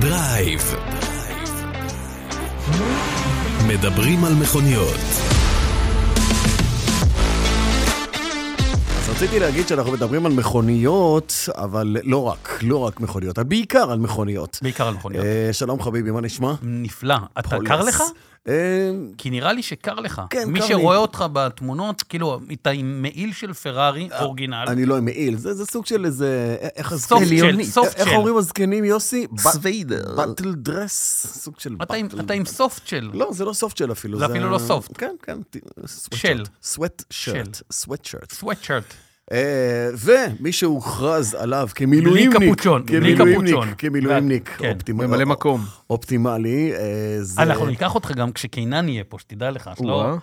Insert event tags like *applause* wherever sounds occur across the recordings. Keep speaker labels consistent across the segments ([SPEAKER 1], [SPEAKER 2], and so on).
[SPEAKER 1] בלייב. מדברים על מכוניות.
[SPEAKER 2] אז רציתי להגיד שאנחנו מדברים על מכוניות, אבל לא רק, לא רק מכוניות, אבל בעיקר על מכוניות.
[SPEAKER 3] בעיקר על
[SPEAKER 1] כן.
[SPEAKER 3] מכוניות.
[SPEAKER 2] אה, שלום חביבי, מה נשמע?
[SPEAKER 3] נפלא. אתה
[SPEAKER 2] חולס.
[SPEAKER 3] קר לך?
[SPEAKER 2] אה,
[SPEAKER 3] כי נראה לי שקר לך.
[SPEAKER 2] כן,
[SPEAKER 3] מי
[SPEAKER 2] קר לי.
[SPEAKER 3] שרואה אותך בתמונות, כאילו, אתה עם מעיל של פרארי אורגינל.
[SPEAKER 2] אני לא עם מעיל, זה זה סוג של איזה... איך
[SPEAKER 3] סוף
[SPEAKER 2] הזקנים-
[SPEAKER 3] צ'ל,
[SPEAKER 2] עליוני.
[SPEAKER 3] סוף
[SPEAKER 2] איך
[SPEAKER 3] צ'ל.
[SPEAKER 2] אומרים הזקנים, יוסי?
[SPEAKER 4] סוויידר.
[SPEAKER 2] בטל דרס, סוג של
[SPEAKER 3] אתה עם-
[SPEAKER 2] בטל.
[SPEAKER 3] אתה עם סופט של.
[SPEAKER 2] לא, זה לא סופט של אפילו.
[SPEAKER 3] זה אפילו לא soft.
[SPEAKER 2] כן, כן.
[SPEAKER 3] של.
[SPEAKER 2] סוואט
[SPEAKER 3] של.
[SPEAKER 2] שירט. סוואט שירט.
[SPEAKER 3] סוואטשרט.
[SPEAKER 2] אה, ומי שהוכרז עליו כמילואימניק,
[SPEAKER 3] בלי קפוצ'ון, בלי
[SPEAKER 2] כמילואימניק,
[SPEAKER 3] קפוצ'ון.
[SPEAKER 2] כמילואימניק
[SPEAKER 3] כן.
[SPEAKER 2] אופטימלי,
[SPEAKER 4] ממלא מקום.
[SPEAKER 2] לא. אופטימלי, אה, זה...
[SPEAKER 3] אנחנו ניקח אותך גם כשקינן יהיה פה, שתדע לך. אז לא...
[SPEAKER 4] או-אה.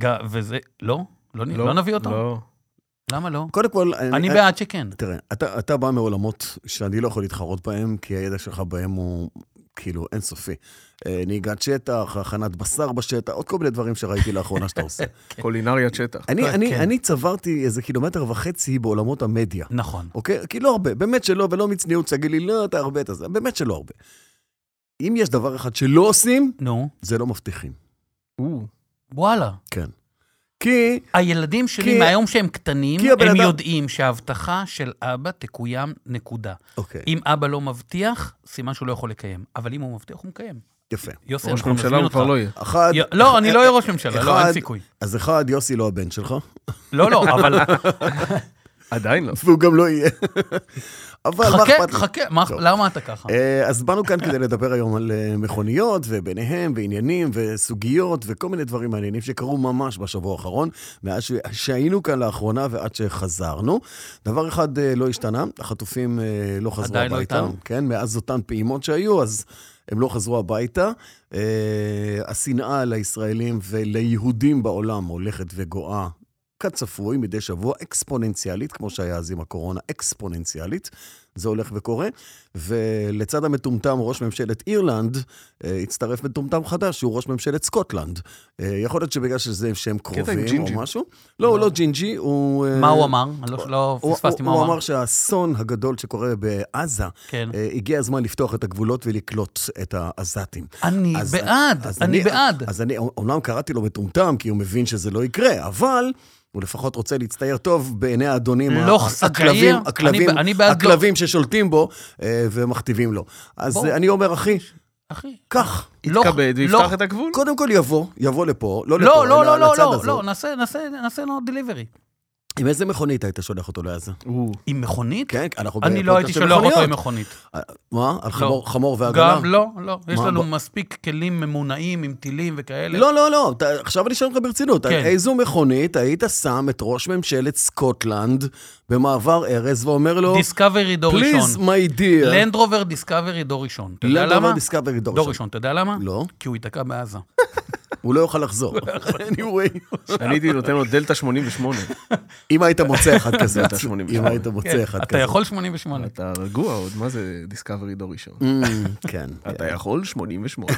[SPEAKER 3] ג- וזה... לא? לא נ- לא נביא אותו?
[SPEAKER 4] אה? לא.
[SPEAKER 3] למה לא?
[SPEAKER 2] קודם כל,
[SPEAKER 3] אני בעד שכן.
[SPEAKER 2] תראה, אתה, אתה בא מעולמות שאני לא יכול להתחרות בהם, כי הידע שלך בהם הוא כאילו אינסופי. אה, נהיגת שטח, הכנת בשר בשטח, עוד כל מיני דברים שראיתי לאחרונה
[SPEAKER 3] *laughs*
[SPEAKER 2] שאתה עושה.
[SPEAKER 4] קולינריית שטח.
[SPEAKER 2] אני,
[SPEAKER 3] אה,
[SPEAKER 2] אני,
[SPEAKER 3] כן.
[SPEAKER 2] אני צברתי איזה קילומטר וחצי בעולמות המדיה.
[SPEAKER 3] נכון.
[SPEAKER 2] אוקיי? כי לא הרבה, באמת שלא, ולא מצניעות, תגיד לי, לא, אתה הרבה, אתה זה, באמת שלא הרבה. אם יש דבר אחד שלא עושים,
[SPEAKER 3] נו,
[SPEAKER 2] זה לא מבטיחים.
[SPEAKER 4] או,
[SPEAKER 3] וואלה.
[SPEAKER 2] כן. כי,
[SPEAKER 3] הילדים שלי,
[SPEAKER 2] כי-
[SPEAKER 3] מהיום שהם קטנים,
[SPEAKER 2] כי הבן
[SPEAKER 3] הם
[SPEAKER 2] אדם-
[SPEAKER 3] יודעים שההבטחה של אבא תקוים, נקודה.
[SPEAKER 2] אוקיי,
[SPEAKER 3] אם אבא לא מבטיח, סימן שהוא לא יכול לקיים. אבל אם הוא מבטיח, הוא מקיים.
[SPEAKER 2] יפה.
[SPEAKER 3] יוסי,
[SPEAKER 4] ראש
[SPEAKER 3] אנחנו נזמין
[SPEAKER 4] ממשלה הוא
[SPEAKER 3] אותך.
[SPEAKER 4] כבר לא יהיה.
[SPEAKER 2] אחד,
[SPEAKER 3] י- לא, אני לא אהיה ראש ממשלה, לא,
[SPEAKER 2] אחד-
[SPEAKER 3] אין סיכוי.
[SPEAKER 2] אז אחד, יוסי לא הבן שלך,
[SPEAKER 3] לא,
[SPEAKER 2] *laughs*
[SPEAKER 3] לא, אבל
[SPEAKER 4] עדיין לא.
[SPEAKER 2] והוא גם לא יהיה. *laughs* אבל מה לא, אכפת
[SPEAKER 3] חכה,
[SPEAKER 2] לי?
[SPEAKER 3] חכה, מה-
[SPEAKER 2] טוב.
[SPEAKER 3] למה אתה ככה?
[SPEAKER 2] אה, אז באנו כאן כדי לדבר היום על אה, מכוניות, וביניהם, ועניינים, וסוגיות, וכל מיני דברים מעניינים שקרו ממש בשבוע האחרון, מאז ש- שהיינו כאן לאחרונה ועד שחזרנו. דבר אחד אה, לא השתנה, החטופים אה, לא חזרו
[SPEAKER 3] עדיין לא
[SPEAKER 2] הביתה.
[SPEAKER 3] איתנו.
[SPEAKER 2] כן, מאז אותן פעימות שהיו, אז הם לא חזרו הביתה. אה, השנאה לישראלים וליהודים בעולם הולכת וגואה. כצפוי, מדי שבוע, אקספוננציאלית, כמו שהיה אז עם הקורונה, אקספוננציאלית. זה הולך וקורה. ולצד המטומטם ראש ממשלת אירלנד, אה, הצטרף מטומטם חדש, שהוא ראש ממשלת סקוטלנד. אה, יכול להיות שבגלל שזה שהם
[SPEAKER 4] עם
[SPEAKER 2] קרובים
[SPEAKER 4] ג'ינג'י.
[SPEAKER 2] או משהו. לא, הוא
[SPEAKER 3] לא.
[SPEAKER 2] לא ג'ינג'י, הוא... אה,
[SPEAKER 3] מה הוא אמר? אני לא- לא
[SPEAKER 2] הוא-
[SPEAKER 3] פספסתי
[SPEAKER 2] הוא-
[SPEAKER 3] מה הוא אמר.
[SPEAKER 2] הוא אמר שהאסון הגדול שקורה בעזה,
[SPEAKER 3] כן.
[SPEAKER 2] אה, הגיע הזמן לפתוח את הגבולות ולקלוט את העזתים.
[SPEAKER 3] אני
[SPEAKER 2] אז-
[SPEAKER 3] בעד,
[SPEAKER 2] אז
[SPEAKER 3] אני בעד.
[SPEAKER 2] אז אני, אומנם קראתי לו מטומטם, כי הוא מבין שזה לא יקרה, אבל הוא לפחות רוצה להצטייר טוב בעיני האדונים, ה-
[SPEAKER 3] לוח
[SPEAKER 2] הכלבים,
[SPEAKER 3] זכאיר,
[SPEAKER 2] הכלבים,
[SPEAKER 3] אני- אני בעד
[SPEAKER 2] הכלבים ששולטים בו אה, ומכתיבים לו. אז
[SPEAKER 3] בוא.
[SPEAKER 2] אה, אני אומר, אחי,
[SPEAKER 3] אחי,
[SPEAKER 2] קח.
[SPEAKER 3] לא-
[SPEAKER 4] יתכבד
[SPEAKER 3] לא-
[SPEAKER 4] ויפתח את הגבול.
[SPEAKER 2] קודם כל יבוא, יבוא לפה, לא לפה,
[SPEAKER 3] לא, לא,
[SPEAKER 2] אלא
[SPEAKER 3] לא, לא,
[SPEAKER 2] לצד
[SPEAKER 3] לא,
[SPEAKER 2] הזה.
[SPEAKER 3] לא, נעשה- נעשה נעשה לו דליברי.
[SPEAKER 2] עם איזה מכונית היית שולח אותו לעזה?
[SPEAKER 4] או,
[SPEAKER 3] עם מכונית?
[SPEAKER 2] כן, אנחנו
[SPEAKER 3] אני לא
[SPEAKER 2] בפודקאסט
[SPEAKER 3] הייתי
[SPEAKER 2] של
[SPEAKER 3] שולח אותו
[SPEAKER 2] מכוניות.
[SPEAKER 3] עם מכונית. לא.
[SPEAKER 2] מה? על חמור- חמור ועגלה?
[SPEAKER 3] גם לא, לא. יש
[SPEAKER 2] מה,
[SPEAKER 3] לנו
[SPEAKER 2] בוא-
[SPEAKER 3] מספיק כלים ממונעים עם טילים וכאלה.
[SPEAKER 2] לא, לא, לא, אתה, עכשיו אני שואל אותך ברצינות.
[SPEAKER 3] כן.
[SPEAKER 2] כן. איזו מכונית היית שם את ראש ממשלת סקוטלנד במעבר ארז ואומר לו,
[SPEAKER 3] דיסקאברי דור
[SPEAKER 2] פליז,
[SPEAKER 3] ראשון.
[SPEAKER 2] מי דיר.
[SPEAKER 3] לנדרובר דיסקאברי דור ראשון. אתה יודע למה?
[SPEAKER 2] דיסקאברי דור
[SPEAKER 3] דור
[SPEAKER 2] ראשון.
[SPEAKER 3] ראשון, אתה יודע למה?
[SPEAKER 2] לא,
[SPEAKER 3] כי הוא ייתקע
[SPEAKER 2] *laughs*
[SPEAKER 3] בעזה.
[SPEAKER 2] הוא לא יוכל
[SPEAKER 3] *laughs*
[SPEAKER 2] לחזור.
[SPEAKER 3] נכון.
[SPEAKER 2] anyway,
[SPEAKER 4] *laughs* אני הייתי נותן לו דלתא 88.
[SPEAKER 2] אם היית מוצא אחד
[SPEAKER 3] *laughs*
[SPEAKER 2] כזה,
[SPEAKER 4] אתה 88.
[SPEAKER 2] אם היית
[SPEAKER 3] כן,
[SPEAKER 2] מוצא אחד כזה.
[SPEAKER 3] אתה יכול 88.
[SPEAKER 4] אתה רגוע עוד, מה זה דיסקאברי
[SPEAKER 2] *laughs*
[SPEAKER 4] דור ראשון?
[SPEAKER 2] Mm, כן.
[SPEAKER 4] אתה
[SPEAKER 2] *laughs*
[SPEAKER 4] יכול 88.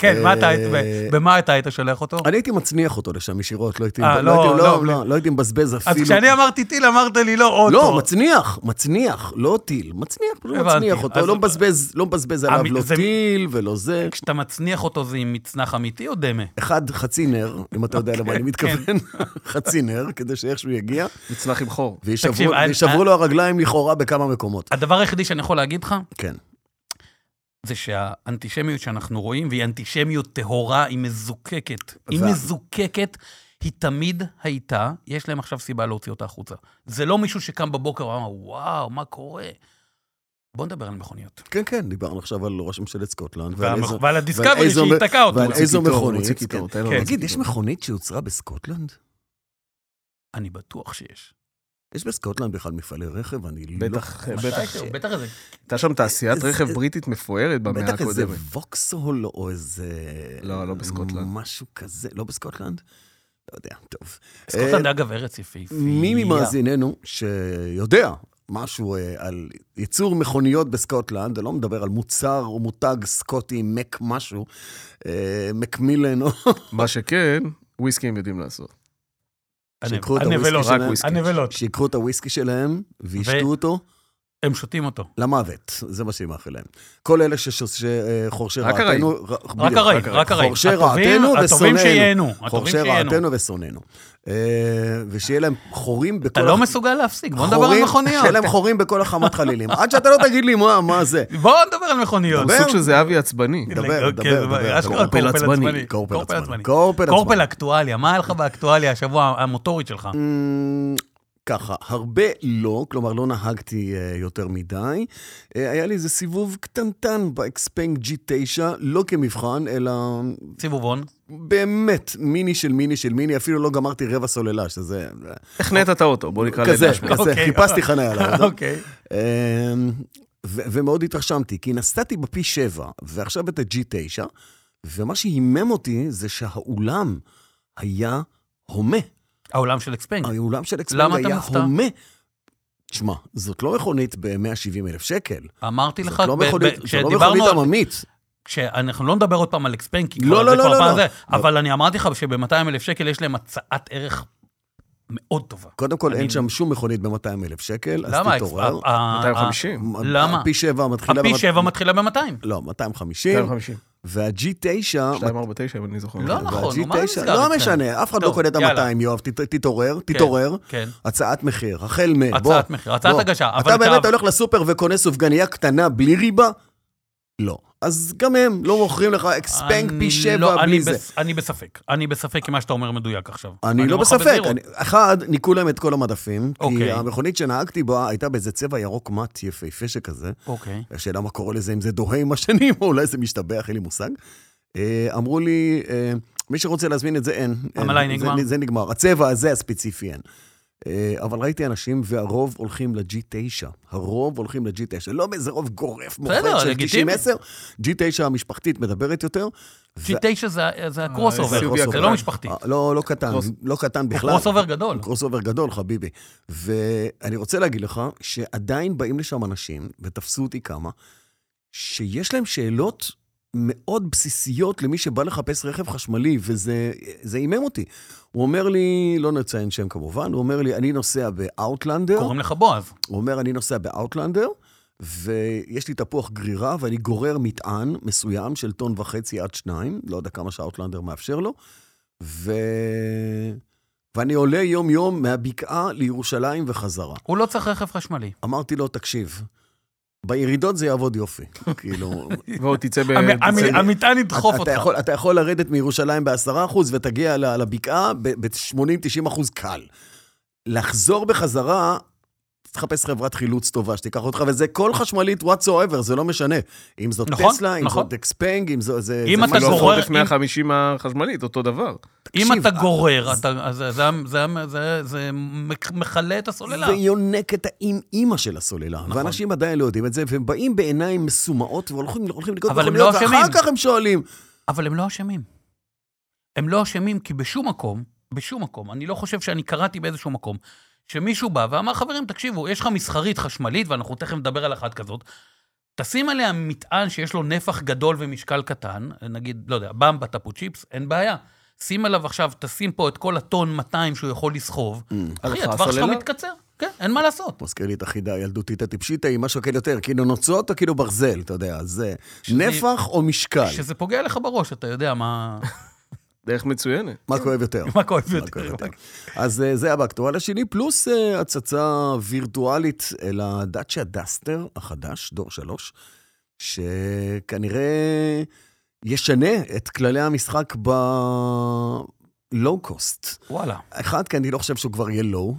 [SPEAKER 3] כן, מה אתה היית,
[SPEAKER 2] אה,
[SPEAKER 3] במה אתה היית שולח אותו?
[SPEAKER 2] אני הייתי מצניח אותו לשם ישירות, לא הייתי
[SPEAKER 3] אה,
[SPEAKER 2] לא
[SPEAKER 3] לא,
[SPEAKER 2] הייתי-
[SPEAKER 3] לא,
[SPEAKER 2] לא, לא, לא הייתי מבזבז
[SPEAKER 3] אז
[SPEAKER 2] אפילו.
[SPEAKER 3] כשאני אמרתי טיל, אמרת לי לא אוטו.
[SPEAKER 2] לא, מצניח, מצניח, לא טיל. מצניח, פשוט
[SPEAKER 3] הבנתי.
[SPEAKER 2] מצניח אותו,
[SPEAKER 3] אז-
[SPEAKER 2] לא מבזבז- לא מבזבז עליו
[SPEAKER 3] המ-
[SPEAKER 2] לא
[SPEAKER 3] זה-
[SPEAKER 2] טיל ולא זה.
[SPEAKER 3] כשאתה מצניח אותו זה עם מצנח אמיתי או דמה?
[SPEAKER 2] אחד חצי נר, אם אתה יודע
[SPEAKER 3] אוקיי,
[SPEAKER 2] למה אני מתכוון,
[SPEAKER 3] כן.
[SPEAKER 2] *laughs* חצי נר, כדי שאיכשהו יגיע,
[SPEAKER 4] מצנח עם חור.
[SPEAKER 3] תקשיב,
[SPEAKER 2] וישברו
[SPEAKER 3] אני- אה-
[SPEAKER 2] וישברו לו הרגליים לכאורה בכמה מקומות.
[SPEAKER 3] הדבר היחידי שאני יכול להגיד לך,
[SPEAKER 2] כן.
[SPEAKER 3] זה שהאנטישמיות שאנחנו רואים, והיא אנטישמיות טהורה, היא מזוקקת. היא
[SPEAKER 2] וה-
[SPEAKER 3] מזוקקת, היא תמיד הייתה, יש להם עכשיו סיבה להוציא אותה החוצה. זה לא מישהו שקם בבוקר ואמר, וואו, מה קורה? בוא נדבר על מכוניות.
[SPEAKER 2] כן, כן, דיברנו עכשיו על ראש ממשלת סקוטלנד. ועל
[SPEAKER 3] והמכ-
[SPEAKER 2] איזה-
[SPEAKER 3] ועל הדיסקאברי
[SPEAKER 2] איזו-
[SPEAKER 3] שהיא אותו.
[SPEAKER 2] ועל
[SPEAKER 4] מוציא
[SPEAKER 2] איזו
[SPEAKER 4] קיטור,
[SPEAKER 2] מכונית,
[SPEAKER 4] מוציא קיטור,
[SPEAKER 2] כן.
[SPEAKER 4] תן לו
[SPEAKER 3] כן.
[SPEAKER 4] להוציא
[SPEAKER 2] תגיד, יש
[SPEAKER 4] קיטור.
[SPEAKER 2] מכונית שיוצרה בסקוטלנד?
[SPEAKER 3] אני בטוח שיש.
[SPEAKER 2] יש בסקוטלנד בכלל מפעלי רכב? אני לא...
[SPEAKER 4] בטח, בטח.
[SPEAKER 3] מתישהו, בטח איזה...
[SPEAKER 2] אה,
[SPEAKER 4] הייתה שם תעשיית
[SPEAKER 2] איזה-
[SPEAKER 4] רכב בריטית מפוארת במאה
[SPEAKER 2] בטח איזה
[SPEAKER 4] הקודמת.
[SPEAKER 2] ווקסהול או איזה...
[SPEAKER 4] לא, לא בסקוטלנד.
[SPEAKER 2] משהו כזה, לא בסקוטלנד? לא יודע, טוב.
[SPEAKER 3] סקוטלנד, אגב, ארץ יפהפייה.
[SPEAKER 2] מי ממאזיננו שיודע משהו אה, על ייצור מכוניות בסקוטלנד, אני לא מדבר על מוצר או מותג סקוטי, מק משהו, אה, מקמילן, או-
[SPEAKER 4] מה שכן, וויסקי הם יודעים לעשות.
[SPEAKER 3] הנב-
[SPEAKER 2] שיקחו את הוויסקי
[SPEAKER 3] הנבלות,
[SPEAKER 4] רק
[SPEAKER 2] שלהם,
[SPEAKER 4] וויסקי.
[SPEAKER 3] הנבלות.
[SPEAKER 2] שיקחו את הוויסקי שלהם וישתו
[SPEAKER 3] ו-
[SPEAKER 2] אותו
[SPEAKER 3] הם שותים אותו.
[SPEAKER 2] למוות, זה מה שהיא מאחל להם. כל אלה שש- שחורשי
[SPEAKER 4] רק הרעים.
[SPEAKER 2] רעתנו... ר-
[SPEAKER 3] רק
[SPEAKER 2] בדיוק,
[SPEAKER 3] הרעים, רק הרעים.
[SPEAKER 2] חורשי
[SPEAKER 3] הטובים-
[SPEAKER 2] רעתנו
[SPEAKER 3] הטובים
[SPEAKER 2] ושונאינו.
[SPEAKER 3] שייהנו. הטובים
[SPEAKER 2] חורשי
[SPEAKER 3] שייהנו.
[SPEAKER 2] רעתנו ושונאינו. אה, ושיהיה להם חורים בכל...
[SPEAKER 3] אתה לא
[SPEAKER 2] הח-
[SPEAKER 3] מסוגל להפסיק, בוא נדבר על
[SPEAKER 2] חורים-
[SPEAKER 3] מכוניות.
[SPEAKER 2] שיהיה להם חורים בכל החמת חלילים. עד שאתה לא תגיד לי מה,
[SPEAKER 3] *laughs*
[SPEAKER 2] מה זה.
[SPEAKER 3] בוא נדבר על מכוניות.
[SPEAKER 2] דבר.
[SPEAKER 4] סוג של זהבי עצבני.
[SPEAKER 2] דבר, דבר,
[SPEAKER 3] כן,
[SPEAKER 2] דבר.
[SPEAKER 3] אשכרה
[SPEAKER 4] קורפל
[SPEAKER 3] קורפל
[SPEAKER 4] עצבני.
[SPEAKER 3] עצבני.
[SPEAKER 2] קורפל עצבני. קורפל
[SPEAKER 3] קורפל
[SPEAKER 2] עצבני.
[SPEAKER 3] קורפל אקטואליה, מה היה לך באקטואליה השבוע המוטורית שלך?
[SPEAKER 2] אמ, ככה, הרבה לא, כלומר לא נהגתי אה, יותר מדי. אה, היה לי איזה סיבוב קטנטן באקספנג G9, לא כמבחן, אלא
[SPEAKER 3] סיבובון.
[SPEAKER 2] באמת מיני של מיני של מיני, אפילו לא גמרתי רבע סוללה, שזה... אה,
[SPEAKER 4] החנית את האוטו, בוא נקרא
[SPEAKER 2] כזה,
[SPEAKER 4] לזה.
[SPEAKER 2] כזה,
[SPEAKER 3] אוקיי.
[SPEAKER 2] חיפשתי חניה לאוטו.
[SPEAKER 3] *laughs* אוקיי.
[SPEAKER 2] אמ, ו- ומאוד התרשמתי, כי נסעתי בפי 7, ועכשיו את ה-G9, ומה שהימם אותי זה שהאולם היה הומה.
[SPEAKER 3] העולם של אקספנג.
[SPEAKER 2] האולם של אקספנג
[SPEAKER 3] למה אתה
[SPEAKER 2] היה
[SPEAKER 3] מופתע?
[SPEAKER 2] הומה. תשמע, זאת לא מכונית ב-170 אלף שקל.
[SPEAKER 3] אמרתי לך,
[SPEAKER 2] זאת לא
[SPEAKER 3] ב- ב-
[SPEAKER 2] מכונית- זאת לא
[SPEAKER 3] כשדיברנו
[SPEAKER 2] מכונית
[SPEAKER 3] על-
[SPEAKER 2] עממית.
[SPEAKER 3] כשאנחנו לא נדבר עוד פעם על אקספנג, כי
[SPEAKER 2] לא,
[SPEAKER 3] כבר
[SPEAKER 2] לא,
[SPEAKER 3] זה
[SPEAKER 2] לא,
[SPEAKER 3] כבר
[SPEAKER 2] לא,
[SPEAKER 3] פעם
[SPEAKER 2] לא.
[SPEAKER 3] זה,
[SPEAKER 2] אבל-
[SPEAKER 3] אבל אני אמרתי לך שב-200 אלף שקל יש להם הצעת ערך מאוד טובה.
[SPEAKER 2] קודם כל,
[SPEAKER 3] אני-
[SPEAKER 2] אין שם שום מכונית ב-200 אלף שקל, אז
[SPEAKER 3] למה?
[SPEAKER 2] תתעורר.
[SPEAKER 3] ה- ה-
[SPEAKER 4] 250.
[SPEAKER 3] למה?
[SPEAKER 2] פי 7 מתחילה...
[SPEAKER 3] הפי
[SPEAKER 2] ב-
[SPEAKER 3] 7 מתחילה ב-200.
[SPEAKER 2] לא, 250,
[SPEAKER 4] 250.
[SPEAKER 2] וה-G9...
[SPEAKER 4] אה, 249, אם אני זוכר.
[SPEAKER 3] לא נכון, נו, מה
[SPEAKER 2] וה-G9
[SPEAKER 3] נסגר
[SPEAKER 2] לא
[SPEAKER 3] אצלנו?
[SPEAKER 2] משנה, אף אחד לא
[SPEAKER 3] טוב,
[SPEAKER 2] קונה את
[SPEAKER 3] יאללה.
[SPEAKER 2] ה-200, יואב, תת- תתעורר, תתעורר.
[SPEAKER 3] כן.
[SPEAKER 2] הצעת מחיר, החל מ...
[SPEAKER 3] הצעת
[SPEAKER 2] בוא,
[SPEAKER 3] מחיר, הצעת
[SPEAKER 2] בוא.
[SPEAKER 3] הגשה, אבל
[SPEAKER 2] אתה
[SPEAKER 3] אתה-
[SPEAKER 2] באמת הולך לסופר וקונה סופגניה קטנה בלי ריבה? לא. אז גם הם לא מוכרים לך אקספנג
[SPEAKER 3] אני
[SPEAKER 2] פי שבע
[SPEAKER 3] לא- אני
[SPEAKER 2] בלי זה.
[SPEAKER 3] בס- אני בספק. אני בספק אם מה שאתה אומר מדויק עכשיו.
[SPEAKER 2] אני לא
[SPEAKER 3] אומר לך
[SPEAKER 2] בספק.
[SPEAKER 3] בזהירות.
[SPEAKER 2] אני- אחד, ניקו להם את כל המדפים, כי
[SPEAKER 3] אוקיי.
[SPEAKER 2] המכונית שנהגתי בה הייתה באיזה צבע ירוק מט יפהפה שכזה.
[SPEAKER 3] אוקיי.
[SPEAKER 2] השאלה מה קורה לזה, אם זה דוהה עם השנים, *laughs* או אולי זה משתבח, אין לי מושג. אה, אמרו לי, אה, מי שרוצה להזמין את זה, אין. אין.
[SPEAKER 3] המלאי
[SPEAKER 2] זה-
[SPEAKER 3] נגמר.
[SPEAKER 2] זה נגמר. הצבע הזה הספציפי אין. אה, אבל ראיתי אנשים, והרוב הולכים ל-G9. הרוב הולכים ל-G9. לא באיזה רוב גורף, מוחלט של
[SPEAKER 3] לגיטימי.
[SPEAKER 2] 90-10. G9 המשפחתית מדברת יותר. ו-
[SPEAKER 3] G9 זה- זה הקרוס
[SPEAKER 4] אה,
[SPEAKER 3] אובר,
[SPEAKER 4] SUV
[SPEAKER 3] זה
[SPEAKER 4] הקטן.
[SPEAKER 3] לא משפחתי.
[SPEAKER 2] אה, לא, לא קטן,
[SPEAKER 4] קרוס-
[SPEAKER 2] לא קטן בכלל.
[SPEAKER 3] קרוס אובר גדול.
[SPEAKER 2] קרוס אובר גדול, חביבי. ואני רוצה להגיד לך שעדיין באים לשם אנשים, ותפסו אותי כמה, שיש להם שאלות מאוד בסיסיות למי שבא לחפש רכב חשמלי, וזה זה הימם אותי. הוא אומר לי, לא נציין שם כמובן, הוא אומר לי, אני נוסע באאוטלנדר,
[SPEAKER 3] קוראים לך בועז.
[SPEAKER 2] הוא אומר, אני נוסע באאוטלנדר, ויש לי תפוח גרירה, ואני גורר מטען מסוים של טון וחצי עד שניים, לא יודע כמה שהאוטלנדר מאפשר לו, ו... ואני עולה יום-יום מהבקעה לירושלים וחזרה.
[SPEAKER 3] הוא לא צריך רכב חשמלי.
[SPEAKER 2] אמרתי לו, תקשיב, בירידות זה יעבוד יופי. *laughs* כאילו,
[SPEAKER 4] ועוד תצא ב...
[SPEAKER 3] המ- המ-
[SPEAKER 4] תצא-
[SPEAKER 3] המטען ידחוף
[SPEAKER 2] אתה,
[SPEAKER 3] אותך.
[SPEAKER 2] אתה, יכול, אתה יכול לרדת מירושלים ב-10% ותגיע ל- לבקעה ב-80-90% קל. לחזור בחזרה, תחפש חברת חילוץ טובה שתיקח אותך, וזה כל חשמלית whatsoever, זה לא משנה. אם זאת
[SPEAKER 3] נכון,
[SPEAKER 2] טסלה, אם
[SPEAKER 3] נכון.
[SPEAKER 2] זאת אקספנג, אם זו... זה,
[SPEAKER 3] אם
[SPEAKER 2] זה
[SPEAKER 3] אתה
[SPEAKER 2] מה
[SPEAKER 4] מה,
[SPEAKER 2] לא
[SPEAKER 4] לא
[SPEAKER 3] גורר-
[SPEAKER 4] חורף
[SPEAKER 3] אם-
[SPEAKER 4] 150 החשמלית, אותו דבר.
[SPEAKER 3] אם
[SPEAKER 2] תקשיב,
[SPEAKER 3] אתה
[SPEAKER 2] אה,
[SPEAKER 3] גורר, אתה- זה- זה- זה- זה- זה מק- מכלה את הסוללה.
[SPEAKER 2] זה יונק את האם-אימא של הסוללה. נכון. ואנשים עדיין לא יודעים את זה, והם באים בעיניים מסומאות והולכים הולכים לקנות
[SPEAKER 3] אבל הם
[SPEAKER 2] מכוניות,
[SPEAKER 3] לא
[SPEAKER 2] ואחר
[SPEAKER 3] אשמים.
[SPEAKER 2] כך הם שואלים.
[SPEAKER 3] אבל הם לא אשמים. הם לא אשמים כי בשום מקום, בשום מקום, אני לא חושב שאני קראתי באיזשהו מקום, שמישהו בא ואמר, חברים, תקשיבו, יש לך מסחרית חשמלית, ואנחנו תכף נדבר על אחת כזאת, תשים עליה מטען שיש לו נפח גדול ומשקל קטן, נגיד, לא יודע, במבה, טפו צ'יפס, אין בעיה. שים עליו עכשיו, תשים פה את כל הטון 200 שהוא יכול לסחוב.
[SPEAKER 2] Mm,
[SPEAKER 3] אחי,
[SPEAKER 4] הלכה
[SPEAKER 3] הטווח שלך
[SPEAKER 4] הסוללה?
[SPEAKER 3] מתקצר. כן, אין מה לעשות.
[SPEAKER 2] מזכיר לי את החידה הילדותית הטיפשית, היא מה שוקל יותר, כאילו נוצות או כאילו ברזל, אתה יודע, זה
[SPEAKER 3] שזה-
[SPEAKER 2] נפח או משקל.
[SPEAKER 3] כשזה פוגע לך בראש, אתה יודע מה *laughs*
[SPEAKER 4] דרך מצוינת.
[SPEAKER 2] מה כואב יותר?
[SPEAKER 3] מה כואב
[SPEAKER 2] מה
[SPEAKER 3] יותר. אוקיי.
[SPEAKER 2] כואב יותר? אז אה, זה היה באקטואליה שלי, פלוס אה, הצצה וירטואלית אל הדאצ'ה דסטר החדש, דור שלוש, שכנראה ישנה את כללי המשחק בלואו קוסט.
[SPEAKER 3] וואלה.
[SPEAKER 2] אחד, כי אני לא חושב שהוא כבר יהיה לואו.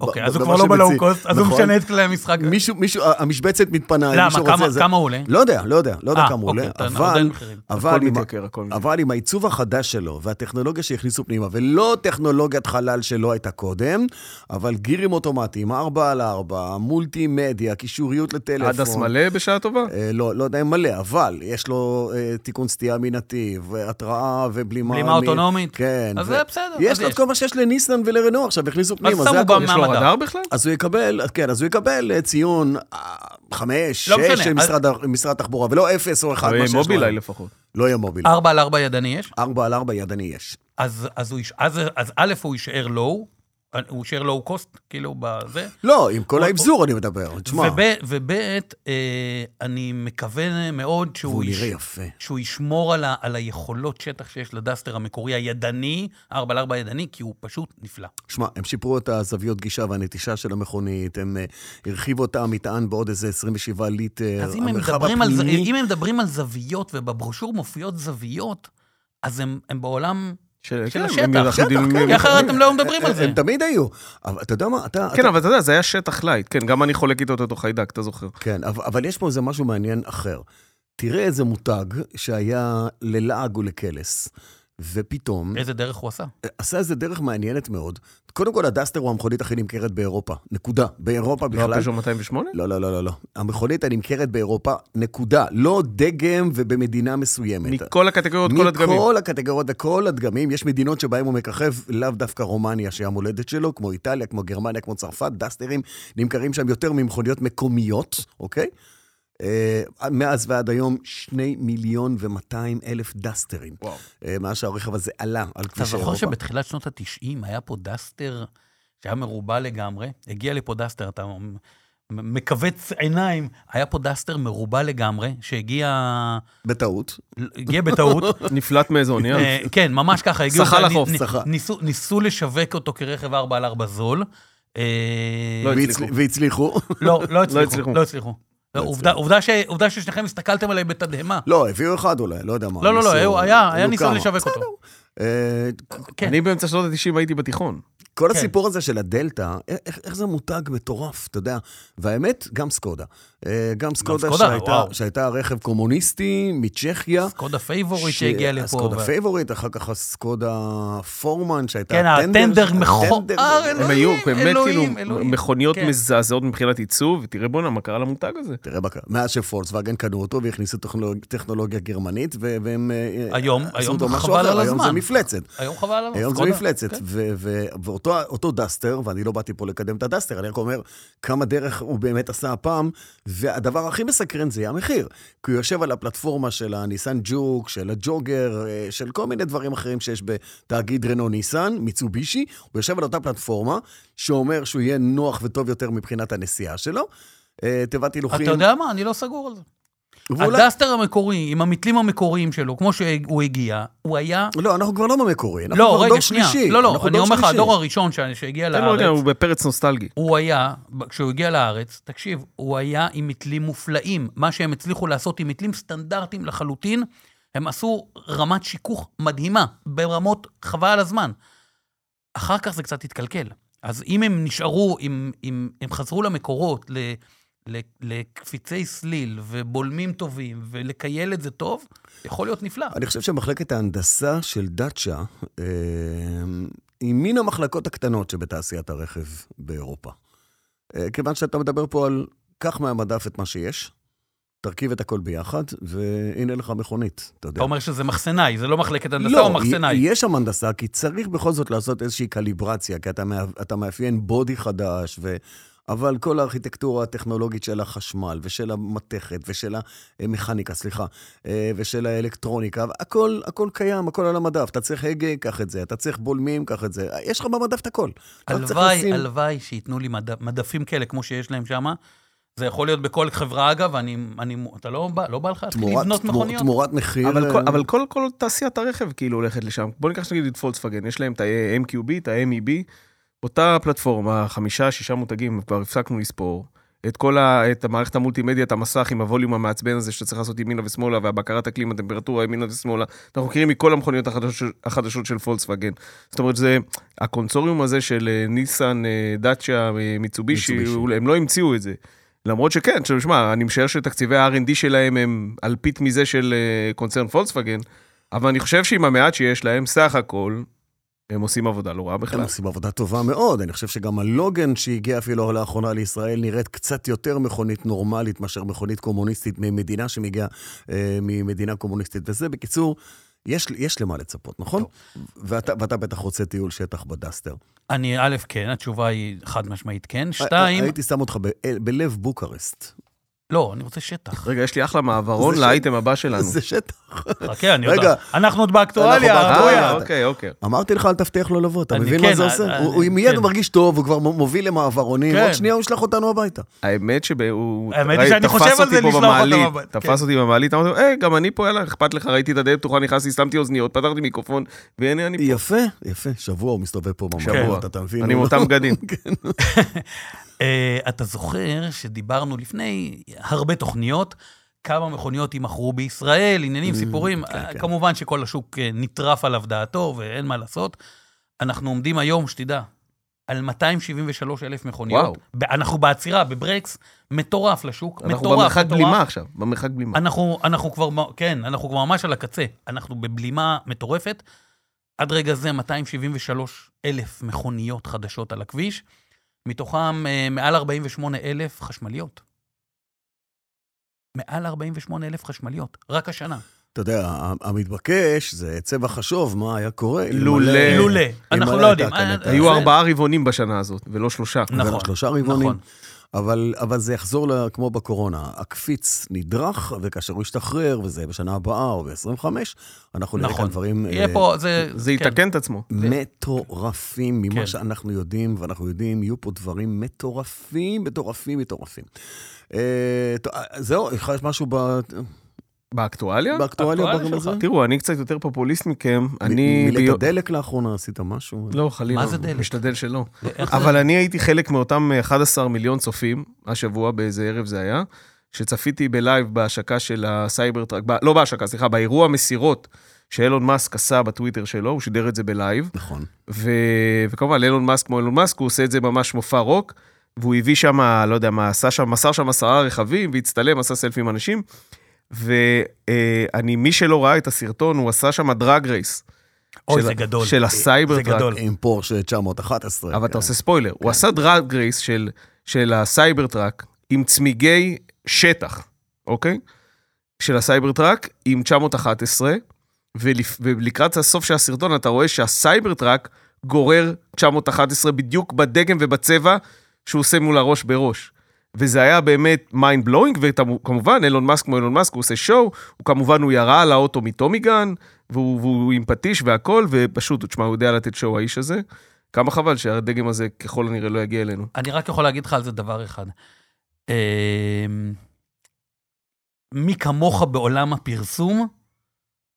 [SPEAKER 3] אוקיי, אז הוא כבר לא בלואו קוסט, אז
[SPEAKER 2] נכון?
[SPEAKER 3] הוא משנה את כללי המשחק.
[SPEAKER 2] מישהו, מישהו, המשבצת מתפנה,
[SPEAKER 3] למה?
[SPEAKER 2] מישהו
[SPEAKER 3] כמה-
[SPEAKER 2] רוצה... זה-
[SPEAKER 3] כמה הוא עולה?
[SPEAKER 2] לא יודע, לא יודע, לא יודע
[SPEAKER 3] אה,
[SPEAKER 2] כמה הוא
[SPEAKER 3] אוקיי,
[SPEAKER 2] עולה,
[SPEAKER 3] אתה- עוד
[SPEAKER 2] אבל,
[SPEAKER 3] אין מחירים.
[SPEAKER 2] אבל
[SPEAKER 4] הכל
[SPEAKER 2] עם ה-
[SPEAKER 4] מתייקר, הכל מתייקר.
[SPEAKER 2] אבל עם העיצוב החדש שלו והטכנולוגיה שהכניסו פנימה, ולא טכנולוגיית חלל שלא הייתה קודם, אבל גירים אוטומטיים, 4 על 4, מולטימדיה, קישוריות לטלפון.
[SPEAKER 4] עדס מלא בשעה טובה?
[SPEAKER 2] אה, לא, לא יודע אם מלא, אבל יש לו אה, תיקון סטייה מנתיב, התראה ובלימה...
[SPEAKER 3] בלימה
[SPEAKER 2] מ-
[SPEAKER 3] אוטונומית.
[SPEAKER 2] כן.
[SPEAKER 3] אז
[SPEAKER 2] ו-
[SPEAKER 3] זה בסדר,
[SPEAKER 2] יש
[SPEAKER 3] אז
[SPEAKER 2] לו את
[SPEAKER 3] יש.
[SPEAKER 2] כל מה שיש לניסן ולרנו עכשיו, הכניסו פנימה,
[SPEAKER 3] שמו
[SPEAKER 2] זה
[SPEAKER 3] בה
[SPEAKER 2] הכל.
[SPEAKER 4] יש לו
[SPEAKER 3] מהמדע.
[SPEAKER 4] רדאר בכלל?
[SPEAKER 2] אז הוא יקבל, כן, אז הוא יקבל אה, ציון אה, חמש,
[SPEAKER 3] לא משנה,
[SPEAKER 2] שש של
[SPEAKER 3] אז-
[SPEAKER 2] משרד ה- משרד התחבורה, ולא אפס או אחד,
[SPEAKER 4] לא
[SPEAKER 2] מה
[SPEAKER 4] יהיה
[SPEAKER 2] שיש לו.
[SPEAKER 4] מובילאיי לפחות.
[SPEAKER 2] לא יהיה מוביל.
[SPEAKER 3] ארבע על ארבע ידני יש?
[SPEAKER 2] ארבע על ארבע ידני יש.
[SPEAKER 3] אז, אז, הוא יש, אז, אז א', הוא יישאר לואו, הוא שייר לואו קוסט, כאילו, בזה.
[SPEAKER 2] לא, עם כל
[SPEAKER 3] או-
[SPEAKER 2] האבזור אני מדבר, תשמע.
[SPEAKER 3] וב- ובית, אה, אני מקווה מאוד שהוא
[SPEAKER 2] והוא
[SPEAKER 3] יש-
[SPEAKER 2] נראה יפה.
[SPEAKER 3] שהוא ישמור על ה- על היכולות שטח שיש לדסטר המקורי הידני, 4x4 ידני, כי הוא פשוט נפלא.
[SPEAKER 2] שמע, הם שיפרו את הזוויות גישה והנטישה של המכונית, הם אה, הרחיבו את המטען בעוד איזה 27 ליטר.
[SPEAKER 3] אז אם הם,
[SPEAKER 2] המרחב
[SPEAKER 3] מדברים על, ז-
[SPEAKER 2] הפנימי-
[SPEAKER 3] אם הם מדברים על זוויות, ובברושור מופיעות זוויות, אז הם, הם בעולם...
[SPEAKER 4] של
[SPEAKER 3] של
[SPEAKER 4] כן,
[SPEAKER 3] השטח.
[SPEAKER 4] אנחנו
[SPEAKER 2] שטח,
[SPEAKER 4] יודעים-
[SPEAKER 2] כן.
[SPEAKER 3] כי אחרת הם לא מדברים על זה.
[SPEAKER 2] אה, הם תמיד היו. אבל אתה יודע מה, אתה...
[SPEAKER 4] כן,
[SPEAKER 2] אתה-
[SPEAKER 4] אבל אתה יודע, זה היה שטח לייט. כן, גם אני חולק איתו את אותו חיידק, אתה זוכר.
[SPEAKER 2] כן, אבל אבל יש פה איזה משהו מעניין אחר. תראה איזה מותג שהיה ללעג ולקלס, ופתאום...
[SPEAKER 3] איזה דרך הוא עשה.
[SPEAKER 2] עשה איזה דרך מעניינת מאוד. קודם כל, הדסטר הוא המכונית הכי נמכרת באירופה. נקודה. באירופה
[SPEAKER 4] לא
[SPEAKER 2] בכלל.
[SPEAKER 4] הפז'ו 208?
[SPEAKER 2] לא, לא, לא, לא, לא. המכונית הנמכרת באירופה, נקודה. לא דגם ובמדינה מסוימת.
[SPEAKER 4] לא, מכל הקטגוריות, כל הדגמים.
[SPEAKER 2] מכל הקטגוריות, כל הדגמים. יש מדינות שבהן הוא מככב, לאו דווקא רומניה, שהיא המולדת שלו, כמו איטליה, כמו גרמניה, כמו צרפת, דסטרים נמכרים שם יותר ממכוניות מקומיות, אוקיי? אה, מאז ועד היום, שני מיליון ומאתיים אלף דסטרים.
[SPEAKER 4] וואו.
[SPEAKER 2] אה, מאז שהרכב הזה עלה על
[SPEAKER 3] אתה
[SPEAKER 2] כביש אירופה.
[SPEAKER 3] זוכר שבתחילת שנות ה-90 היה פה דסטר שהיה מרובע לגמרי? הגיע לפה דסטר, אתה מ- מכווץ עיניים. היה פה דסטר מרובע לגמרי, שהגיע...
[SPEAKER 2] בטעות.
[SPEAKER 3] הגיע בטעות.
[SPEAKER 2] *laughs*
[SPEAKER 4] נפלט מאיזה אונייה.
[SPEAKER 3] אה, כן, ממש ככה. הגיעו-
[SPEAKER 4] שחה
[SPEAKER 3] נ-
[SPEAKER 4] לחוף,
[SPEAKER 3] נ-
[SPEAKER 2] שחה.
[SPEAKER 3] ניסו- ניסו לשווק אותו כרכב 4 על 4 זול. אה,
[SPEAKER 4] לא
[SPEAKER 2] והצל-
[SPEAKER 4] הצליחו.
[SPEAKER 2] והצליחו.
[SPEAKER 3] לא, לא הצליחו. לא
[SPEAKER 4] הצליחו.
[SPEAKER 3] הצליחו. לא הצליחו. לא, עובדה, עובדה, ש, עובדה ששניכם הסתכלתם עליי בתדהמה.
[SPEAKER 2] לא, הביאו אחד אולי, לא יודע מה.
[SPEAKER 3] לא, לא, לא,
[SPEAKER 2] ניסו-
[SPEAKER 3] היה- היה, היה
[SPEAKER 2] היו
[SPEAKER 3] ניסיון
[SPEAKER 2] כמה.
[SPEAKER 3] לשווק אותו.
[SPEAKER 2] אה,
[SPEAKER 3] כן.
[SPEAKER 4] אני באמצע שנות ה-90 הייתי בתיכון.
[SPEAKER 2] כל
[SPEAKER 3] כן.
[SPEAKER 2] הסיפור הזה של הדלתא, א- איך, איך זה מותג מטורף, אתה יודע. והאמת, גם סקודה. אה, גם סקודה,
[SPEAKER 3] סקודה,
[SPEAKER 2] שהייתה,
[SPEAKER 3] וואו.
[SPEAKER 2] שהייתה רכב קומוניסטי מצ'כיה.
[SPEAKER 3] סקודה פייבורית שהגיע לפה.
[SPEAKER 2] הסקודה
[SPEAKER 3] ו-
[SPEAKER 2] פייבוריט, אחר כך הסקודה פורמן, שהייתה
[SPEAKER 3] כן, הטנדר אה, לא. מכוער,
[SPEAKER 2] הטנדר-
[SPEAKER 4] הם היו
[SPEAKER 3] אלוהים,
[SPEAKER 4] באמת כאילו
[SPEAKER 3] אלוהים, אלוהים.
[SPEAKER 4] מכוניות
[SPEAKER 3] כן.
[SPEAKER 4] מזעזעות מבחינת עיצוב, ותראה בואנה, מה קרה למותג הזה?
[SPEAKER 2] תראה, מה קרה. מאז שפולקסווגן קנו אותו והכניסו טכנולוג- טכנולוגיה גרמנית, ו- והם... אה,
[SPEAKER 3] היום-
[SPEAKER 2] עשו
[SPEAKER 3] היום
[SPEAKER 2] אותו משהו
[SPEAKER 3] חבל
[SPEAKER 2] אחר,
[SPEAKER 3] על
[SPEAKER 2] היום זה
[SPEAKER 3] הזמן.
[SPEAKER 2] מפלצת.
[SPEAKER 3] היום חבל על
[SPEAKER 2] היום זה
[SPEAKER 3] סקודה,
[SPEAKER 2] מפלצת,
[SPEAKER 3] כן.
[SPEAKER 2] ו- ו- ואותו אותו דסטר, ואני לא באתי פה לקדם את הדסטר, אני רק אומר כמה דרך הוא באמת עשה הפעם, והדבר הכי מסקרן זה המחיר. כי הוא יושב על הפלטפורמה של הניסן ג'וק, של הג'וגר, אה, של כל מיני דברים אחרים שיש בתאגיד רנו ניסן, מיצובישי, הוא יושב על אותה פלטפורמה, שאומר שהוא יהיה נוח וטוב יותר מבחינת הנסיעה שלו. אה, תיבת הילוכים.
[SPEAKER 3] אתה יודע מה? אני לא סגור על זה.
[SPEAKER 2] ואולי-
[SPEAKER 3] הדסטר המקורי, עם המתלים המקוריים שלו, כמו שהוא הגיע, הוא היה...
[SPEAKER 2] לא, אנחנו כבר לא במקורי, אנחנו
[SPEAKER 3] לא,
[SPEAKER 2] כבר
[SPEAKER 3] רגע,
[SPEAKER 2] דור
[SPEAKER 3] שנייה.
[SPEAKER 2] שלישי.
[SPEAKER 3] לא, לא,
[SPEAKER 2] אנחנו
[SPEAKER 3] אני
[SPEAKER 2] דור
[SPEAKER 3] אומר לך,
[SPEAKER 2] שלישי.
[SPEAKER 3] הדור הראשון שה- שהגיע
[SPEAKER 4] תן לו רגע,
[SPEAKER 3] לארץ,
[SPEAKER 4] לא הוא בפרץ נוסטלגי.
[SPEAKER 3] הוא היה, כשהוא הגיע לארץ, תקשיב, הוא היה עם מתלים מופלאים. מה שהם הצליחו לעשות עם מתלים סטנדרטיים לחלוטין, הם עשו רמת שיכוך מדהימה, ברמות חבל על הזמן. אחר כך זה קצת התקלקל. אז אם הם נשארו, אם, אם הם חזרו למקורות, ל, ל, לקפיצי סליל ובולמים טובים ולקייל את זה טוב, יכול להיות נפלא.
[SPEAKER 2] אני חושב שמחלקת ההנדסה של דאצ'ה אה, היא מן המחלקות הקטנות שבתעשיית הרכב באירופה. אה, כיוון שאתה מדבר פה על קח מהמדף את מה שיש, תרכיב את הכל ביחד, והנה לך מכונית, אתה יודע.
[SPEAKER 3] אתה אומר שזה מחסנאי, זה לא מחלקת הנדסה או מחסנאי.
[SPEAKER 2] י- יש שם הנדסה, כי צריך בכל זאת לעשות איזושהי קליברציה, כי אתה, מאפ- אתה מאפיין בודי חדש, ו... אבל כל הארכיטקטורה הטכנולוגית של החשמל, ושל המתכת, ושל המכניקה, סליחה, אה, ושל האלקטרוניקה, הכל, הכל קיים, הכל על המדף. אתה צריך הגה, קח את זה, אתה צריך בולמים, קח את זה. יש לך במדף את הכל. אתה רק צריך
[SPEAKER 3] הלוואי,
[SPEAKER 2] לשים-
[SPEAKER 3] הלוואי שייתנו לי מדע- מדפים כאלה כמו שיש להם שם. זה יכול להיות בכל חברה, אגב, אני, אני, אתה לא בא, לא בא לך להתחיל
[SPEAKER 2] תמורת,
[SPEAKER 3] לבנות
[SPEAKER 2] תמור,
[SPEAKER 3] מכוניות?
[SPEAKER 2] תמורת מחיר.
[SPEAKER 4] אבל
[SPEAKER 2] אה,
[SPEAKER 4] כל- אבל כל כל תעשיית הרכב כאילו הולכת לשם. בוא ניקח נגיד את פולקסווגן, יש להם את ה-MQB, את ה-MEB, אותה פלטפורמה, חמישה, שישה מותגים, כבר הפסקנו לספור. את כל ה... את המערכת המולטימדיה, את המסך עם הווליום המעצבן הזה שאתה צריך לעשות ימינה ושמאלה, והבקרת אקלים, הטמפרטורה ימינה ושמאלה. אנחנו מכירים מכל המכוניות החדשות, החדשות של פולקסווגן. זאת אומרת, זה... הקונסוריום הזה של אה, ניסן, אה, דאצ'ה, אה, מיצובישי,
[SPEAKER 2] מיצובישי.
[SPEAKER 4] הוא- הם לא המציאו את זה. למרות שכן, שמע, אני משער שתקציבי ה-R&D שלהם הם אלפית מזה של אה, קונצרן פולקסווגן, אבל אני חושב שעם המעט שיש להם, סך הכל, הם עושים עבודה לא רעה
[SPEAKER 2] הם
[SPEAKER 4] בכלל.
[SPEAKER 2] עושים עבודה טובה מאוד, אני חושב שגם הלוגן שהגיע אפילו לאחרונה לישראל נראית קצת יותר מכונית נורמלית מאשר מכונית קומוניסטית ממדינה שמגיעה אה, ממדינה קומוניסטית. וזה, בקיצור, יש, יש למה לצפות, נכון? ואתה, ואתה בטח רוצה טיול שטח בדסטר.
[SPEAKER 3] אני,
[SPEAKER 2] אה,
[SPEAKER 3] א', כן, התשובה היא חד משמעית כן. שתיים,
[SPEAKER 2] הייתי שם אותך ב, בלב בוקרשט.
[SPEAKER 3] לא, אני רוצה שטח.
[SPEAKER 2] *laughs*
[SPEAKER 4] רגע, יש לי אחלה מעברון
[SPEAKER 2] זה ש-
[SPEAKER 4] לאייטם הבא שלנו.
[SPEAKER 2] זה שטח.
[SPEAKER 3] חכה, אני
[SPEAKER 2] רגע.
[SPEAKER 3] יודע. אנחנו עוד באקטואליה,
[SPEAKER 2] אנחנו
[SPEAKER 3] ארדויה.
[SPEAKER 4] אה,
[SPEAKER 2] באקטואליה.
[SPEAKER 4] אוקיי, אוקיי.
[SPEAKER 2] אמרתי לך, אל תבטיח לו לבוא, אתה
[SPEAKER 3] אני-
[SPEAKER 2] מבין מה
[SPEAKER 3] כן,
[SPEAKER 2] זה
[SPEAKER 3] אני-
[SPEAKER 2] עושה?
[SPEAKER 3] אני-
[SPEAKER 2] הוא- הוא מיד
[SPEAKER 3] כן.
[SPEAKER 2] מרגיש טוב, הוא כבר מוביל למעברונים,
[SPEAKER 3] כן.
[SPEAKER 2] עוד שנייה הוא ישלח אותנו הביתה.
[SPEAKER 4] האמת שהוא...
[SPEAKER 3] האמת היא
[SPEAKER 4] ראי,
[SPEAKER 3] שאני
[SPEAKER 4] תפס
[SPEAKER 3] חושב על
[SPEAKER 4] אותי
[SPEAKER 3] זה
[SPEAKER 4] פה
[SPEAKER 3] לשלוח אותו
[SPEAKER 4] במעלית,
[SPEAKER 3] לבית,
[SPEAKER 4] תפס
[SPEAKER 3] כן.
[SPEAKER 4] אותי במעלית, אמרתי לו, היי, גם אני פה, יאללה, אכפת לך, ראיתי את הדלת פתוחה, נכנסתי, שמתי אוזניות, פתחתי מיקרופון,
[SPEAKER 3] *laughs*
[SPEAKER 4] והנה אני פה.
[SPEAKER 2] יפה, יפה, שבוע הוא מסתובב פה במעברות,
[SPEAKER 4] שבוע.
[SPEAKER 2] אתה מבין?
[SPEAKER 4] אני עם
[SPEAKER 2] הוא
[SPEAKER 4] אותם
[SPEAKER 2] לא-
[SPEAKER 4] בגדים.
[SPEAKER 3] אה, אתה זוכר שדיברנו לפני הרבה תוכניות, כמה מכוניות יימכרו בישראל, עניינים,
[SPEAKER 4] Mm,
[SPEAKER 3] סיפורים. אה,
[SPEAKER 2] כן.
[SPEAKER 3] כמובן שכל השוק אה, נטרף עליו דעתו ואין מה לעשות. אנחנו עומדים היום, שתדע, על 273 אלף
[SPEAKER 4] וואו.
[SPEAKER 3] מכוניות. ב- אנחנו בעצירה, בברקס, מטורף לשוק, מטורף,
[SPEAKER 4] אנחנו
[SPEAKER 3] מטורף.
[SPEAKER 4] במרחק בלימה עכשיו, במרחק בלימה.
[SPEAKER 3] אנחנו, אנחנו כבר, מ- כן, אנחנו כבר ממש על הקצה. אנחנו בבלימה מטורפת. עד רגע זה 273 אלף מכוניות חדשות על הכביש, מתוכם אה, מעל 48 אלף חשמליות. מעל 48 אלף חשמליות, רק השנה.
[SPEAKER 2] אתה יודע, המתבקש זה צבע חשוב, מה היה קורה?
[SPEAKER 4] לולא.
[SPEAKER 2] אלמלא-
[SPEAKER 3] לולא, אנחנו לא
[SPEAKER 2] אלמלא
[SPEAKER 3] יודעים.
[SPEAKER 2] הייתה הקנטה.
[SPEAKER 3] אה,
[SPEAKER 4] היו
[SPEAKER 3] זה-
[SPEAKER 4] ארבעה רבעונים בשנה הזאת, ולא שלושה.
[SPEAKER 2] אבל
[SPEAKER 3] נכון,
[SPEAKER 2] שלושה רבעונים.
[SPEAKER 3] נכון.
[SPEAKER 2] אבל, אבל זה יחזור ל, כמו בקורונה, הקפיץ נדרך, וכאשר הוא ישתחרר, וזה בשנה הבאה או ב-25, אנחנו נראה כאן
[SPEAKER 3] נכון.
[SPEAKER 2] דברים
[SPEAKER 3] יהיה
[SPEAKER 2] אה,
[SPEAKER 3] פה, זה...
[SPEAKER 4] זה
[SPEAKER 3] כן.
[SPEAKER 4] יתקן את עצמו.
[SPEAKER 2] מטורפים ממה
[SPEAKER 3] כן.
[SPEAKER 2] שאנחנו יודעים, ואנחנו יודעים, יהיו פה דברים מטורפים, מטורפים, מטורפים. אה, טוב, אה, זהו, לך יש משהו ב-
[SPEAKER 4] באקטואליה?
[SPEAKER 2] באקטואליה?
[SPEAKER 3] האקטואליה
[SPEAKER 2] בגלל
[SPEAKER 3] כן, שלך.
[SPEAKER 2] הזה?
[SPEAKER 4] תראו, אני קצת יותר פופוליסט מכם. אני...
[SPEAKER 2] מילאת
[SPEAKER 4] ביו-
[SPEAKER 2] דלק לאחרונה, עשית משהו?
[SPEAKER 4] לא, חלילה.
[SPEAKER 3] מה זה דלק?
[SPEAKER 4] משתדל שלא.
[SPEAKER 3] איך זה-
[SPEAKER 4] אבל אני הייתי חלק מאותם 11 מיליון צופים, השבוע, באיזה ערב זה היה, שצפיתי בלייב בהשקה של הסייבר טראק, ב- לא בהשקה, סליחה, באירוע המסירות שאילון מאסק עשה בטוויטר שלו, הוא שידר את זה בלייב,
[SPEAKER 2] נכון.
[SPEAKER 4] ו... וכמובן, אילון מאסק כמו אילון מאסק, הוא עושה את זה ממש מופע רוק, והוא הביא שם, לא יודע מה, עשה שם, מסר שם עשרה רכבים, והצטלם, עשה סלפי עם אנשים, ואני, מי שלא ראה את הסרטון, הוא עשה שם דרג רייס.
[SPEAKER 3] אוי,
[SPEAKER 4] של-
[SPEAKER 3] זה גדול. אה,
[SPEAKER 4] של הסייבר
[SPEAKER 3] זה
[SPEAKER 4] טראק.
[SPEAKER 3] גדול.
[SPEAKER 2] עם פורשה 911.
[SPEAKER 4] אבל אתה עושה ספוילר. הוא עשה דרג רייס של, של הסייבר טראק עם צמיגי שטח, אוקיי? של הסייבר טראק עם 911, ולפ... ולקראת הסוף של הסרטון אתה רואה שהסייבר טראק גורר 911 בדיוק בדגם ובצבע שהוא עושה מול הראש בראש. וזה היה באמת מיינד בלואינג, וכמובן, אילון מאסק כמו אילון מאסק, הוא עושה שואו, הוא כמובן, הוא ירה על האוטו מטומי גן, והוא, והוא עם פטיש והכל, ופשוט, תשמע, הוא יודע לתת שואו האיש הזה. כמה חבל שהדגם הזה ככל הנראה לא יגיע אלינו.
[SPEAKER 3] אני רק יכול להגיד לך על זה דבר אחד. אמ, מי כמוך בעולם הפרסום,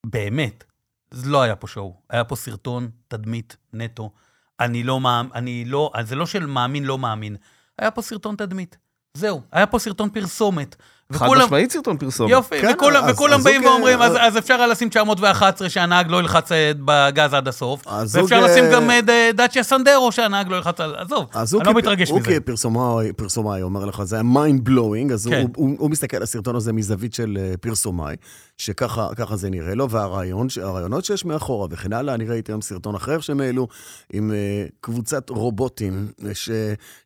[SPEAKER 3] באמת, זה לא היה פה שואו, היה פה סרטון, תדמית, נטו. אני לא מאמין, אני לא, אז זה לא של מאמין, לא מאמין. היה פה סרטון תדמית. זהו, היה פה סרטון פרסומת.
[SPEAKER 4] חד
[SPEAKER 3] וכולם-
[SPEAKER 4] משמעית סרטון פרסומת.
[SPEAKER 3] יופי,
[SPEAKER 2] כן,
[SPEAKER 3] וכולם,
[SPEAKER 2] אז-
[SPEAKER 3] וכולם
[SPEAKER 2] אז
[SPEAKER 3] באים
[SPEAKER 2] אוקיי,
[SPEAKER 3] ואומרים, אז,
[SPEAKER 2] אז-
[SPEAKER 3] אז אפשר היה לשים 911 שהנהג לא ילחץ אה, בגז עד הסוף,
[SPEAKER 2] אז
[SPEAKER 3] ואפשר
[SPEAKER 2] אוקיי.
[SPEAKER 3] לשים גם אה, ד- דאצ'יה סנדרו שהנהג לא ילחץ על... עזוב,
[SPEAKER 2] אז אוקיי,
[SPEAKER 3] אני
[SPEAKER 2] הוא
[SPEAKER 3] לא
[SPEAKER 2] כפ-
[SPEAKER 3] מתרגש
[SPEAKER 2] הוא
[SPEAKER 3] מזה.
[SPEAKER 2] כפרסומאי, פרסומאי, אומר לך, זה היה mind blowing, אז
[SPEAKER 3] כן.
[SPEAKER 2] הוא, הוא, הוא מסתכל על הסרטון הזה מזווית של אה, פרסומאי, שככה ככה זה נראה לו, והרעיונות שיש מאחורה וכן הלאה, אני ראיתי היום סרטון אחר שהם העלו, עם אה, קבוצת רובוטים אה,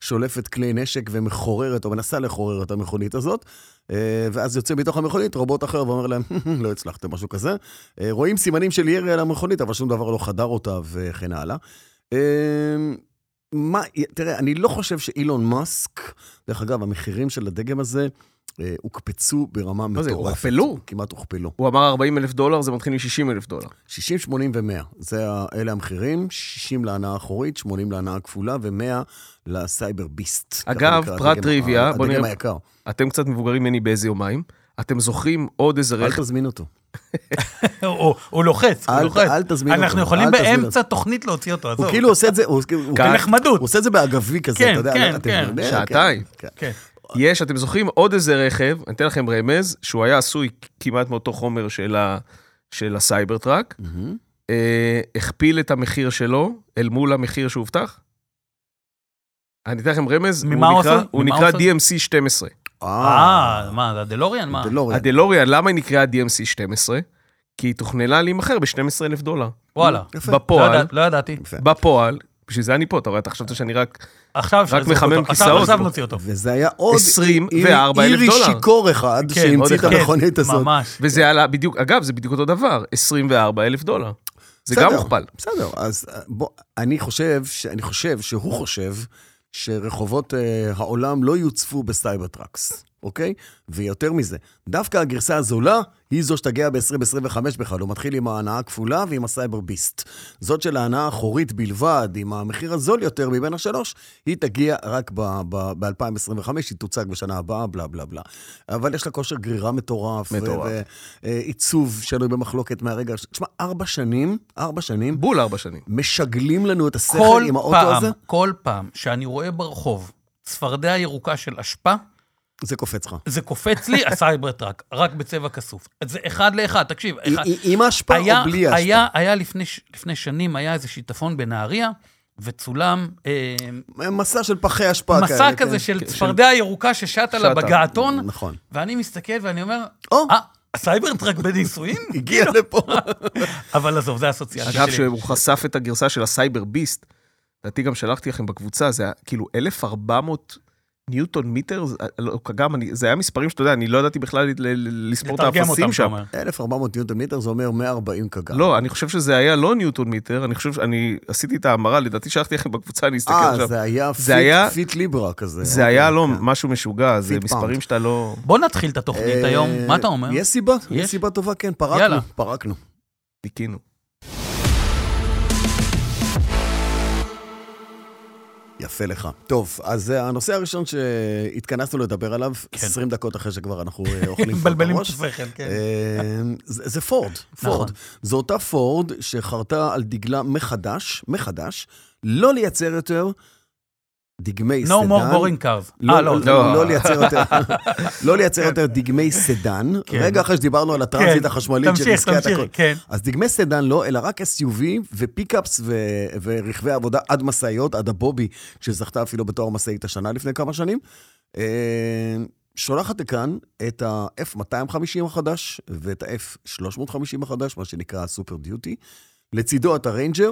[SPEAKER 2] ששולפת כלי נשק ומחוררת, או מנסה לחורר את המכונית הזאת. אה, ואז יוצא מתוך המכונית רובוט אחר ואומר להם, *laughs* לא הצלחתם, משהו כזה. אה, רואים סימנים של ירי על המכונית, אבל שום דבר לא חדר אותה וכן הלאה. אה, מה, תראה, אני לא חושב שאילון מאסק, דרך אגב, המחירים של הדגם הזה אה, הוקפצו ברמה
[SPEAKER 4] מה
[SPEAKER 2] מטורפת.
[SPEAKER 4] זה, הוכפלו?
[SPEAKER 2] כמעט הוכפלו.
[SPEAKER 4] הוא אמר 40 אלף דולר, זה מתחיל מ-60 אלף דולר.
[SPEAKER 2] 60, 80 ו-100, זה, ה- אלה המחירים, 60 להנאה האחורית, 80 להנאה הכפולה ו-100 לסייבר ביסט. ככה
[SPEAKER 4] אגב,
[SPEAKER 2] נקרא
[SPEAKER 4] פרט
[SPEAKER 2] הדגם ה-
[SPEAKER 4] טריוויה, בוא
[SPEAKER 2] הדגם
[SPEAKER 4] נראה-
[SPEAKER 2] היקר,
[SPEAKER 4] אתם קצת מבוגרים ממני באיזה יומיים. אתם זוכרים עוד איזה
[SPEAKER 2] אל
[SPEAKER 4] רכב...
[SPEAKER 2] תזמין אותו.
[SPEAKER 3] הוא הוא לוחץ, הוא
[SPEAKER 2] אל-
[SPEAKER 3] לוחץ.
[SPEAKER 2] אל תזמין אותו,
[SPEAKER 3] אנחנו יכולים
[SPEAKER 2] אל תזמין
[SPEAKER 3] באמצע תוכנית להוציא אותו, עזוב.
[SPEAKER 4] לא.
[SPEAKER 2] הוא כאילו עושה את זה, הוא הוא- הוא-
[SPEAKER 3] בנחמדות.
[SPEAKER 2] הוא עושה את זה באגבי כזה,
[SPEAKER 3] כן,
[SPEAKER 2] אתה יודע.
[SPEAKER 3] כן,
[SPEAKER 2] אתם-
[SPEAKER 3] כן.
[SPEAKER 2] כן,
[SPEAKER 4] שעתיים.
[SPEAKER 2] כן.
[SPEAKER 3] כן.
[SPEAKER 4] יש, אתם זוכרים עוד איזה רכב, אני אתן לכם רמז, שהוא היה עשוי כמעט מאותו חומר של, ה... של הסייבר טראק,
[SPEAKER 2] מהמם.
[SPEAKER 4] אה, הכפיל את המחיר שלו אל מול המחיר שהובטח. אני אתן לכם רמז,
[SPEAKER 3] ממה
[SPEAKER 4] הוא
[SPEAKER 3] הוא
[SPEAKER 4] נקרא,
[SPEAKER 3] עשוי?
[SPEAKER 4] הוא
[SPEAKER 3] ממה
[SPEAKER 4] נקרא
[SPEAKER 3] הוא עשוי?
[SPEAKER 4] DMC 12.
[SPEAKER 3] אה, מה, זה הדלוריאן? מה?
[SPEAKER 4] אה,
[SPEAKER 2] דלוריאן.
[SPEAKER 4] הדלוריאן, למה היא נקראה DMC 12? כי היא תוכננה להימכר ב-12 אלף דולר.
[SPEAKER 3] וואלה.
[SPEAKER 2] יפה.
[SPEAKER 3] לא
[SPEAKER 4] בפועל,
[SPEAKER 3] ידע- לא ידעתי.
[SPEAKER 2] יפה.
[SPEAKER 4] בפועל, בשביל זה אני פה, אתה רואה, אתה חשבת שאני רק...
[SPEAKER 3] עכשיו אפשר לזרוק
[SPEAKER 4] מחמם
[SPEAKER 3] אותו. עכשיו-
[SPEAKER 4] כיסאות
[SPEAKER 3] עכשיו
[SPEAKER 4] פה.
[SPEAKER 3] נוציא אותו.
[SPEAKER 2] וזה היה עוד
[SPEAKER 4] 24,000
[SPEAKER 2] אירי
[SPEAKER 4] דולר.
[SPEAKER 2] שיכור אחד
[SPEAKER 4] כן, עוד
[SPEAKER 2] שהמציא את
[SPEAKER 4] אחד.
[SPEAKER 2] המכונית הזאת.
[SPEAKER 3] ממש.
[SPEAKER 4] וזה עלה בדיוק, אגב, זה בדיוק אותו דבר, 24 אלף דולר. זה
[SPEAKER 2] בסדר,
[SPEAKER 4] גם הוכפל.
[SPEAKER 2] בסדר, אז אה, בוא, אני חושב, ש- אני חושב שהוא חושב שרחובות אה, העולם לא יוצפו בסייבר טראקס. אוקיי? ויותר מזה, דווקא הגרסה הזולה היא זו שתגיע ב-2025 בכלל. הוא מתחיל עם ההנאה הכפולה ועם הסייבר ביסט. זאת של ההנאה האחורית בלבד, עם המחיר הזול יותר מבין השלוש, היא תגיע רק ב-2025, היא תוצג בשנה הבאה, בלה בלה בלה. אבל יש לה כושר גרירה מטורף.
[SPEAKER 4] מטורף.
[SPEAKER 2] ועיצוב אה, שנוי במחלוקת מהרגע... הראשון. תשמע, ארבע שנים, ארבע שנים,
[SPEAKER 4] בול ארבע שנים.
[SPEAKER 2] משגלים לנו את השכל
[SPEAKER 3] כל
[SPEAKER 2] עם האוטו
[SPEAKER 3] פעם,
[SPEAKER 2] הזה,
[SPEAKER 3] כל פעם שאני רואה ברחוב צפרדע ירוקה של אשפה,
[SPEAKER 2] זה קופץ לך.
[SPEAKER 3] זה קופץ לי הסייבר טראק, רק בצבע כסוף. זה אחד לאחד, תקשיב. אחד.
[SPEAKER 2] היא- היא עם ההשפעה
[SPEAKER 3] היה-
[SPEAKER 2] או בלי ההשפעה?
[SPEAKER 3] היה, היה לפני, ש- לפני שנים, היה איזה שיטפון בנהריה, וצולם אה,
[SPEAKER 2] מסע של פחי אשפה כאלה.
[SPEAKER 3] מסע
[SPEAKER 2] כן.
[SPEAKER 3] כזה של צפרדע ירוקה ששטה לה
[SPEAKER 4] שטה.
[SPEAKER 3] בגעתון,
[SPEAKER 2] נכון.
[SPEAKER 3] ואני מסתכל ואני אומר,
[SPEAKER 2] או,
[SPEAKER 3] אה, כאילו. הסייבר טראק
[SPEAKER 2] *laughs*
[SPEAKER 3] בנישואין?
[SPEAKER 2] הגיע לפה.
[SPEAKER 3] אבל עזוב, זה הסוציאלי
[SPEAKER 4] אגב,
[SPEAKER 3] שלי.
[SPEAKER 4] שהוא חשף את הגרסה של הסייבר ביסט, לדעתי גם שלחתי לכם בקבוצה, זה היה כאילו 1,400 ניוטון מיטר, זה- לא, גם אני, זה היה מספרים שאתה יודע, אני לא ידעתי בכלל ל- ל- לספור את
[SPEAKER 3] לתרגם אותם,
[SPEAKER 4] האפסים
[SPEAKER 3] אתה
[SPEAKER 4] שם.
[SPEAKER 3] אומר.
[SPEAKER 2] 1,400 ניוטון מיטר זה אומר 140 קג"ם.
[SPEAKER 4] לא, אני חושב שזה היה לא ניוטון מיטר, אני חושב שאני עשיתי את ההמרה, לדעתי שלחתי לכם בקבוצה, אני אסתכל
[SPEAKER 2] אה,
[SPEAKER 4] עכשיו.
[SPEAKER 2] זה היה
[SPEAKER 4] זה
[SPEAKER 2] פיט-
[SPEAKER 4] היה-
[SPEAKER 2] פיט ליברה כזה. אוקיי,
[SPEAKER 4] זה היה לא משהו משוגע, זה
[SPEAKER 2] פיט
[SPEAKER 4] מספרים
[SPEAKER 2] פאונד.
[SPEAKER 4] שאתה לא...
[SPEAKER 3] בוא נתחיל את התוכנית
[SPEAKER 2] אה,
[SPEAKER 3] היום, מה אתה אומר? *laughs*
[SPEAKER 2] יש סיבה, יש
[SPEAKER 3] יש.
[SPEAKER 2] סיבה טובה, כן, פרקנו,
[SPEAKER 3] יאללה.
[SPEAKER 2] פרקנו.
[SPEAKER 4] ניקינו.
[SPEAKER 2] יפה לך. טוב, אז אה, הנושא הראשון שהתכנסנו לדבר עליו, 20 דקות אחרי שכבר אנחנו אה, אוכלים פה
[SPEAKER 3] כן. מבלבלים את
[SPEAKER 2] בראש.
[SPEAKER 3] השכל, כן.
[SPEAKER 2] אה, זה זה פורד, פורד.
[SPEAKER 3] נכון.
[SPEAKER 2] זו אותה פורד שחרתה על דגלה מחדש, מחדש, לא לייצר יותר דגמי
[SPEAKER 3] No
[SPEAKER 2] סדן.
[SPEAKER 3] more boring cars. אה, לא,
[SPEAKER 2] לא,
[SPEAKER 3] זה-
[SPEAKER 2] לא, לא
[SPEAKER 4] לא.
[SPEAKER 2] לייצר יותר, לא לייצר יותר דגמי סדן.
[SPEAKER 3] כן.
[SPEAKER 2] רגע אחרי שדיברנו על הטרנסית
[SPEAKER 3] כן.
[SPEAKER 2] החשמלית
[SPEAKER 3] תמשיך,
[SPEAKER 2] שריסקה את
[SPEAKER 3] תמשיך,
[SPEAKER 2] הכול.
[SPEAKER 3] כן.
[SPEAKER 2] אז דגמי סדן לא, אלא רק SUV ופיקאפס ו- ורכבי עבודה עד משאיות, עד הבובי, שזכתה אפילו בתואר משאית השנה לפני כמה שנים. אה, שולחת לכאן את ה-F250 החדש ואת ה-F350 החדש, מה שנקרא הסופר דיוטי. לצידו את הריינג'ר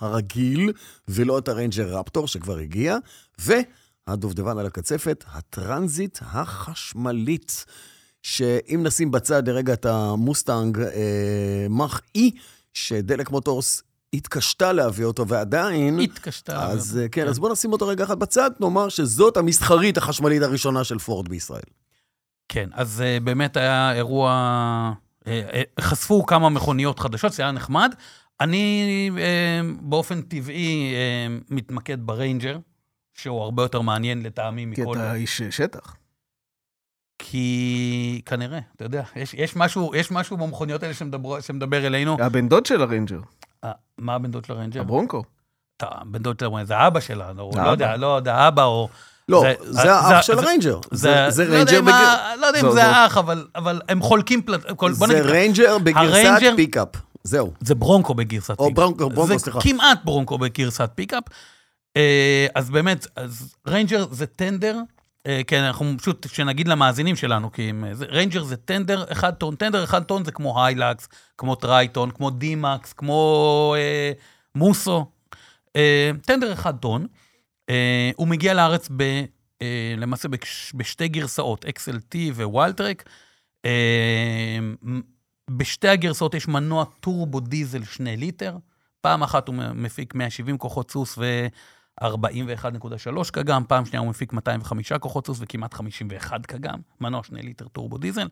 [SPEAKER 2] הרגיל, ולא את הריינג'ר רפטור שכבר הגיע, והדובדבן על הקצפת, הטרנזיט החשמלית. שאם נשים בצד לרגע את המוסטנג אה, מח E, שדלק מוטורס התקשתה להביא אותו, ועדיין...
[SPEAKER 3] התקשתה.
[SPEAKER 2] Mm. אז אה, כן, אז בואו נשים אותו רגע אחד בצד, נאמר שזאת המסחרית החשמלית הראשונה של פורד בישראל.
[SPEAKER 3] כן, אז אה, באמת היה אירוע... אה, אה, חשפו כמה מכוניות חדשות, זה היה נחמד. אני אה, באופן טבעי אה, מתמקד בריינג'ר, שהוא הרבה יותר מעניין לטעמי
[SPEAKER 4] כי
[SPEAKER 3] מכל...
[SPEAKER 4] אתה איש שטח.
[SPEAKER 3] כי כנראה, אתה יודע, יש, יש, משהו, יש משהו במכוניות האלה שמדבר, שמדבר
[SPEAKER 2] כן.
[SPEAKER 3] אלינו.
[SPEAKER 4] הבן דוד של הריינג'ר,
[SPEAKER 3] אה, מה הבן דוד של הריינג'ר?
[SPEAKER 4] הברונקו.
[SPEAKER 3] אתה, הבן דוד של הריינג'ר, זה אבא שלה, לא,
[SPEAKER 4] זה
[SPEAKER 3] לא יודע,
[SPEAKER 4] האבא.
[SPEAKER 3] לא יודע, האבא או...
[SPEAKER 2] לא,
[SPEAKER 3] זה- אה,
[SPEAKER 2] זה האח
[SPEAKER 3] זה-
[SPEAKER 2] של
[SPEAKER 3] זה-
[SPEAKER 2] הריינג'ר. זה זה
[SPEAKER 3] לא יודע
[SPEAKER 2] ריינג'ר
[SPEAKER 3] אם
[SPEAKER 2] בגר-
[SPEAKER 3] ה- לא יודע
[SPEAKER 4] זו-
[SPEAKER 3] אם
[SPEAKER 4] זו-
[SPEAKER 3] זה האח, אבל, אבל הם חולקים פלט... כל- בוא
[SPEAKER 2] זה
[SPEAKER 3] נגיד,
[SPEAKER 2] ריינג'ר בגרסת
[SPEAKER 3] הריינג'ר-
[SPEAKER 2] פיקאפ. זהו.
[SPEAKER 3] זה ברונקו בגרסת
[SPEAKER 2] או ברונקו, ברונקו,
[SPEAKER 3] זה
[SPEAKER 2] סליחה.
[SPEAKER 3] כמעט ברונקו בגרסת פיקאפ. אה, אז באמת, אז ריינג'ר זה טנדר. אה, כן, אנחנו פשוט, שנגיד למאזינים שלנו, כי אם... אה, זה- ריינג'ר זה טנדר אחד טון. טנדר אחד טון זה כמו היילקס, כמו טרייטון, כמו דימקס, כמו אה, מוסו. אה, טנדר אחד טון. אה, הוא מגיע לארץ ב... אה, למעשה בש- בשתי גרסאות, XLT ווולטרק. אה, בשתי הגרסאות יש מנוע טורבו דיזל 2 ליטר. פעם אחת הוא מפיק 170 כוחות סוס ו-41.3 קגם, פעם שנייה הוא מפיק 205 כוחות סוס וכמעט 51 קגם, מנוע 2 ליטר טורבו דיזל.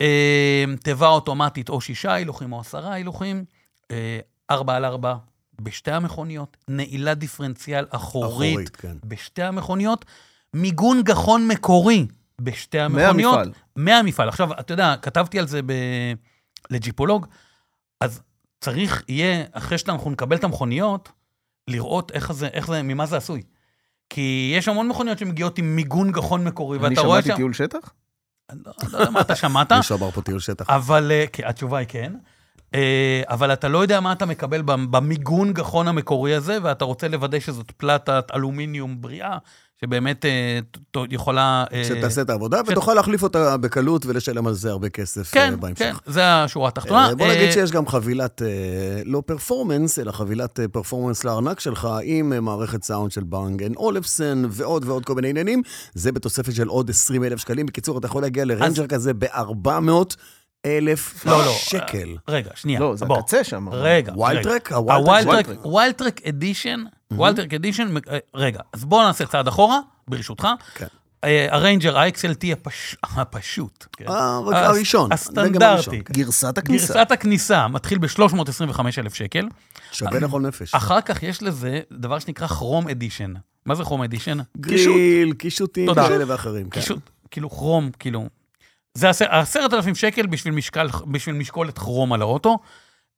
[SPEAKER 3] אה, תיבה אוטומטית או שישה הילוכים או עשרה הילוכים, אה, ארבע על ארבע בשתי המכוניות, נעילה דיפרנציאל אחורית,
[SPEAKER 2] אחורית, כן.
[SPEAKER 3] בשתי המכוניות, מיגון גחון מקורי בשתי המכוניות.
[SPEAKER 4] מהמפעל.
[SPEAKER 3] מהמפעל. עכשיו, אתה יודע, כתבתי על זה ב... לג'יפולוג, אז צריך יהיה, אחרי שאנחנו נקבל את המכוניות, לראות איך זה, איך זה, ממה זה עשוי. כי יש המון מכוניות שמגיעות עם מיגון גחון מקורי,
[SPEAKER 4] אני
[SPEAKER 3] ואתה רואה
[SPEAKER 4] שמעתי
[SPEAKER 3] שם...
[SPEAKER 4] טיול שטח?
[SPEAKER 3] אני לא, לא יודע מה
[SPEAKER 2] *laughs*
[SPEAKER 3] אתה שמעת,
[SPEAKER 2] מישהו אמר פה טיול שטח.
[SPEAKER 3] אבל אה, כן, התשובה היא כן. אה, אבל אתה לא יודע מה אתה מקבל במ- במיגון גחון המקורי הזה, ואתה רוצה לוודא שזאת פלטת אלומיניום בריאה, שבאמת אה, ת- ת- יכולה... אה,
[SPEAKER 2] שתעשה את העבודה, ותוכל להחליף אותה בקלות ולשלם על זה הרבה כסף
[SPEAKER 3] כן,
[SPEAKER 2] אה, בהמשך.
[SPEAKER 3] כן, זה השורה התחתונה.
[SPEAKER 2] אה, בוא נגיד
[SPEAKER 3] אה,
[SPEAKER 2] שיש גם חבילת, אה, לא פרפורמנס, אלא חבילת אה, פרפורמנס לארנק שלך, עם אה, מערכת סאונד של בנג אנד אולפסן, ועוד ועוד כל מיני עניינים. זה בתוספת של עוד 20 אלף שקלים. בקיצור, אתה יכול להגיע לרנג'ר כזה ב-400 אלף
[SPEAKER 3] לא, לא.
[SPEAKER 2] שקל.
[SPEAKER 3] רגע, שנייה.
[SPEAKER 4] לא, זה
[SPEAKER 3] בוא.
[SPEAKER 4] הקצה שם.
[SPEAKER 3] רגע. רגע.
[SPEAKER 2] ווילטרק?
[SPEAKER 3] הווילטרק,
[SPEAKER 4] ווילטרק.
[SPEAKER 2] Mhm.
[SPEAKER 3] אה, ווילטרק אדישן, ווילטרק אדישן, רגע, אז בואו נעשה צעד אחורה, ברשותך.
[SPEAKER 2] כן.
[SPEAKER 3] אה, הריינג'ר, ה-XLT הפש- הפשוט. כן?
[SPEAKER 2] אה, רק
[SPEAKER 3] הס-
[SPEAKER 2] הראשון.
[SPEAKER 3] הסטנדרטי.
[SPEAKER 2] דגם הראשון. גרסת הכניסה.
[SPEAKER 3] גרסת הכניסה מתחיל ב-325,000 שקל,
[SPEAKER 2] שווה לכל נפש.
[SPEAKER 3] אה, אחר כך יש לזה דבר שנקרא כרום אדישן. מה זה כרום אדישן?
[SPEAKER 2] גריל, קישוטים
[SPEAKER 3] תודה.
[SPEAKER 2] כאלה ואחרים. כן.
[SPEAKER 3] קישוט, כאילו כרום, כאילו... זה עשר- עשרת אלפים שקל בשביל, משקל, בשביל משקולת כרום על האוטו.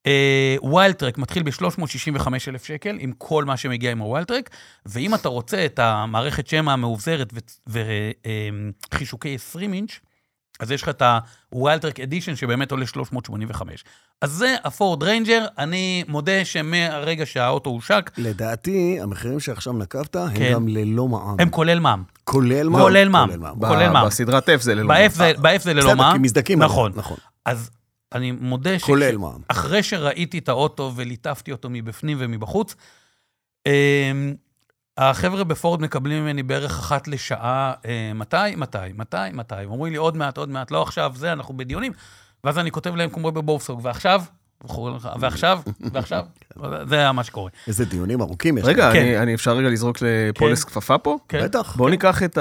[SPEAKER 3] אה, ווילד טרק מתחיל ב-365 אלף שקל, עם כל מה שמגיע עם הווילד טרק, ואם אתה רוצה את המערכת שמע המאובזרת אה, וחישוקי 20 אינץ', אז יש לך את הווילד טרק אדישן שבאמת עולה 385. אז זה הפורד ריינג'ר, אני מודה שמהרגע שהאוטו הושק,
[SPEAKER 2] לדעתי, המחירים שעכשיו נקבת הם
[SPEAKER 3] כן.
[SPEAKER 2] גם ללא מע"מ.
[SPEAKER 3] הם כולל מע"מ.
[SPEAKER 2] כולל מע"מ.
[SPEAKER 3] כולל מע"מ.
[SPEAKER 4] ב-
[SPEAKER 3] כולל מע"מ.
[SPEAKER 4] בסדרת F זה ללא מע"מ.
[SPEAKER 3] ב-F זה- ב-F זה ללא
[SPEAKER 2] בסדר,
[SPEAKER 3] מע"מ.
[SPEAKER 2] כי מזדכים. עליהם,
[SPEAKER 3] נכון.
[SPEAKER 2] נכון.
[SPEAKER 3] אז אני מודה ש...
[SPEAKER 2] כולל מע"מ.
[SPEAKER 3] אחרי שראיתי את האוטו וליטפתי אותו מבפנים ומבחוץ, אמ, החבר'ה בפורד מקבלים ממני בערך אחת לשעה, אה, מתי, מתי, מתי, מתי. הם אומרים לי, עוד מעט, עוד מעט, לא עכשיו, זה, אנחנו בדיונים. ואז אני כותב להם כמו בבורסוג, ועכשיו?
[SPEAKER 2] *laughs*
[SPEAKER 3] ועכשיו? ועכשיו? זה מה שקורה.
[SPEAKER 2] איזה דיונים ארוכים יש.
[SPEAKER 4] רגע,
[SPEAKER 3] כן.
[SPEAKER 4] אני- אני אפשר רגע לזרוק לפולס כפפה פה?
[SPEAKER 3] כן.
[SPEAKER 2] בטח.
[SPEAKER 4] בואו ניקח את *coughs*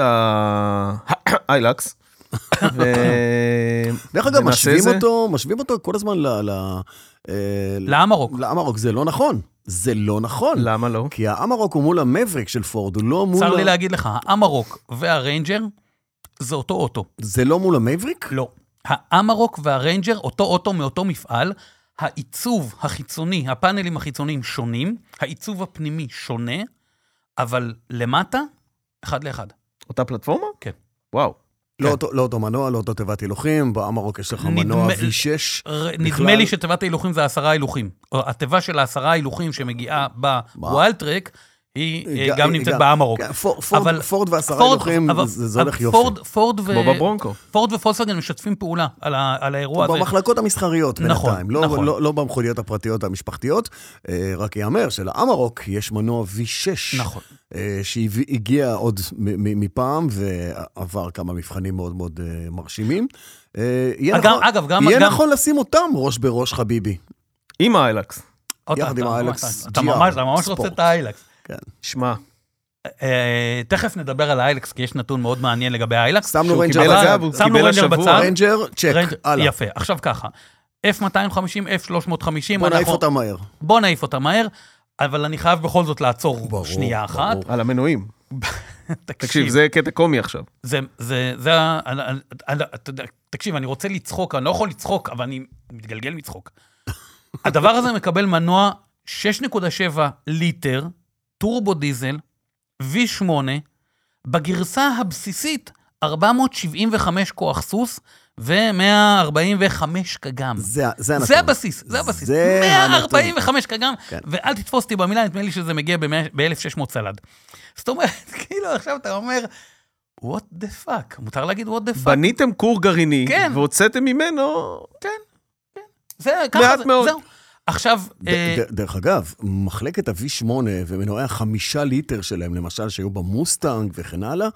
[SPEAKER 4] האיילקס.
[SPEAKER 2] דרך אגב, משווים אותו, משווים אותו כל הזמן ל... ל... אה,
[SPEAKER 3] לאמרוק.
[SPEAKER 2] לאמרוק. זה לא נכון. זה לא נכון.
[SPEAKER 4] למה לא?
[SPEAKER 2] כי האמרוק הוא מול המבריק של פורד, הוא לא מול...
[SPEAKER 3] צר לי
[SPEAKER 2] ה-
[SPEAKER 3] להגיד לך, האמרוק והריינג'ר זה אותו אוטו.
[SPEAKER 2] זה לא מול המבריק?
[SPEAKER 3] לא. האמרוק והריינג'ר, אותו אוטו מאותו מפעל, העיצוב החיצוני, הפאנלים החיצוניים שונים, העיצוב הפנימי שונה, אבל למטה, אחד לאחד.
[SPEAKER 4] אותה פלטפורמה?
[SPEAKER 3] כן.
[SPEAKER 4] וואו.
[SPEAKER 2] לא אותו- לא אותו מנוע, לא אותו תיבת הילוכים, באמרוק יש לך
[SPEAKER 3] נדמה-
[SPEAKER 2] מנוע V6.
[SPEAKER 3] ר-
[SPEAKER 2] בכלל-
[SPEAKER 3] נדמה לי שתיבת ההילוכים זה עשרה הילוכים. או התיבה של העשרה הילוכים שמגיעה בוואלטרק, היא אה, גם נמצאת באמרוק.
[SPEAKER 2] כן, פור- פורד-
[SPEAKER 3] אבל-
[SPEAKER 2] פורד ועשרה
[SPEAKER 3] פורד-
[SPEAKER 2] הילוכים,
[SPEAKER 3] אבל-
[SPEAKER 2] זה זה
[SPEAKER 3] אבל
[SPEAKER 2] הולך יופי.
[SPEAKER 3] פורד- פורד ו-
[SPEAKER 4] כמו בברונקו.
[SPEAKER 3] פורד ופולסווגן משתפים פעולה על ה- על האירוע הזה.
[SPEAKER 2] במחלקות המסחריות
[SPEAKER 3] נכון,
[SPEAKER 2] בינתיים, לא,
[SPEAKER 3] נכון.
[SPEAKER 2] לא, לא במכוניות הפרטיות והמשפחתיות, אה, רק ייאמר שלאמרוק יש מנוע V6,
[SPEAKER 3] נכון.
[SPEAKER 2] אה, שהגיע עוד מ- מ- מפעם ועבר כמה מבחנים מאוד מאוד אה, מרשימים. אה, יהיה
[SPEAKER 3] אגב-
[SPEAKER 2] נכון-
[SPEAKER 3] אגב, גם...
[SPEAKER 2] יהיה
[SPEAKER 3] גם-
[SPEAKER 2] נכון לשים אותם ראש בראש, חביבי.
[SPEAKER 4] עם האיילקס.
[SPEAKER 3] עוד
[SPEAKER 2] יחד
[SPEAKER 3] אתה-
[SPEAKER 2] עם
[SPEAKER 3] אתה-
[SPEAKER 2] האיילקס
[SPEAKER 3] אתה
[SPEAKER 2] GR,
[SPEAKER 3] ממש- אתה ממש רוצה
[SPEAKER 2] ספורט.
[SPEAKER 3] את האיילקס.
[SPEAKER 4] שמע,
[SPEAKER 3] אה, תכף נדבר על האיילקס, כי יש נתון מאוד מעניין לגבי האיילקס.
[SPEAKER 2] שמנו
[SPEAKER 4] שהוא
[SPEAKER 2] רנג'ר
[SPEAKER 4] קיבל
[SPEAKER 2] בצד,
[SPEAKER 4] אגב, הוא
[SPEAKER 3] שמנו
[SPEAKER 4] קיבל
[SPEAKER 3] רנג'ר
[SPEAKER 4] השבוע.
[SPEAKER 3] בצד.
[SPEAKER 2] רנג'ר, צ'ק,
[SPEAKER 3] רנג'-
[SPEAKER 2] הלאה.
[SPEAKER 3] יפה, עכשיו ככה. F250, F350,
[SPEAKER 2] בוא נעיף
[SPEAKER 3] אנחנו-
[SPEAKER 2] אותם מהר.
[SPEAKER 3] בוא נעיף אותה מהר, אבל אני חייב בכל זאת לעצור
[SPEAKER 2] ברור,
[SPEAKER 3] שנייה אחת.
[SPEAKER 2] ברור.
[SPEAKER 4] על המנועים.
[SPEAKER 3] *laughs* תקשיב,
[SPEAKER 4] תקשיב, זה קטע קומי עכשיו.
[SPEAKER 3] זה, זה, זה, ה- אני- אני- אני- אתה יודע, תקשיב, אני רוצה לצחוק, אני לא יכול לצחוק, אבל אני מתגלגל מצחוק. הדבר הזה מקבל מנוע 6.7 ליטר, טורבו דיזל, V8, בגרסה הבסיסית, 475 כוח סוס ו-145 קגם.
[SPEAKER 2] זה, זה הנתון.
[SPEAKER 3] זה הבסיס, זה הבסיס.
[SPEAKER 2] זה הנתון.
[SPEAKER 3] 145 קגם,
[SPEAKER 2] כן.
[SPEAKER 3] ואל תתפוס אותי במילה, נדמה לי שזה מגיע ב-1600 סלד. זאת אומרת, *laughs* כאילו עכשיו אתה אומר, what the fuck, מותר להגיד what the fuck.
[SPEAKER 4] בניתם כור גרעיני,
[SPEAKER 3] כן.
[SPEAKER 4] והוצאתם ממנו...
[SPEAKER 3] זה ככה,
[SPEAKER 4] מעט
[SPEAKER 3] זה-
[SPEAKER 4] מאוד.
[SPEAKER 3] זהו. עכשיו,
[SPEAKER 2] ד-
[SPEAKER 3] אה,
[SPEAKER 2] ד- דרך אגב, מחלקת ה-V8 ומנועי החמישה ליטר שלהם, למשל, שהיו במוסטנג וכן הלאה,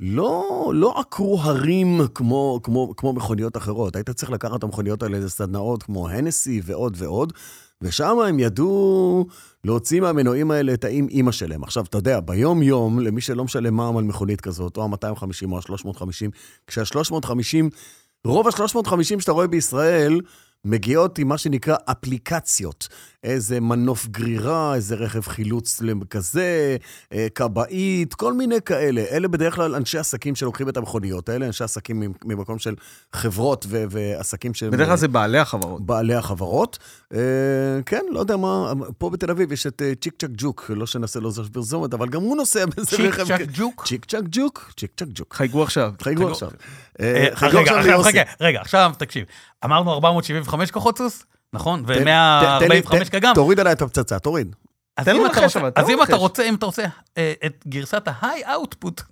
[SPEAKER 2] לא, לא עקרו הרים כמו, כמו, כמו מכוניות אחרות. היית צריך לקחת את המכוניות האלה לסדנאות כמו הנסי ועוד ועוד, ושם הם ידעו להוציא מהמנועים האלה את האם אימא שלהם. עכשיו, אתה יודע, ביום-יום, למי שלא משלם מע"מ על מכונית כזאת, או ה-250 או ה-350, כשה-350, רוב ה-350 שאתה רואה בישראל, מגיעות עם מה שנקרא אפליקציות. איזה מנוף גרירה, איזה רכב חילוץ כזה, אה, כבאית, כל מיני כאלה. אלה בדרך כלל אנשי עסקים שלוקחים את המכוניות האלה, אנשי עסקים ממ- ממקום של חברות ו- ועסקים שהם... אה,
[SPEAKER 4] בדרך כלל זה בעלי החברות.
[SPEAKER 2] בעלי החברות. אה, כן, לא יודע מה, פה בתל אביב יש את אה, צ'יק צ'אק ג'וק, לא שנעשה לו זו פרסומת, אבל גם הוא נוסע באיזה
[SPEAKER 3] צ'יק
[SPEAKER 2] רכב...
[SPEAKER 3] צ'אק
[SPEAKER 2] כ-
[SPEAKER 3] ג'וק.
[SPEAKER 2] צ'יק צ'אק ג'וק, צ'יק צ'אק ג'וק.
[SPEAKER 4] חייגו עכשיו.
[SPEAKER 2] חייגו עכשיו.
[SPEAKER 3] אה,
[SPEAKER 2] אה, חייגו
[SPEAKER 3] רגע,
[SPEAKER 2] עכשיו
[SPEAKER 3] עכשיו,
[SPEAKER 2] ליוסי.
[SPEAKER 3] חכה, רגע, עכשיו תקשיב. אמרנו 475 כוחות סוס, נכון?
[SPEAKER 2] תן- תן- תן לי-
[SPEAKER 3] ו-145
[SPEAKER 2] תן-
[SPEAKER 3] קגם.
[SPEAKER 2] תוריד עליי את הפצצה, תוריד.
[SPEAKER 3] אז
[SPEAKER 4] תן
[SPEAKER 3] אם
[SPEAKER 4] לו
[SPEAKER 3] אתה
[SPEAKER 4] לנחש,
[SPEAKER 3] רוצה-
[SPEAKER 4] אבל, תן
[SPEAKER 3] אז
[SPEAKER 4] לו
[SPEAKER 3] אם אתה
[SPEAKER 4] לנחש.
[SPEAKER 3] רוצה, אם אתה רוצה אה, את גרסת ה-high output,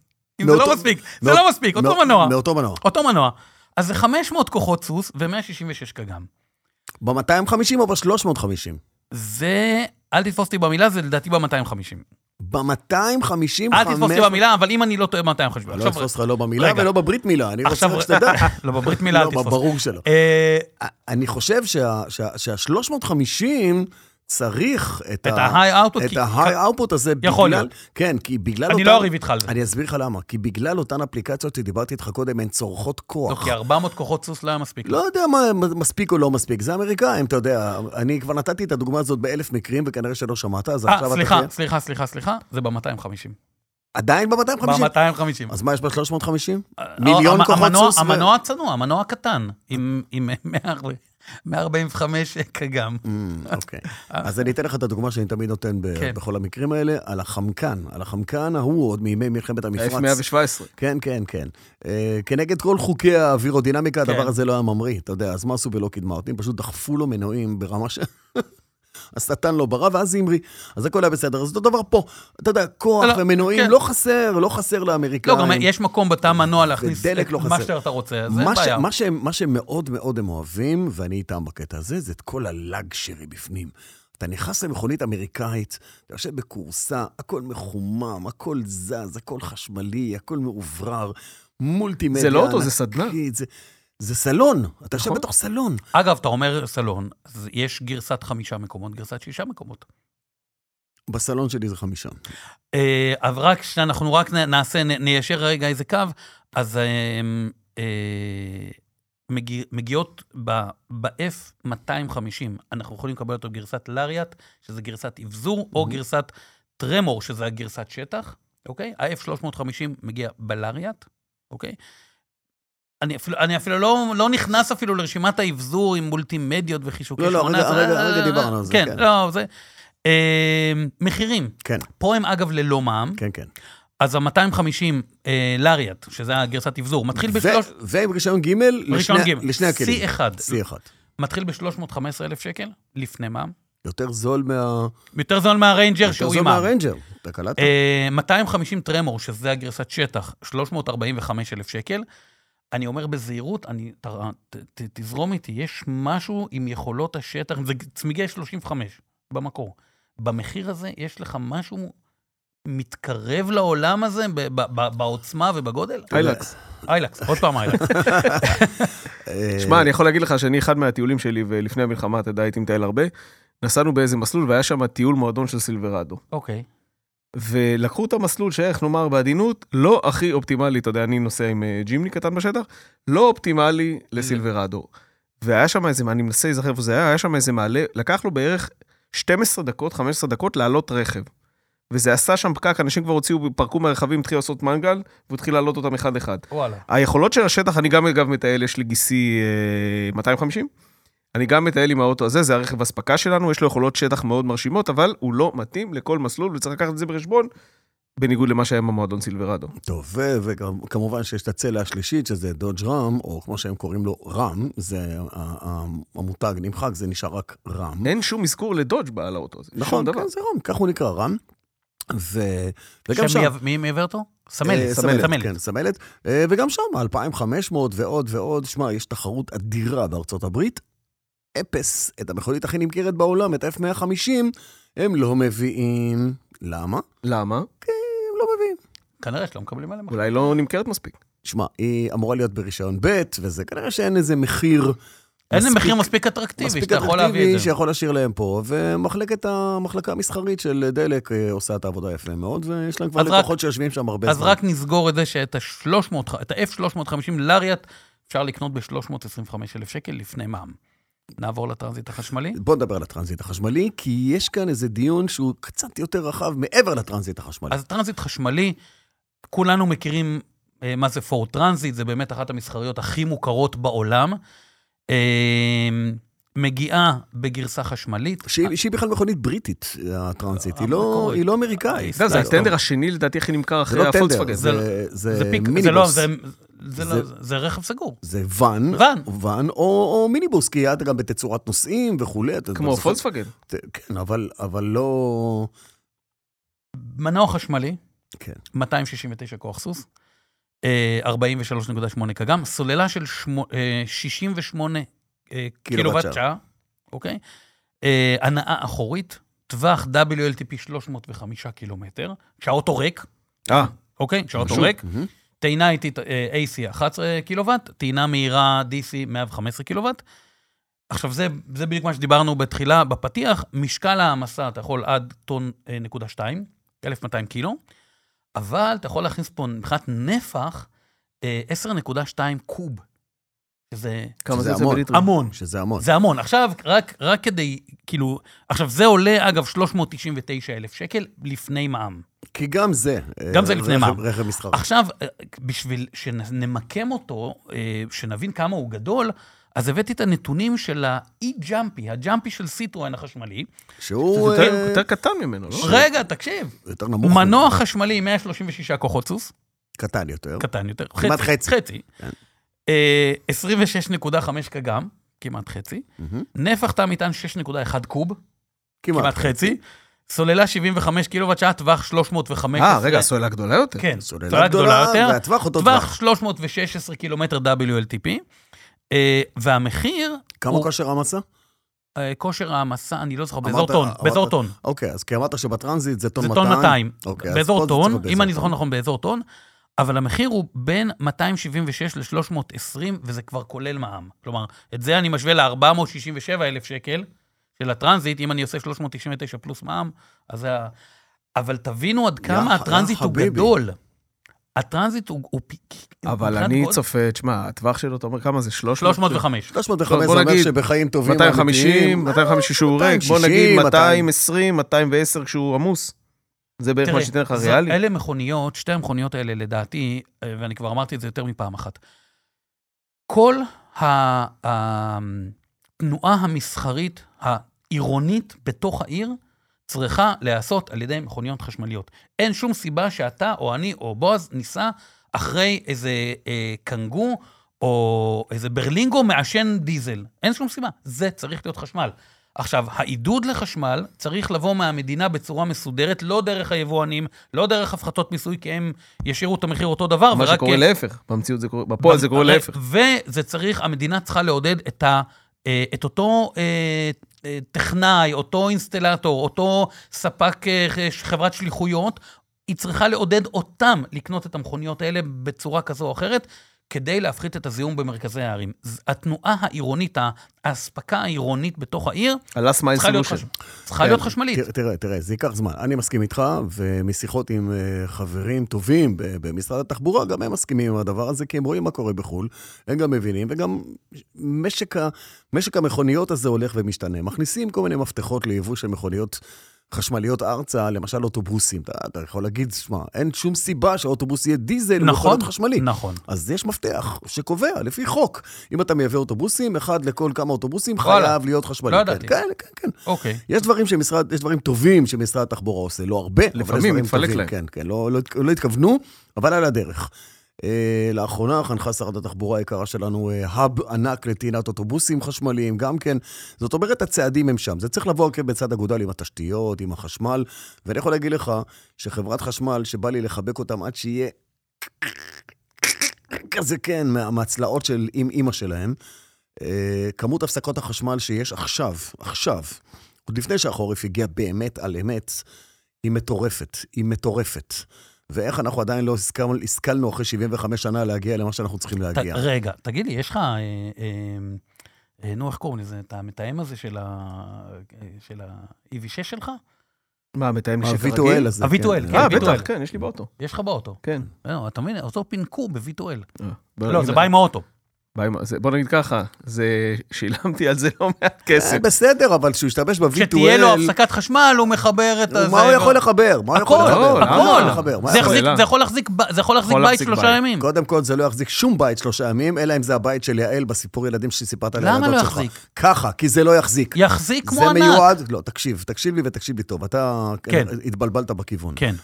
[SPEAKER 3] אם זה לא
[SPEAKER 2] מאותו-
[SPEAKER 3] מספיק, זה
[SPEAKER 2] מאותו-
[SPEAKER 3] לא מספיק, אותו
[SPEAKER 2] מאותו-
[SPEAKER 3] מנוע.
[SPEAKER 2] מאותו מנוע.
[SPEAKER 3] אותו מנוע. אז זה 500 כוחות סוס ו-166 קגם.
[SPEAKER 2] ב-250 או ב-350?
[SPEAKER 3] זה, אל תתפוס אותי במילה, זה לדעתי ב-250.
[SPEAKER 2] ב-250,
[SPEAKER 3] אל תתפוס אותי במילה, אבל אם אני לא טועה, 250.
[SPEAKER 2] אני לא
[SPEAKER 3] עכשיו-
[SPEAKER 2] אתפוס לך לא במילה
[SPEAKER 3] רגע.
[SPEAKER 2] ולא בברית מילה, אני רוצה
[SPEAKER 3] עכשיו-
[SPEAKER 2] רק שתדע.
[SPEAKER 3] *laughs* לא, בברית מילה אל אה,
[SPEAKER 2] לא,
[SPEAKER 3] תתפוס.
[SPEAKER 2] ברור שלא.
[SPEAKER 3] אה,
[SPEAKER 2] אני חושב שה-350 צריך
[SPEAKER 3] את
[SPEAKER 2] את,
[SPEAKER 3] ה-high output,
[SPEAKER 2] את
[SPEAKER 3] כי-
[SPEAKER 2] ה-high output הזה
[SPEAKER 3] יכול
[SPEAKER 2] בגלל...
[SPEAKER 3] להיות.
[SPEAKER 2] כן, כי בגלל
[SPEAKER 3] אני לא אריב איתך על זה.
[SPEAKER 2] אני אסביר לך למה. כי בגלל אותן אפליקציות שדיברתי איתך קודם, הן צורכות
[SPEAKER 3] לא,
[SPEAKER 2] כוח.
[SPEAKER 3] כי 400 כוחות סוס לא היה מספיק.
[SPEAKER 2] לא יודע מה מספיק או לא מספיק, זה האמריקאים, אתה יודע. אני כבר נתתי את הדוגמה הזאת באלף מקרים, וכנראה שלא שמעת, אז
[SPEAKER 3] אה,
[SPEAKER 2] עכשיו אתה...
[SPEAKER 3] סליחה,
[SPEAKER 2] תהיה-
[SPEAKER 3] סליחה, סליחה, סליחה, זה ב-250.
[SPEAKER 2] עדיין ב-250?
[SPEAKER 3] ב-250.
[SPEAKER 2] אז מה יש ב-350?
[SPEAKER 3] אה,
[SPEAKER 2] מיליון כוחות סוס ו-
[SPEAKER 3] המנוע הצנוע, המנוע הקטן, עם עם 145 קגם.
[SPEAKER 2] אוקיי. אז אני אתן לך את הדוגמה שאני תמיד נותן ב-
[SPEAKER 3] אה, כן.
[SPEAKER 2] בכל המקרים האלה, על החמקן. על החמקן ההוא עוד מימי מלחמת המפרץ.
[SPEAKER 4] ה-F117.
[SPEAKER 2] כן, כן, כן. אה, כנגד כל חוקי האווירודינמיקה,
[SPEAKER 3] כן.
[SPEAKER 2] הדבר הזה לא היה ממריא, אתה יודע, אז מה עשו בלא קידמה אותי? פשוט דחפו לו מנועים ברמה ש... *laughs* השטן לא ברא, ואז זמרי. אז הכל היה בסדר. אז אותו דבר פה. אתה יודע, כוח
[SPEAKER 3] לא,
[SPEAKER 2] ומנועים,
[SPEAKER 3] כן.
[SPEAKER 2] לא חסר, לא חסר לאמריקאים.
[SPEAKER 3] לא, גם יש מקום בתא המנוע להכניס
[SPEAKER 2] ודלק
[SPEAKER 3] את
[SPEAKER 2] לא
[SPEAKER 3] מה
[SPEAKER 2] חסר.
[SPEAKER 3] שאתה רוצה, אז
[SPEAKER 2] מה,
[SPEAKER 3] אין
[SPEAKER 2] ש...
[SPEAKER 3] בעיה.
[SPEAKER 2] מה, שהם, מה שהם מאוד מאוד הם אוהבים, ואני איתם בקטע הזה, זה את כל הלאגשרי בפנים. אתה נכנס למכונית אמריקאית, אתה יושב בכורסה, הכל מחומם, הכל זז, הכל חשמלי, הכל מאוברר, מולטימדיה.
[SPEAKER 4] זה לא אוטו, זה
[SPEAKER 2] ענקית,
[SPEAKER 4] סדנה.
[SPEAKER 2] זה, זה סלון, אתה יושב
[SPEAKER 4] נכון.
[SPEAKER 2] בתוך סלון.
[SPEAKER 3] אגב, אתה אומר סלון, אז יש גרסת חמישה מקומות, גרסת שישה מקומות.
[SPEAKER 2] בסלון שלי זה חמישה.
[SPEAKER 3] אה, אז רק שאנחנו רק נ- נעשה, נ- ניישר רגע איזה קו, אז אה, אה, מגיע- מגיעות ב-F250, אנחנו יכולים לקבל אותו גרסת לריאט, שזה גרסת אבזור, או גרסת טרמור, שזה הגרסת שטח, אוקיי? ה-F350 מגיע בלריאט, אוקיי? אני אפילו, אני אפילו לא, לא נכנס אפילו לרשימת האבזור עם מולטימדיות וחישוקי
[SPEAKER 2] לא, לא,
[SPEAKER 3] שמונה
[SPEAKER 2] רגע,
[SPEAKER 3] עשרה.
[SPEAKER 2] רגע, רגע דיברנו על זה,
[SPEAKER 3] כן,
[SPEAKER 2] כן.
[SPEAKER 3] לא, זה... אה, מחירים,
[SPEAKER 2] כן,
[SPEAKER 3] פה הם אגב ללא מע"מ,
[SPEAKER 2] כן, כן.
[SPEAKER 3] אז ה-250 אה, לריאט, שזה הגרסת אבזור, מתחיל בשלוש...
[SPEAKER 2] ו- ועם רישיון ג' לשני,
[SPEAKER 3] ראשון ג',
[SPEAKER 2] לשני הכלים.
[SPEAKER 3] C1,
[SPEAKER 2] C1.
[SPEAKER 3] מתחיל ב-315,000 שקל, לפני מע"מ.
[SPEAKER 2] יותר זול מה...
[SPEAKER 3] יותר זול מהריינג'ר
[SPEAKER 2] יותר
[SPEAKER 3] שהוא
[SPEAKER 2] זול
[SPEAKER 3] עם מע"מ.
[SPEAKER 2] מהרנג'ר. אתה קלטת?
[SPEAKER 3] אה, 250 טרמור, שזה הגרסת שטח, 345,000 שקל. אני אומר בזהירות, אני, ת, ת, ת, תזרום איתי, יש משהו עם יכולות השטח, זה צמיגי 35 במקור. במחיר הזה יש לך משהו מתקרב לעולם הזה ב, ב, ב, בעוצמה ובגודל?
[SPEAKER 4] איילקס.
[SPEAKER 3] איילקס, עוד פעם
[SPEAKER 2] *laughs*
[SPEAKER 3] איילקס.
[SPEAKER 2] אה,
[SPEAKER 4] שמע, אני יכול להגיד לך שאני אחד מהטיולים שלי, ולפני המלחמה, אתה יודע, הייתי מטייל הרבה, נסענו באיזה מסלול, והיה שם טיול מועדון של סילברדו.
[SPEAKER 3] אוקיי.
[SPEAKER 4] ולקחו את המסלול שאיך נאמר בעדינות, לא הכי אופטימלי, אתה יודע, אני נוסע עם אה, ג'ימני קטן בשטח, לא אופטימלי לסילברדו. והיה שם איזה, אני מנסה להיזכר איפה זה היה, היה שם איזה מעלה, לקח לו בערך 12 דקות, 15 דקות לעלות רכב. וזה עשה שם פקק, אנשים כבר הוציאו, פרקו מהרכבים, התחילו לעשות מנגל, והוא התחיל להעלות אותם אחד-אחד.
[SPEAKER 3] וואלה.
[SPEAKER 4] היכולות של השטח, אני גם אגב מטייל, יש לי גיסי אה, 250. אני גם מטייל עם האוטו הזה, זה הרכב אספקה שלנו, יש לו יכולות שטח מאוד מרשימות, אבל הוא לא מתאים לכל מסלול, וצריך לקחת את זה בחשבון, בניגוד למה שהיה עם המועדון סילברדו.
[SPEAKER 2] טוב, ו- וכמובן שיש את הצלע השלישית, שזה דודג' רם, או כמו שהם קוראים לו, רם, זה ה- ה- המותג נמחק, זה נשאר רק רם.
[SPEAKER 4] אין שום אזכור לדודג' בעל האוטו הזה.
[SPEAKER 2] נכון,
[SPEAKER 4] שום דבר.
[SPEAKER 2] כן, זה רם, כך הוא נקרא, רם. ו-
[SPEAKER 3] שם
[SPEAKER 2] וגם שם...
[SPEAKER 3] מי- מי מייבא אותו? סמלת,
[SPEAKER 2] אה,
[SPEAKER 3] סמלת, סמלת.
[SPEAKER 2] כן, סמלת. אה, וגם שם, 2,500 ועוד ועוד. שמע, יש תחרות אדירה בארצות הברית. אפס, את המכונית הכי נמכרת בעולם, את ה-F150, הם לא מביאים. למה?
[SPEAKER 4] למה?
[SPEAKER 2] הם לא מביאים.
[SPEAKER 3] כנראה שלא מקבלים עליהם.
[SPEAKER 4] אולי לא נמכרת מספיק.
[SPEAKER 2] שמע, היא אמורה להיות ברישיון ב', וזה כנראה שאין איזה מחיר...
[SPEAKER 3] איזה
[SPEAKER 2] מספיק
[SPEAKER 3] מחיר מספיק אטרקטיבי,
[SPEAKER 2] מספיק
[SPEAKER 3] שאתה יכול להביא
[SPEAKER 2] אטרקטיבי
[SPEAKER 3] את זה.
[SPEAKER 2] שיכול להשאיר להם פה, ומחלקת המחלקה המסחרית של דלק אה, עושה את העבודה יפה מאוד, ויש להם כבר
[SPEAKER 3] אז רק-
[SPEAKER 2] לקוחות שיושבים שם הרבה
[SPEAKER 3] אז
[SPEAKER 2] זמן.
[SPEAKER 3] רק נסגור את זה שאת ה-300, את ה-F350 לריאט אפשר לקנות ב-325,000 שקל לפני מע"מ. נעבור לטרנזיט החשמלי.
[SPEAKER 2] בוא נדבר על הטרנזיט החשמלי, כי יש כאן איזה דיון שהוא קצת יותר רחב מעבר לטרנזיט החשמלי.
[SPEAKER 3] אז טרנזיט חשמלי, כולנו מכירים אה, מה זה פור טרנזיט, זה באמת אחת המסחריות הכי מוכרות בעולם. אה, מגיעה בגרסה חשמלית.
[SPEAKER 2] שהיא שהיא בכלל מכונית בריטית, הטרנזיט,
[SPEAKER 3] אה,
[SPEAKER 2] היא לא-
[SPEAKER 3] המקורית.
[SPEAKER 2] היא לא אמריקאית.
[SPEAKER 4] אתה יודע, זה
[SPEAKER 3] סתם.
[SPEAKER 4] הטנדר השני לדעתי הכי נמכר
[SPEAKER 2] זה
[SPEAKER 4] אחרי
[SPEAKER 2] לא טנדר,
[SPEAKER 4] הפולקסווגן.
[SPEAKER 3] זה-
[SPEAKER 2] זה-
[SPEAKER 3] זה
[SPEAKER 2] זה
[SPEAKER 3] פיק, זה לא,
[SPEAKER 2] מיניבוס.
[SPEAKER 3] זה, זה, לא,
[SPEAKER 2] זה-
[SPEAKER 3] זה רכב סגור.
[SPEAKER 2] זה ואן,
[SPEAKER 3] ואן.
[SPEAKER 2] ואן או, או מיניבוס, כי היה גם בתצורת נוסעים וכולי. אתה
[SPEAKER 4] כמו
[SPEAKER 2] זוכר?
[SPEAKER 4] פולקסווגן.
[SPEAKER 2] כן, אבל, אבל לא...
[SPEAKER 3] מנוע חשמלי,
[SPEAKER 2] כן.
[SPEAKER 3] 269 כוח סוס, אה, 43.8 קגם, סוללה של שמו- אה, 68 אה,
[SPEAKER 2] קילוואט
[SPEAKER 3] קילוואט שעה, אוקיי? אה, הנעה אחורית, טווח WLTP 305 קילומטר, כשהאוטו ריק,
[SPEAKER 4] אה,
[SPEAKER 3] אוקיי? כשהאוטו
[SPEAKER 2] פשוט.
[SPEAKER 3] ריק,
[SPEAKER 2] מהמם.
[SPEAKER 3] טעינה איטית אה, AC 11 קילוואט, טעינה מהירה DC 115 קילוואט. עכשיו, זה, זה בדיוק מה שדיברנו בתחילה, בפתיח, משקל העמסה, אתה יכול עד טון אה, נקודה שתיים, 1,200 קילו, אבל אתה יכול להכניס פה מבחינת נפח אה, 10.2 קוב, שזה
[SPEAKER 4] כמה
[SPEAKER 2] שזה
[SPEAKER 4] זה יוצא
[SPEAKER 2] המון.
[SPEAKER 4] בליטרים?
[SPEAKER 3] המון.
[SPEAKER 2] שזה המון.
[SPEAKER 3] זה המון. עכשיו, רק, רק כדי, כאילו, עכשיו, זה עולה, אגב, 399 אלף שקל לפני מע"מ.
[SPEAKER 2] כי גם זה. אה,
[SPEAKER 3] גם זה לפני
[SPEAKER 2] רכב-
[SPEAKER 3] מע"מ.
[SPEAKER 2] רכב מסחרי.
[SPEAKER 3] עכשיו, אה, בשביל שנמקם אותו, אה, שנבין כמה הוא גדול, אז הבאתי את הנתונים של האי-ג'אמפי, הג'אמפי של סיטרואן החשמלי.
[SPEAKER 4] זה
[SPEAKER 2] שהוא
[SPEAKER 4] יותר-
[SPEAKER 2] אה,
[SPEAKER 4] יותר קטן ממנו, לא?
[SPEAKER 3] רגע, תקשיב.
[SPEAKER 2] יותר נמוך.
[SPEAKER 3] מנוע חשמלי 136 כוחות סוס,
[SPEAKER 2] קטן יותר.
[SPEAKER 3] קטן יותר.
[SPEAKER 2] כמעט חצי. כן.
[SPEAKER 3] חצי. אה, 26.5 קגם, כמעט חצי.
[SPEAKER 2] מהמם.
[SPEAKER 3] נפח תא מטען 6.1 קוב,
[SPEAKER 2] כמעט.
[SPEAKER 3] כמעט חצי. סוללה 75 קילוואט שעה, טווח 315.
[SPEAKER 4] אה, רגע, סוללה גדולה יותר.
[SPEAKER 3] כן,
[SPEAKER 2] סוללה גדולה, והטווח אותו
[SPEAKER 3] טווח
[SPEAKER 2] טווח.
[SPEAKER 3] 316 קילומטר WLTP, אה, והמחיר,
[SPEAKER 2] כמה
[SPEAKER 3] הוא-
[SPEAKER 2] כושר העמסה?
[SPEAKER 3] אה, כושר העמסה, אני לא זוכר, באזור
[SPEAKER 2] אמרת-
[SPEAKER 3] טון,
[SPEAKER 2] אמרת-
[SPEAKER 3] באזור טון.
[SPEAKER 2] אוקיי, אז כי אמרת שבטרנזיט זה טון
[SPEAKER 3] זה
[SPEAKER 2] 200.
[SPEAKER 3] טון 200.
[SPEAKER 2] אוקיי, אז פה
[SPEAKER 3] באזור
[SPEAKER 2] זה צריך
[SPEAKER 3] טון,
[SPEAKER 2] להיות
[SPEAKER 3] אם
[SPEAKER 2] באזור
[SPEAKER 3] אני זוכר
[SPEAKER 2] טון.
[SPEAKER 3] נכון, באזור טון, אבל המחיר הוא בין 276 ל-320, וזה כבר כולל מע"מ. כלומר, את זה אני משווה ל-467 אלף שקל של הטרנזיט, אם אני עושה 399 פלוס מע"מ, אז זה ה... אבל תבינו עד
[SPEAKER 2] יא ח-
[SPEAKER 3] כמה
[SPEAKER 2] יא
[SPEAKER 3] הטרנזיט הוא
[SPEAKER 2] חביבי.
[SPEAKER 3] גדול. הטרנזיט הוא... הוא פי-
[SPEAKER 4] אבל
[SPEAKER 3] מבחינת
[SPEAKER 4] אני
[SPEAKER 3] גודל-
[SPEAKER 4] צופה, תשמע, הטווח שלו, אתה אומר כמה זה? 300?
[SPEAKER 3] 305.
[SPEAKER 2] 305
[SPEAKER 4] בוא
[SPEAKER 2] זה אומר
[SPEAKER 4] נגיד,
[SPEAKER 2] שבחיים טובים,
[SPEAKER 4] 250,
[SPEAKER 2] אמיתיים,
[SPEAKER 4] 250 שהוא ריק, בוא
[SPEAKER 2] 260,
[SPEAKER 4] נגיד
[SPEAKER 2] 200.
[SPEAKER 4] 220, 210 כשהוא עמוס. זה בערך מה שייתן לך
[SPEAKER 3] זה-
[SPEAKER 4] ריאלי.
[SPEAKER 3] אלה מכוניות, שתי המכוניות האלה לדעתי, אה, ואני כבר אמרתי את זה יותר מפעם אחת. כל ה- התנועה המסחרית העירונית בתוך העיר צריכה להיעשות על ידי מכוניות חשמליות. אין שום סיבה שאתה או אני או בועז ניסע אחרי איזה אה, קנגו או איזה ברלינגו מעשן דיזל. אין שום סיבה, זה צריך להיות חשמל. עכשיו, העידוד לחשמל צריך לבוא מהמדינה בצורה מסודרת, לא דרך היבואנים, לא דרך הפחתות מיסוי, כי הם ישאירו את המחיר אותו דבר,
[SPEAKER 4] מה
[SPEAKER 3] ורק...
[SPEAKER 4] שקורה להפך, במציאות זה קורה, בפועל זה קורה
[SPEAKER 3] הרי-
[SPEAKER 4] להפך.
[SPEAKER 3] וזה צריך, המדינה צריכה לעודד את, ה, אה, את אותו אה, אה, טכנאי, אותו אינסטלטור, אותו ספק אה, ש- חברת שליחויות, היא צריכה לעודד אותם לקנות את המכוניות האלה בצורה כזו או אחרת. כדי להפחית את הזיהום במרכזי הערים. ז- התנועה העירונית, האספקה העירונית בתוך העיר,
[SPEAKER 4] הלס מיין
[SPEAKER 3] צריכה להיות,
[SPEAKER 4] סולושן.
[SPEAKER 3] חש... צריכה להיות
[SPEAKER 2] כן,
[SPEAKER 3] חשמלית.
[SPEAKER 2] ת- תראה, תראה, זה ייקח זמן. אני מסכים איתך, ומשיחות עם אה, חברים טובים ב- במשרד התחבורה, גם הם מסכימים עם הדבר הזה, כי הם רואים מה קורה בחו"ל, הם גם מבינים, וגם משק, ה, משק המכוניות הזה הולך ומשתנה. מכניסים כל מיני מפתחות ליבוא של מכוניות חשמליות ארצה, למשל אוטובוסים. אתה, אתה יכול להגיד, שמע, אין שום סיבה שהאוטובוס יהיה דיזל, הוא יכול
[SPEAKER 3] נכון,
[SPEAKER 2] להיות חשמלי.
[SPEAKER 3] נכון.
[SPEAKER 2] אז יש מפתח שקובע, לפי חוק. אם אתה מייבא אוטובוסים, אחד לכל כמה אוטובוסים
[SPEAKER 3] וואלה.
[SPEAKER 2] חייב להיות חשמלי.
[SPEAKER 3] לא
[SPEAKER 2] כן,
[SPEAKER 3] ידעתי.
[SPEAKER 2] כן, כן, כן.
[SPEAKER 3] אוקיי.
[SPEAKER 2] יש דברים שמשרד, יש דברים טובים שמשרד התחבורה עושה, לא הרבה, אבל יש
[SPEAKER 4] לפעמים,
[SPEAKER 2] דברים
[SPEAKER 4] מתפלק
[SPEAKER 2] טובים,
[SPEAKER 4] להם.
[SPEAKER 2] כן, כן, לא, לא, התכ- לא התכוונו, אבל על הדרך. אה, לאחרונה חנכה שרת התחבורה היקרה שלנו אה, האב ענק לטעינת אוטובוסים חשמליים, גם כן. זאת אומרת, הצעדים הם שם. זה צריך לבוא כן בצד אגודל עם התשתיות, עם החשמל, ואני יכול להגיד לך שחברת חשמל, שבא לי לחבק אותם עד שיהיה כזה, כן, מה- מהצלעות של עם אימא שלהם, אה, כמות הפסקות החשמל שיש עכשיו, עכשיו, עוד לפני שהחורף הגיע באמת על אמת, היא מטורפת, היא מטורפת. ואיך אנחנו עדיין לא השכלנו, השכלנו אחרי 75 שנה להגיע למה שאנחנו צריכים
[SPEAKER 3] ת,
[SPEAKER 2] להגיע.
[SPEAKER 3] רגע, תגיד לי, יש לך... אה, אה, אה, נו, איך קוראים לזה? את המתאם הזה של ה... אה, של ה-EV6 שלך?
[SPEAKER 4] מה, מתאם נשק הרגיל?
[SPEAKER 2] הוויטואל הזה.
[SPEAKER 3] הוויטואל, כן,
[SPEAKER 4] אה,
[SPEAKER 3] הוויטואל.
[SPEAKER 4] בטח, כן, יש לי באוטו.
[SPEAKER 3] יש לך באוטו.
[SPEAKER 4] כן.
[SPEAKER 3] לא, אתה מבין? אותו פינקו בוויטואל.
[SPEAKER 4] אה, בוא
[SPEAKER 3] לא,
[SPEAKER 4] נגיד-
[SPEAKER 3] זה בא עם האוטו.
[SPEAKER 4] בא עם- זה- בוא נגיד ככה, זה, שילמתי על זה לא מעט כסף.
[SPEAKER 2] אה, בסדר, אבל כשהוא ישתמש בוויטואל...
[SPEAKER 3] כשתהיה לו הפסקת חשמל, הוא מחבר את הזה.
[SPEAKER 2] מה הוא יכול
[SPEAKER 3] ו-
[SPEAKER 2] לחבר? מה הוא יכול
[SPEAKER 3] הכל,
[SPEAKER 2] לחבר?
[SPEAKER 4] הכל,
[SPEAKER 2] מה הוא יכול
[SPEAKER 4] הכל.
[SPEAKER 2] לחבר? מה
[SPEAKER 3] זה
[SPEAKER 2] יכול-
[SPEAKER 3] יחזיק-
[SPEAKER 4] השאלה?
[SPEAKER 3] זה יכול להחזיק ב- זה יכול להחזיק
[SPEAKER 4] יכול
[SPEAKER 3] בית
[SPEAKER 4] להחזיק
[SPEAKER 3] שלושה
[SPEAKER 4] בית.
[SPEAKER 3] ימים.
[SPEAKER 2] קודם כל, זה לא יחזיק שום בית שלושה ימים, אלא אם זה הבית של יעל בסיפור ילדים שסיפרת על
[SPEAKER 3] למה
[SPEAKER 2] הילדות
[SPEAKER 3] לא
[SPEAKER 2] שלך.
[SPEAKER 3] יחזיק?
[SPEAKER 2] ככה, כי זה לא יחזיק.
[SPEAKER 3] יחזיק כמו
[SPEAKER 2] זה
[SPEAKER 3] ענק.
[SPEAKER 2] מיועד... לא, תקשיב, תקשיב לי ותקשיב לי טוב. אתה אה,
[SPEAKER 3] כן.
[SPEAKER 2] התבלבלת בכיוון.
[SPEAKER 3] כן.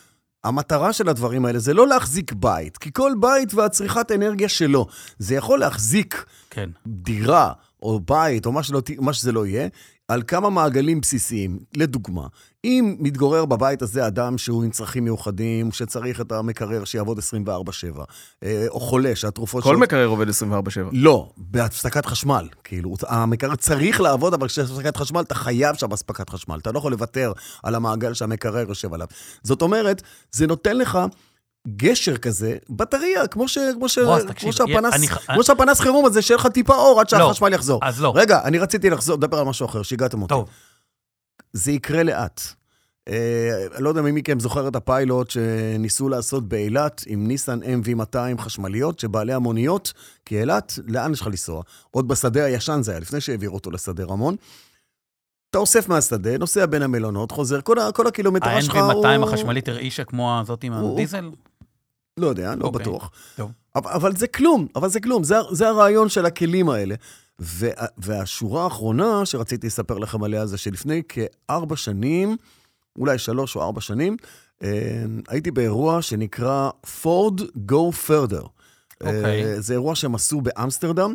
[SPEAKER 2] המטרה של הדברים האלה זה לא להחזיק בית, כי כל בית והצריכת אנרגיה שלו. זה יכול להחזיק
[SPEAKER 3] כן.
[SPEAKER 2] דירה או בית או מה, שלא, ת- מה שזה לא יהיה, על כמה מעגלים בסיסיים. לדוגמה, אם מתגורר בבית הזה אדם שהוא עם צרכים מיוחדים, שצריך את המקרר שיעבוד 24/7, אה, או חולה שהתרופות
[SPEAKER 4] כל
[SPEAKER 2] שלו...
[SPEAKER 4] מקרר עובד 24/7.
[SPEAKER 2] לא, בהפסקת חשמל. כאילו, המקרר צריך לעבוד, אבל כשיש הפסקת חשמל, אתה חייב שם אספקת חשמל. אתה לא יכול לוותר על המעגל שהמקרר יושב עליו. זאת אומרת, זה נותן לך גשר כזה, בטריה, כמו, ש, כמו, ש,
[SPEAKER 3] בועז,
[SPEAKER 2] כמו,
[SPEAKER 3] תקשיב,
[SPEAKER 2] שהפנס,
[SPEAKER 3] אני-
[SPEAKER 2] כמו שהפנס חירום הזה, שיהיה לך טיפה אור עד
[SPEAKER 3] לא.
[SPEAKER 2] שהחשמל יחזור.
[SPEAKER 3] אז לא.
[SPEAKER 2] רגע, אני רציתי לחזור, לדבר על משהו אחר, שיגעתם אותי.
[SPEAKER 3] טוב,
[SPEAKER 2] זה יקרה לאט. אה, לא יודע מי מכם זוכר את הפיילוט שניסו לעשות באילת עם ניסן MV200 חשמליות, שבעלי המוניות, כי אילת, לאן יש לך לנסוע? עוד בשדה הישן זה היה, לפני שהעבירו אותו לשדה רמון. אתה אוסף מהשדה, נוסע בין המלונות, חוזר, כל, ה- כל הקילומטרה שלך הוא...
[SPEAKER 3] ה-NV200 החשמלית הרעישה כמו הזאת עם
[SPEAKER 2] הוא-
[SPEAKER 3] הדיזל?
[SPEAKER 2] לא יודע, לא
[SPEAKER 3] אוקיי.
[SPEAKER 2] בטוח.
[SPEAKER 3] טוב.
[SPEAKER 2] אבל, אבל זה כלום, אבל זה כלום, זה, ה- זה הרעיון של הכלים האלה. וה, והשורה האחרונה שרציתי לספר לכם עליה זה שלפני כארבע שנים, אולי שלוש או ארבע שנים, אה, הייתי באירוע שנקרא Ford Go Further.
[SPEAKER 3] אוקיי.
[SPEAKER 2] אה, זה אירוע שהם עשו באמסטרדם.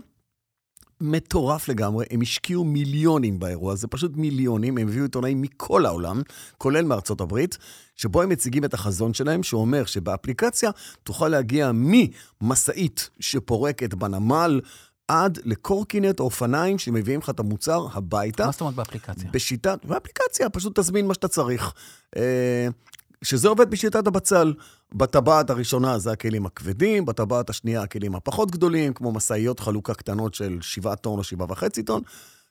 [SPEAKER 2] מטורף לגמרי, הם השקיעו מיליונים באירוע הזה, פשוט מיליונים, הם הביאו עיתונאים מכל העולם, כולל מארצות הברית, שבו הם מציגים את החזון שלהם, שאומר שבאפליקציה תוכל להגיע ממשאית שפורקת בנמל עד לקורקינט או אופניים שמביאים לך את המוצר הביתה.
[SPEAKER 3] מה זאת אומרת באפליקציה?
[SPEAKER 2] בשיטת, באפליקציה, פשוט תזמין מה שאתה צריך. אה, שזה עובד בשיטת הבצל. בטבעת הראשונה זה הכלים הכבדים, בטבעת השנייה הכלים הפחות גדולים, כמו משאיות חלוקה קטנות של 7 טון או 7.5 טון,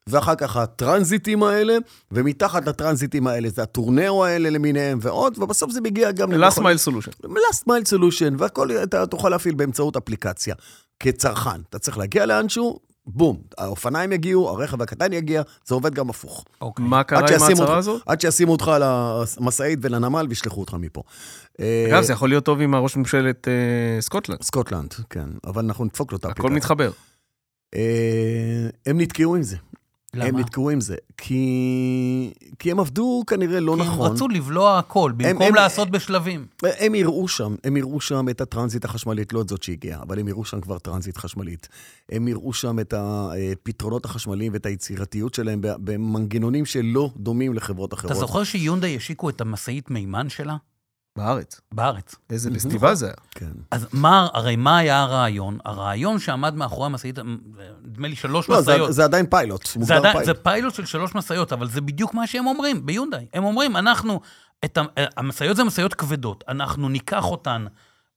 [SPEAKER 2] ואחר כך הטרנזיטים האלה, ומתחת לטרנזיטים האלה זה הטורנאו האלה למיניהם ועוד, ובסוף זה מגיע גם...
[SPEAKER 4] last
[SPEAKER 2] למכון-
[SPEAKER 4] mile solution.
[SPEAKER 2] last mile solution, והכל אתה תוכל להפעיל באמצעות אפליקציה. כצרכן, אתה צריך להגיע לאנשהו, בום, האופניים יגיעו, הרכב הקטן יגיע, זה עובד גם הפוך.
[SPEAKER 3] אוקיי.
[SPEAKER 4] מה קרה
[SPEAKER 2] עד
[SPEAKER 4] עם
[SPEAKER 2] שישימו
[SPEAKER 4] ההצהרה
[SPEAKER 2] אותך-
[SPEAKER 4] הזאת?
[SPEAKER 2] עד שישימו אותך על המשאית ולנמל וישלחו אותך מפה. אה,
[SPEAKER 4] אגב, זה יכול להיות טוב עם הראש ממשלת אה, סקוטלנד.
[SPEAKER 2] סקוטלנד, כן, אבל אנחנו נדפוק לו את
[SPEAKER 4] הכל
[SPEAKER 2] האפליקציה.
[SPEAKER 4] מתחבר.
[SPEAKER 2] אה, הם נתקעו עם זה. הם
[SPEAKER 3] למה?
[SPEAKER 2] נתקעו עם זה. כי כי הם עבדו כנראה לא
[SPEAKER 3] כי
[SPEAKER 2] נכון.
[SPEAKER 3] הם רצו לבלוע הכל,
[SPEAKER 2] הם- לא
[SPEAKER 3] במקום לעשות בשלבים.
[SPEAKER 2] הם יראו שם, הם יראו שם את הטרנזיט החשמלית, לא את זאת שהגיעה, אבל הם יראו שם כבר טרנזיט חשמלית. הם יראו שם את הפתרונות החשמליים ואת היצירתיות שלהם במנגנונים שלא דומים לחברות אחרות.
[SPEAKER 3] אתה זוכר שיונדאי השיקו את המשאית מימן שלה?
[SPEAKER 4] בארץ.
[SPEAKER 3] בארץ.
[SPEAKER 4] איזה פסטיבל זה היה.
[SPEAKER 2] כן.
[SPEAKER 3] אז מה, הרי מה היה הרעיון? הרעיון שעמד מאחורי המשאית, נדמה לי שלוש
[SPEAKER 2] לא, זה,
[SPEAKER 3] משאיות.
[SPEAKER 2] זה עדיין פיילוט,
[SPEAKER 3] זה,
[SPEAKER 2] מוגדר
[SPEAKER 3] עדיין,
[SPEAKER 2] פיילוט.
[SPEAKER 3] זה פיילוט של שלוש משאיות, אבל זה בדיוק מה שהם אומרים ביונדאי. הם אומרים, אנחנו, את ה- אה, המשאיות זה משאיות כבדות, אנחנו ניקח אותן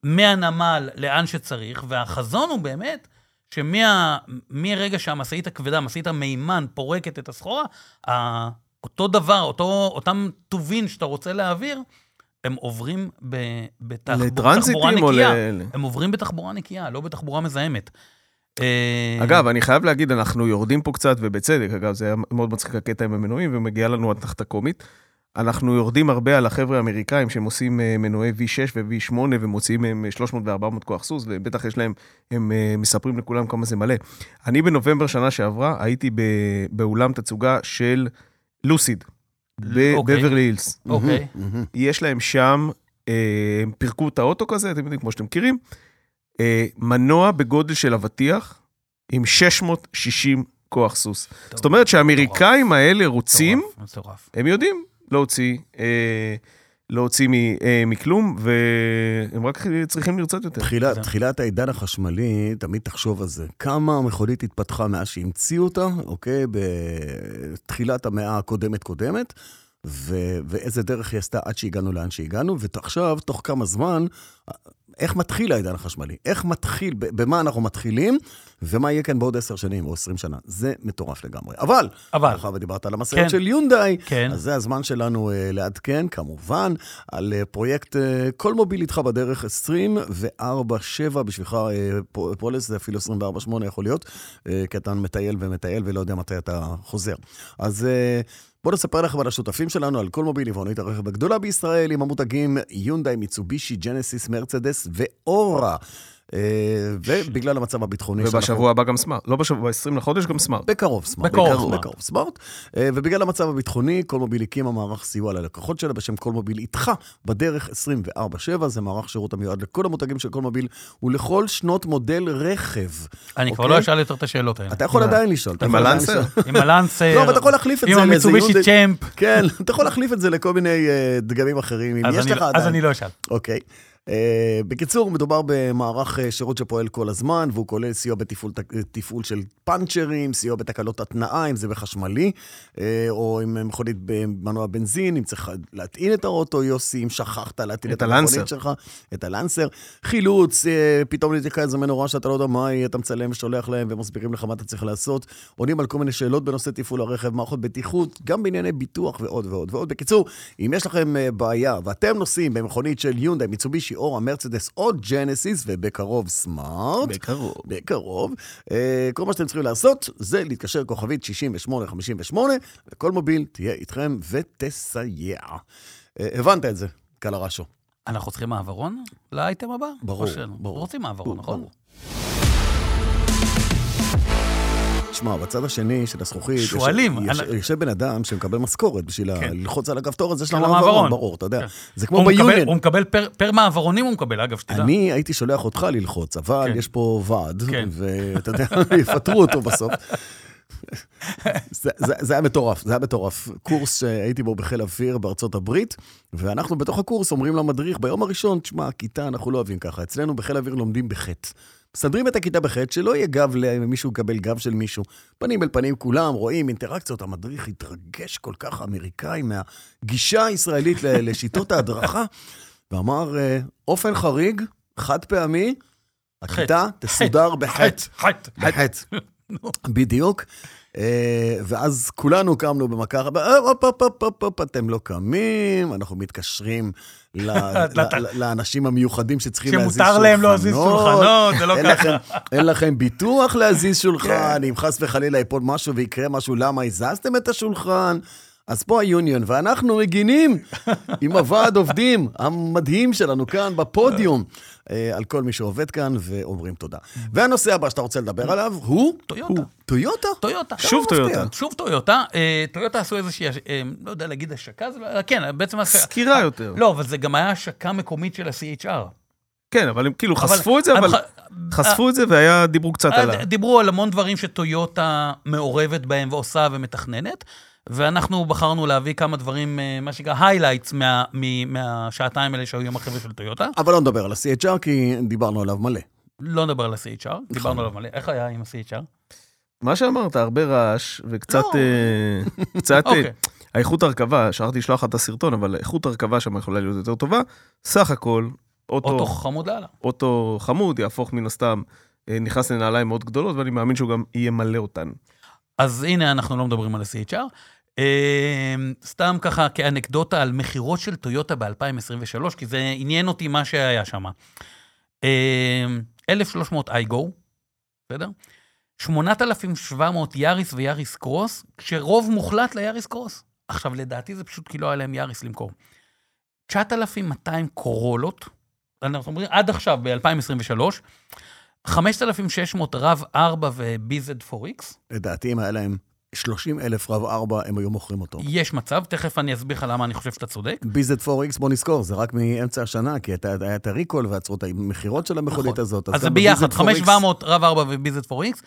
[SPEAKER 3] מהנמל לאן שצריך, והחזון הוא באמת שמה- מהרגע שהמשאית הכבדה, המשאית המימן, פורקת את הסחורה, ה- אותו דבר, אותו, אותם טובין שאתה רוצה להעביר, הם עוברים ב- בתחב- בתחבורה
[SPEAKER 4] לטרנזיטים או ל...
[SPEAKER 3] נקייה. הם עוברים בתחבורה נקייה, לא בתחבורה מזהמת. אה,
[SPEAKER 4] אגב, אני חייב להגיד, אנחנו יורדים פה קצת, ובצדק, אגב, זה היה מאוד מצחיק הקטע עם המנועים, ומגיעה לנו התחת הקומית. אנחנו יורדים הרבה על החבר'ה האמריקאים שהם עושים אה, מנועי V6 ו-V8 ומוציאים מהם אה, 300 ו-400 כוח סוס, ובטח יש להם, הם אה, מספרים לכולם כמה זה מלא. אני בנובמבר שנה שעברה הייתי ב- באולם תצוגה של לוסיד,
[SPEAKER 3] אוקיי.
[SPEAKER 4] בבברלי הילס.
[SPEAKER 3] אוקיי.
[SPEAKER 2] מהמם.
[SPEAKER 4] יש להם שם, אה, הם פירקו את האוטו כזה, אתם יודעים, כמו שאתם מכירים, אה, מנוע בגודל של אבטיח עם 660 כוח סוס.
[SPEAKER 3] טוב.
[SPEAKER 4] זאת אומרת שהאמריקאים האלה רוצים,
[SPEAKER 3] מטורף, מטורף.
[SPEAKER 4] הם יודעים להוציא, אה, להוציא מ, אה, מכלום, והם רק צריכים לרצות יותר.
[SPEAKER 2] תחילה,
[SPEAKER 3] זה-
[SPEAKER 2] תחילת העידן החשמלי, תמיד תחשוב על זה. כמה המכונית התפתחה מאז שהמציאו אותה, אוקיי? בתחילת המאה הקודמת-קודמת, ו- ואיזה דרך היא עשתה עד שהגענו לאן שהגענו, ועכשיו, תוך כמה זמן, איך מתחיל העידן החשמלי? איך מתחיל, ב- במה אנחנו מתחילים, ומה יהיה כאן בעוד עשר שנים או עשרים שנה. זה מטורף לגמרי. אבל,
[SPEAKER 3] אבל,
[SPEAKER 2] מאחר ודיברת על המשאיות
[SPEAKER 3] כן.
[SPEAKER 2] של יונדאי,
[SPEAKER 3] כן,
[SPEAKER 2] אז זה הזמן שלנו אה, לעדכן, כמובן, על אה, פרויקט אה, כל מוביל איתך בדרך 24-7, בשבילך אה, פו- פולס זה אפילו 24-8 יכול להיות, אה, כי אתה מטייל ומטייל ולא יודע מתי אתה חוזר. אז... אה, בואו נספר לכם על השותפים שלנו, על כל מוביל עיוונית הרכב הגדולה בישראל, עם המותגים יונדאי, מיצובישי, ג'נסיס, מרצדס ואורה. אה, ובגלל המצב הביטחוני
[SPEAKER 4] ובשבוע הבא גם סמארט. לא בשבוע, ב-20 לחודש גם סמארט.
[SPEAKER 2] בקרוב סמארט.
[SPEAKER 3] בקרוב סמארט.
[SPEAKER 2] בקרוב סמארט. אה, ובגלל המצב הביטחוני, קולמוביל הקימה מערך סיוע ללקוחות שלה בשם קולמוביל איתך בדרך 24/7. זה מערך שירות המיועד לכל המותגים של קולמוביל ולכל שנות מודל רכב.
[SPEAKER 3] אני כבר
[SPEAKER 2] אוקיי.
[SPEAKER 3] לא אשאל יותר את השאלות האלה.
[SPEAKER 2] אתה יכול
[SPEAKER 4] אה.
[SPEAKER 2] עדיין לשאול. אתה
[SPEAKER 4] עם
[SPEAKER 2] יכול עדיין
[SPEAKER 4] הלנסר?
[SPEAKER 2] לשאול.
[SPEAKER 3] עם הלנסר,
[SPEAKER 2] לא, אבל אתה יכול להחליף את
[SPEAKER 3] עם
[SPEAKER 2] זה לאיזה
[SPEAKER 3] המיצובישי
[SPEAKER 2] יונדאי.
[SPEAKER 3] צ'מפ,
[SPEAKER 2] כן, אתה יכול להחליף את זה לכל מיני אה, דגמים אחרים, אם
[SPEAKER 3] אז
[SPEAKER 2] יש
[SPEAKER 3] אני- לא-
[SPEAKER 2] לך
[SPEAKER 3] אז
[SPEAKER 2] עדיין.
[SPEAKER 3] אני לא אשאל.
[SPEAKER 2] אוקיי. אה, בקיצור, מדובר במערך אה, שירות שפועל כל הזמן, והוא כולל סיוע בתפעול תק- תפעול של פאנצ'רים, סיוע בתקלות התנעה, אם זה בחשמלי, אה, או עם מכונית במנוע בנזין, אם צריך להטעין את האוטו, יוסי, אם שכחת להטעין
[SPEAKER 4] את
[SPEAKER 2] את,
[SPEAKER 4] הלנסר.
[SPEAKER 2] המכונית שלך, את הלנסר. חילוץ, אה, פתאום נתקע איזה מנורה שאתה לא יודע מה היא, אתה מצלם ושולח להם ומסבירים לך מה אתה צריך לעשות. עונים על כל מיני שאלות בנושא תפעול הרכב, מערכות בטיחות, גם בענייני ביטוח ועוד ועוד ועוד. בקיצור, אם יש לכם אה, בעיה ואתם נוסעים במכונית של יונדאי, מיצובישי, אורה, מרצדס או ג'נסיס, ובקרוב סמארט,
[SPEAKER 4] בקרוב.
[SPEAKER 2] בקרוב, אה, כל מה שאתם צריכים לעשות זה להתקשר כוכבית 6858, וכל מוביל תהיה איתכם ותסייע. אה, הבנת את זה, קלרשו.
[SPEAKER 3] אנחנו צריכים מעברון לאייטם הבא?
[SPEAKER 2] ברור,
[SPEAKER 3] או שאין?
[SPEAKER 2] ברור.
[SPEAKER 3] רוצים מעברון, נכון?
[SPEAKER 2] ברור. תשמע, בצד השני של הזכוכית, יש-
[SPEAKER 3] שועלים,
[SPEAKER 2] יש-
[SPEAKER 3] אני-
[SPEAKER 2] יושב בן אדם שמקבל משכורת בשביל ה-
[SPEAKER 3] כן.
[SPEAKER 2] ללחוץ על הכפתור הזה של
[SPEAKER 3] של
[SPEAKER 2] המעברון,
[SPEAKER 3] המעברון.
[SPEAKER 2] ברור, אתה יודע.
[SPEAKER 3] כן.
[SPEAKER 2] זה כמו
[SPEAKER 3] הוא מקבל, הוא
[SPEAKER 2] ביוניון.
[SPEAKER 3] מקבל פר, פר מעברונים הוא מקבל, אגב, שתדע.
[SPEAKER 2] אני הייתי שולח אותך ללחוץ, אבל
[SPEAKER 3] כן.
[SPEAKER 2] יש פה ועד,
[SPEAKER 3] כן.
[SPEAKER 2] ואתה יודע, *laughs* יפטרו אותו בסוף. זה, זה, זה היה מטורף, זה היה מטורף. קורס שהייתי בו בחיל אוויר בארצות הברית, ואנחנו בתוך הקורס אומרים למדריך ביום הראשון, תשמע, הכיתה, אנחנו לא אוהבים ככה. אצלנו בחיל אוויר לומדים בחטא. מסדרים את הכיתה בחטא, שלא יהיה גב למישהו יקבל גב של מישהו. פנים אל פנים כולם, רואים אינטראקציות, המדריך התרגש כל כך אמריקאי מהגישה הישראלית ל- לשיטות ההדרכה, ואמר, "אה, אופן חריג, חד פעמי, הכיתה תסודר בחטא.
[SPEAKER 3] חטא, חטא. *laughs*
[SPEAKER 2] בחטא. בדיוק. אה, ואז כולנו קמנו במכה, אחת, אה, הופ, הופ, הופ, הופ, הופ, אתם לא קמים, אנחנו מתקשרים
[SPEAKER 3] *laughs*
[SPEAKER 2] ל-
[SPEAKER 3] לת-
[SPEAKER 2] ל- לאנשים המיוחדים שצריכים להזיז שולחנות.
[SPEAKER 3] לא שמותר להם לא להזיז שולחנות, זה לא
[SPEAKER 2] אין
[SPEAKER 3] ככה.
[SPEAKER 2] לכם- אין לכם ביטוח להזיז שולחן, אם חס וחלילה יפול משהו ויקרה משהו, למה הזזתם את השולחן? אז פה היוניון, ואנחנו מגינים עם הוועד עובדים המדהים שלנו כאן בפודיום אה, על כל מי שעובד כאן, ואומרים תודה. והנושא הבא שאתה רוצה לדבר עליו הוא?
[SPEAKER 3] טויוטה.
[SPEAKER 2] הוא טויוטה?
[SPEAKER 3] טויוטה.
[SPEAKER 4] שוב
[SPEAKER 2] כמה מפתיע.
[SPEAKER 4] טויוטה.
[SPEAKER 3] שוב טויוטה. אה, טויוטה עשו איזושהי, הש- אה, לא יודע להגיד השקה, זה לא- כן, בעצם... הש-
[SPEAKER 4] סקירה יותר.
[SPEAKER 3] לא, אבל זה גם היה השקה מקומית של ה-CHR.
[SPEAKER 4] כן, אבל הם כאילו חשפו את זה, אבל חשפו את זה והיה, דיברו קצת
[SPEAKER 3] אה,
[SPEAKER 4] עליו.
[SPEAKER 3] דיברו על המון דברים שטויוטה מעורבת בהם ועושה ומתכננת, ואנחנו בחרנו להביא כמה דברים, אה, מה שנקרא highlights מה, מ- מהשעתיים האלה שהיו עם החבר'ה של טויוטה.
[SPEAKER 2] אבל לא נדבר על ה-CHR, כי דיברנו עליו מלא.
[SPEAKER 3] לא נדבר על ה-CHR, דיברנו עליו מלא. איך היה עם ה-CHR?
[SPEAKER 4] מה שאמרת, הרבה רעש וקצת...
[SPEAKER 3] לא.
[SPEAKER 4] אה, קצת... אה,
[SPEAKER 3] אוקיי.
[SPEAKER 4] האיכות הרכבה, שכחתי לשלוח לך את הסרטון, אבל איכות הרכבה שם יכולה להיות יותר טובה. סך הכל,
[SPEAKER 3] אוטו
[SPEAKER 4] אוטו,
[SPEAKER 3] חמוד לאללה.
[SPEAKER 4] אוטו חמוד יהפוך מן הסתם, אה, נכנס לנעליים מאוד גדולות, ואני מאמין שהוא גם יהיה מלא אותן.
[SPEAKER 3] אז הנה, אנחנו לא מדברים על ה-CHR. אמ, סתם ככה כאנקדוטה על מכירות של טויוטה ב-2023, כי זה עניין אותי מה שהיה שם. אמ, 1,300 אייגו, בסדר? 8,700 יאריס ויאריס קרוס, כשרוב מוחלט ליאריס קרוס. עכשיו, לדעתי זה פשוט כי לא היה להם יאריס למכור. 9,200 קורולות, אנחנו אומרים עד עכשיו, ב-2023, 5,600 רב 4 ו-BZ4X,
[SPEAKER 2] לדעתי, אם היה להם 30 אלף רב ארבע, הם היו מוכרים אותו.
[SPEAKER 3] יש מצב, תכף אני אסביר לך למה אני חושב שאתה צודק.
[SPEAKER 2] ביזט 4X, בוא נזכור, זה רק מאמצע השנה, כי הייתה- היה את הריקול ועצרו את המכירות של המכונית
[SPEAKER 3] נכון.
[SPEAKER 2] הזאת.
[SPEAKER 3] אז זה
[SPEAKER 2] גם
[SPEAKER 3] ביחד,
[SPEAKER 2] ב-BZ 4X
[SPEAKER 3] 5700 רב 4 וביזט 4X.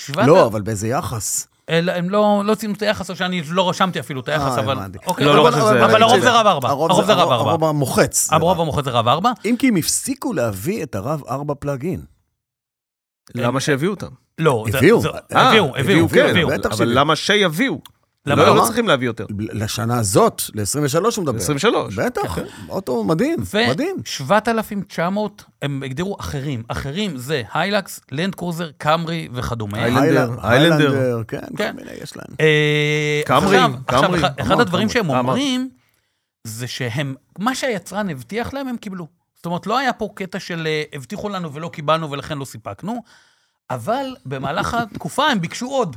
[SPEAKER 3] שבעת-
[SPEAKER 2] לא, אבל באיזה יחס.
[SPEAKER 3] אל- הם לא לא ציינו את היחס, או שאני לא רשמתי אפילו את היחס,
[SPEAKER 2] אה,
[SPEAKER 3] אבל...
[SPEAKER 2] הבנתי.
[SPEAKER 3] אוקיי,
[SPEAKER 4] לא,
[SPEAKER 3] אבל-
[SPEAKER 4] לא רשמתי את זה.
[SPEAKER 3] אבל הרוב זה רב 4.
[SPEAKER 2] הרוב
[SPEAKER 3] הרוב זה רב
[SPEAKER 2] הרוב-
[SPEAKER 3] 4.
[SPEAKER 2] הרוב המוחץ. זה
[SPEAKER 3] הרוב
[SPEAKER 2] רב.
[SPEAKER 3] המוחץ זה רב 4.
[SPEAKER 2] אם כי הם הפסיקו להביא את הרב ארבע פלאגין.
[SPEAKER 4] למה שיביאו אותם?
[SPEAKER 3] לא, זה-
[SPEAKER 2] הביאו.
[SPEAKER 3] זה-
[SPEAKER 4] אה,
[SPEAKER 3] כן. הביאו, הביאו,
[SPEAKER 4] כן,
[SPEAKER 3] הביאו.
[SPEAKER 2] בטח
[SPEAKER 4] אבל
[SPEAKER 2] שהביאו.
[SPEAKER 4] למה שיביאו?
[SPEAKER 3] למה
[SPEAKER 4] לא,
[SPEAKER 3] לא?
[SPEAKER 4] לא צריכים להביא יותר.
[SPEAKER 2] לשנה הזאת, ל-23 הוא מדבר.
[SPEAKER 4] 23.
[SPEAKER 2] בטח,
[SPEAKER 3] כן,
[SPEAKER 2] אוטו מדהים, מדהים.
[SPEAKER 3] ו-7,900, הם הגדירו אחרים. אחרים זה היילקס, לנד קרוזר, קאמרי וכדומה.
[SPEAKER 4] היילקס. היילנדר,
[SPEAKER 2] היילנדר,
[SPEAKER 4] היילנדר.
[SPEAKER 2] כן, כל
[SPEAKER 3] כן.
[SPEAKER 2] מיני יש להם.
[SPEAKER 3] אה,
[SPEAKER 4] קאמרי,
[SPEAKER 3] עכשיו,
[SPEAKER 4] קאמרי,
[SPEAKER 3] עכשיו, אחד- אחד
[SPEAKER 4] אמרת, אה,
[SPEAKER 3] הדברים שהם
[SPEAKER 4] אמרת.
[SPEAKER 3] אומרים, זה שהם, מה שהיצרן הבטיח להם, הם קיבלו. זאת אומרת, לא היה פה קטע של אה, הבטיחו לנו ולא קיבלנו ולכן לא סיפקנו, אבל
[SPEAKER 4] *laughs*
[SPEAKER 3] במהלך התקופה הם ביקשו עוד.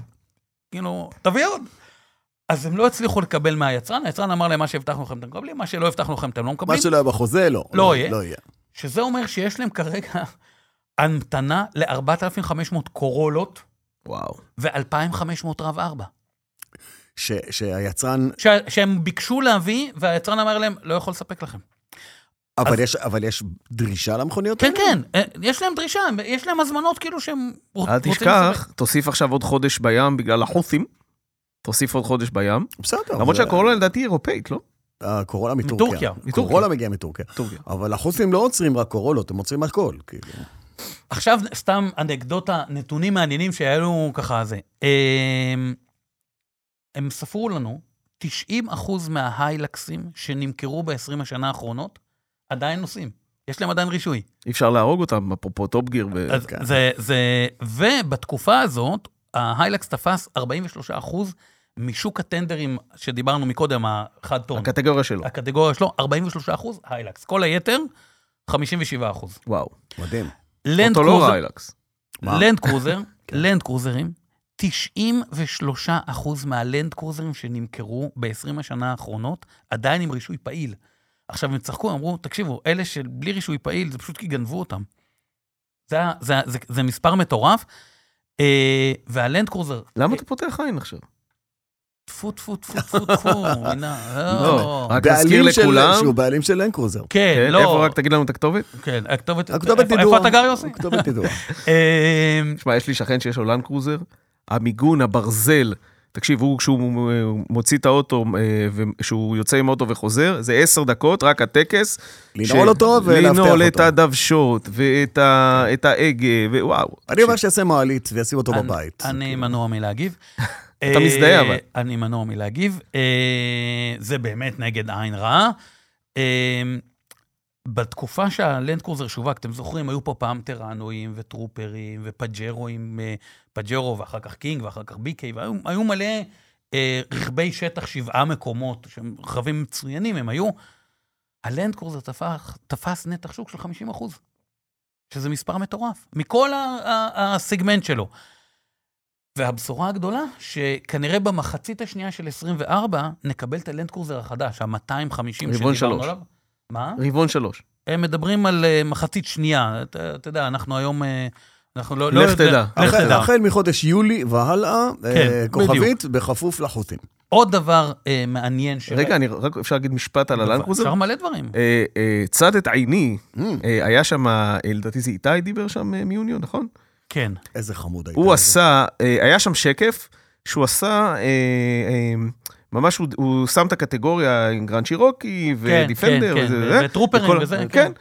[SPEAKER 3] כאילו, תביא עוד. אז הם לא הצליחו לקבל מהיצרן, היצרן אמר להם, מה שהבטחנו לכם אתם מקבלים, מה שלא הבטחנו לכם אתם לא
[SPEAKER 2] מה
[SPEAKER 3] מקבלים,
[SPEAKER 2] שלא היה בחוזה, לא.
[SPEAKER 3] לא יהיה.
[SPEAKER 2] לא יהיה.
[SPEAKER 3] שזה אומר שיש להם כרגע *laughs* המתנה ל-4,500 קורולות
[SPEAKER 4] וואו.
[SPEAKER 3] ו-2,500 רב 4.
[SPEAKER 2] ש- שהיצרן,
[SPEAKER 3] ש... שהם ביקשו להביא, והיצרן אמר להם, לא יכול לספק לכם.
[SPEAKER 2] אבל יש- אבל יש דרישה למכוניות
[SPEAKER 3] כן,
[SPEAKER 2] האלה?
[SPEAKER 3] כן, אה, יש להם דרישה, הם- יש להם הזמנות כאילו שהם רוצ-
[SPEAKER 4] אל
[SPEAKER 3] רוצים
[SPEAKER 4] תשכח, תוסיף עכשיו עוד חודש בים בגלל החות'ים. תוסיף עוד חודש בים.
[SPEAKER 2] בסדר.
[SPEAKER 4] למרות
[SPEAKER 2] זה-
[SPEAKER 4] שהקורונה לדעתי אירופאית, לא?
[SPEAKER 2] הקורולה מטורקיה.
[SPEAKER 3] מטורקיה.
[SPEAKER 4] מטורקיה.
[SPEAKER 2] קורולה מגיעה מטורקיה.
[SPEAKER 4] טורקיה.
[SPEAKER 2] אבל החות'ים לא עוצרים רק קורולות, הם עוצרים הכל. כאילו.
[SPEAKER 3] עכשיו סתם אנקדוטה, נתונים מעניינים שהיה לנו ככה זה. הם, הם ספרו לנו, 90 אחוז מההיילקסים שנמכרו ב-20 השנה האחרונות, עדיין נוסעים. יש להם עדיין רישוי.
[SPEAKER 4] אי אפשר להרוג אותם, אפרופו טופ גיר. ו-
[SPEAKER 3] אז
[SPEAKER 2] כן.
[SPEAKER 3] זה, זה, ובתקופה הזאת, ההיילקס תפס 43 אחוז משוק הטנדרים שדיברנו מקודם, החד טון.
[SPEAKER 4] הקטגוריה שלו.
[SPEAKER 3] לא. הקטגוריה שלו, 43 אחוז, היילקס. כל היתר, 57 אחוז.
[SPEAKER 4] וואו.
[SPEAKER 2] מדהים.
[SPEAKER 4] אותו לא כן. ריילקס.
[SPEAKER 2] מה?
[SPEAKER 3] לנד
[SPEAKER 4] *laughs*
[SPEAKER 3] קרוזר, לנד קרוזרים, 93 אחוז מהלנד קרוזרים שנמכרו ב-20 השנה האחרונות, עדיין עם רישוי פעיל. עכשיו, הם צחקו, אמרו, תקשיבו, אלה שבלי רישוי פעיל, זה פשוט כי גנבו אותם. זה, ה- זה, ה- זה, זה מספר מטורף. אה, והלנד קרוזר,
[SPEAKER 4] למה אתה פותח עין עכשיו?
[SPEAKER 3] טפו, טפו, טפו, טפו,
[SPEAKER 4] *laughs*
[SPEAKER 3] טפו, מינה,
[SPEAKER 4] לא,
[SPEAKER 3] לא.
[SPEAKER 4] רק נזכיר
[SPEAKER 2] בעלים של-
[SPEAKER 4] לכולם,
[SPEAKER 2] שהוא בעלים של לנקרוזר.
[SPEAKER 3] כן,
[SPEAKER 4] כן, איפה
[SPEAKER 3] לא,
[SPEAKER 4] רק תגיד לנו את הכתובת?
[SPEAKER 3] כן, הכתובת,
[SPEAKER 2] הכתובת
[SPEAKER 3] איפה-
[SPEAKER 2] ידועה.
[SPEAKER 3] איפה אתה גר, יוסי?
[SPEAKER 2] הכתובת ידועה.
[SPEAKER 3] אה,
[SPEAKER 4] תשמע, יש לי שכן שיש לו לנד קרוזר, המיגון, הברזל, תקשיב, הוא כשהוא אה, מוציא את האוטו, אה, וכשהוא יוצא עם האוטו וחוזר, זה עשר דקות, רק הטקס.
[SPEAKER 2] לנעול אותו ולאבטח אותו.
[SPEAKER 4] לנעול את הדוושות, ואת ה- את ההגה, ווואו.
[SPEAKER 2] אני אומר שיעשה מעלית וישים אותו
[SPEAKER 3] אני-
[SPEAKER 2] בבית.
[SPEAKER 3] אני
[SPEAKER 2] כאילו.
[SPEAKER 3] מנוע מלהגיב.
[SPEAKER 4] *laughs*
[SPEAKER 3] אה,
[SPEAKER 4] אתה מזדהה, אבל.
[SPEAKER 3] אני מנוע מלהגיב. אה, זה באמת נגד עין רעה. אה, בתקופה שהלנד קרוזר שווק, אתם זוכרים, היו פה פעם טרנואים וטרופרים ופג'רואים, אה, פג'רו ואחר כך קינג ואחר כך ביקי, והיו היו מלא אה, רכבי שטח שבעה מקומות, שהם רכבים מצוינים, הם היו. הלנד קרוזר תפס, תפס נתח שוק של 50 אחוז, שזה מספר מטורף, מכל ה- ה- הסגמנט שלו. והבשורה הגדולה, שכנראה במחצית השנייה של 24, נקבל את הלנד קרוזר החדש, ה-250
[SPEAKER 4] רבעון
[SPEAKER 3] שדיברנו
[SPEAKER 4] שלוש.
[SPEAKER 3] עליו. מה?
[SPEAKER 4] רבעון שלוש.
[SPEAKER 3] הם מדברים על אה, מחצית שנייה. אתה אתה יודע, אנחנו היום... אה, אנחנו לא...
[SPEAKER 4] לך
[SPEAKER 3] לא-
[SPEAKER 4] תדע.
[SPEAKER 3] לך
[SPEAKER 2] החל-
[SPEAKER 3] תדע.
[SPEAKER 2] החל מחודש יולי והלאה, אה,
[SPEAKER 3] בדיוק.
[SPEAKER 2] כוכבית, בכפוף לחות'ים.
[SPEAKER 3] עוד דבר אה, מעניין ש...
[SPEAKER 4] רגע, אני רק אפשר להגיד משפט על הלנד קרוזר?
[SPEAKER 3] אפשר מלא דברים.
[SPEAKER 4] אה, אה, צד את עיני,
[SPEAKER 2] Mm,
[SPEAKER 4] אה, היה שם, אה, לדעתי זה איתי דיבר שם אה, מיוניון, נכון?
[SPEAKER 3] כן.
[SPEAKER 2] איזה חמוד היית.
[SPEAKER 4] הוא עשה, אה, היה שם שקף שהוא עשה, אה, אה, ממש הוא- הוא שם את הקטגוריה עם גרנד שירוקי
[SPEAKER 3] כן,
[SPEAKER 4] ודיפנדר
[SPEAKER 3] כן,
[SPEAKER 4] וזה
[SPEAKER 3] כן,
[SPEAKER 4] וזה.
[SPEAKER 3] וטרופרים
[SPEAKER 4] וכל-
[SPEAKER 3] וזה,
[SPEAKER 4] כן.
[SPEAKER 3] כן.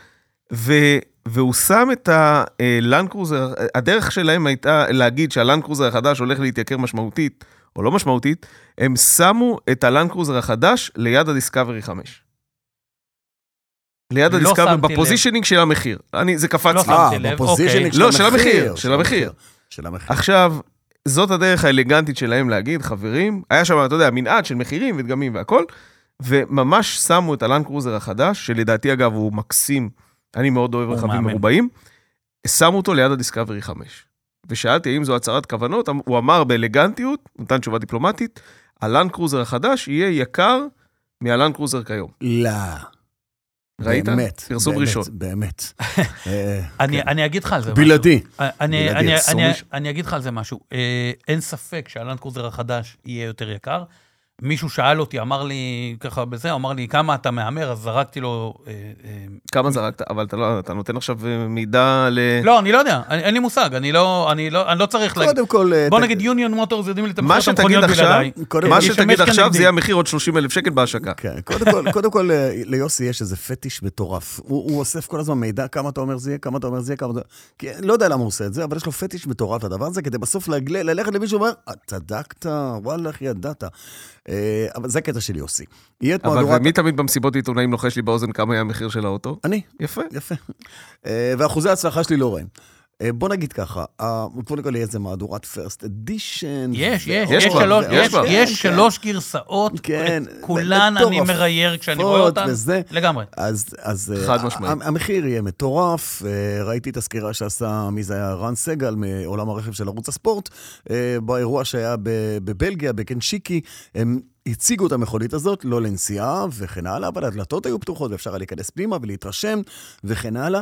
[SPEAKER 4] ו- והוא שם את הלנד קרוזר, הדרך שלהם הייתה להגיד שהלנד קרוזר החדש הולך להתייקר משמעותית, או לא משמעותית, הם שמו את הלנד קרוזר החדש ליד הדיסקאברי 5. ליד
[SPEAKER 3] לא
[SPEAKER 4] הדיסקאברי,
[SPEAKER 3] שמתי לב.
[SPEAKER 4] בפוזישנינג של המחיר. אני, זה קפץ
[SPEAKER 3] לא
[SPEAKER 4] לי.
[SPEAKER 3] שמתי
[SPEAKER 2] אה,
[SPEAKER 3] שמתי לב,
[SPEAKER 2] בפוזישנינג
[SPEAKER 3] אוקיי.
[SPEAKER 2] של
[SPEAKER 4] לא, של
[SPEAKER 2] המחיר.
[SPEAKER 4] המחיר, של המחיר.
[SPEAKER 2] של המחיר.
[SPEAKER 4] עכשיו, זאת הדרך האלגנטית שלהם להגיד, חברים, היה שם, אתה יודע, מנעד של מחירים ודגמים והכל, וממש שמו את הלנד קרוזר החדש, שלדעתי, אגב, הוא מקסים, אני מאוד אוהב
[SPEAKER 3] הוא
[SPEAKER 4] רכבים
[SPEAKER 3] מהמם.
[SPEAKER 4] מרובעים, שמו אותו ליד הדיסקאברי 5. ושאלתי האם זו הצהרת כוונות, אמ, הוא אמר באלגנטיות, נתן תשובה דיפלומטית, הלנד קרוזר החדש יהיה יקר מהלנד קרוזר כיום.
[SPEAKER 2] לא.
[SPEAKER 4] ראית?
[SPEAKER 2] באמת.
[SPEAKER 4] פרסום
[SPEAKER 2] באמת,
[SPEAKER 4] ראשון.
[SPEAKER 2] באמת. אה,
[SPEAKER 3] אני-
[SPEAKER 4] כן.
[SPEAKER 3] אני אגיד לך על זה משהו. אה,
[SPEAKER 2] בלעדי.
[SPEAKER 3] אני-
[SPEAKER 2] בלעדי,
[SPEAKER 3] אני-
[SPEAKER 2] אסור
[SPEAKER 3] אני-
[SPEAKER 2] מישהו.
[SPEAKER 3] אני אגיד לך על זה משהו. אה, אין ספק שהלנד קרוזר החדש יהיה יותר יקר. מישהו שאל אותי, אמר לי ככה בזה, אמר לי, כמה אתה מהמר? אז זרקתי לו... אה, אה,
[SPEAKER 4] כמה זרקת, אבל אתה, לא, אתה נותן עכשיו אה, מידע ל...
[SPEAKER 3] לא, אני לא יודע, אני- אין לי מושג, אני לא- אני לא אני לא צריך להגיד.
[SPEAKER 2] קודם כל... אה,
[SPEAKER 3] בוא
[SPEAKER 2] ת-
[SPEAKER 3] נגיד יוניון מוטורס יודעים לתמחר
[SPEAKER 4] מה
[SPEAKER 3] את
[SPEAKER 4] שתגיד
[SPEAKER 3] המכוניות
[SPEAKER 4] עכשיו,
[SPEAKER 3] בלעדיי.
[SPEAKER 2] קודם
[SPEAKER 4] מה
[SPEAKER 2] כל-
[SPEAKER 3] ש-
[SPEAKER 4] שתגיד
[SPEAKER 3] ישמש
[SPEAKER 4] עכשיו זה
[SPEAKER 3] כנגדי.
[SPEAKER 4] יהיה מחיר עוד 30 אלף שקל בהשקה.
[SPEAKER 2] כן, קודם כל, קודם כל, אה, ליוסי יש איזה פטיש מטורף. הוא, הוא אוסף כל הזמן מידע, כמה אתה אומר זה יהיה, כמה אתה אומר זה יהיה, כמה אתה... כי, לא יודע למה הוא עושה את זה, אבל יש לו פטיש מטורף לדבר הזה, כדי בסוף לגל... ללכת למישהו ואומר, "אה, צדקת, וואלה, איך ידעת. אה, אבל זה קטע של יוסי. יהיה את
[SPEAKER 4] אבל
[SPEAKER 2] מהדורת...
[SPEAKER 4] ומי תמיד במסיבות עיתונאים לוחש לי באוזן כמה היה המחיר של האוטו?
[SPEAKER 2] אני,
[SPEAKER 4] יפה.
[SPEAKER 2] יפה. אה, ואחוזי ההצלחה שלי לא רעים. אה, בוא נגיד ככה, אה, קודם כל יהיה איזה מהדורת פרסט אדישן.
[SPEAKER 3] יש, יש,
[SPEAKER 4] יש
[SPEAKER 3] יש
[SPEAKER 4] כבר,
[SPEAKER 3] שלוש-
[SPEAKER 4] יש
[SPEAKER 3] יש-
[SPEAKER 4] כבר. כן.
[SPEAKER 3] יש שלוש גרסאות,
[SPEAKER 2] כן,
[SPEAKER 3] את כולן אני
[SPEAKER 2] מטורפות
[SPEAKER 3] מרייר כשאני רואה אותן,
[SPEAKER 2] וזה.
[SPEAKER 3] לגמרי.
[SPEAKER 2] אז, אז אה,
[SPEAKER 4] חד משמעית.
[SPEAKER 2] ה- המחיר יהיה מטורף, אה, ראיתי את הסקירה שעשה, מי זה היה? רן סגל מעולם הרכב של ערוץ הספורט, אה, באירוע שהיה ב- בבלגיה, בקנשיקי, הם הציגו את המכונית הזאת, לא לנסיעה וכן הלאה, אבל הדלתות היו פתוחות ואפשר היה להיכנס פנימה ולהתרשם וכן הלאה.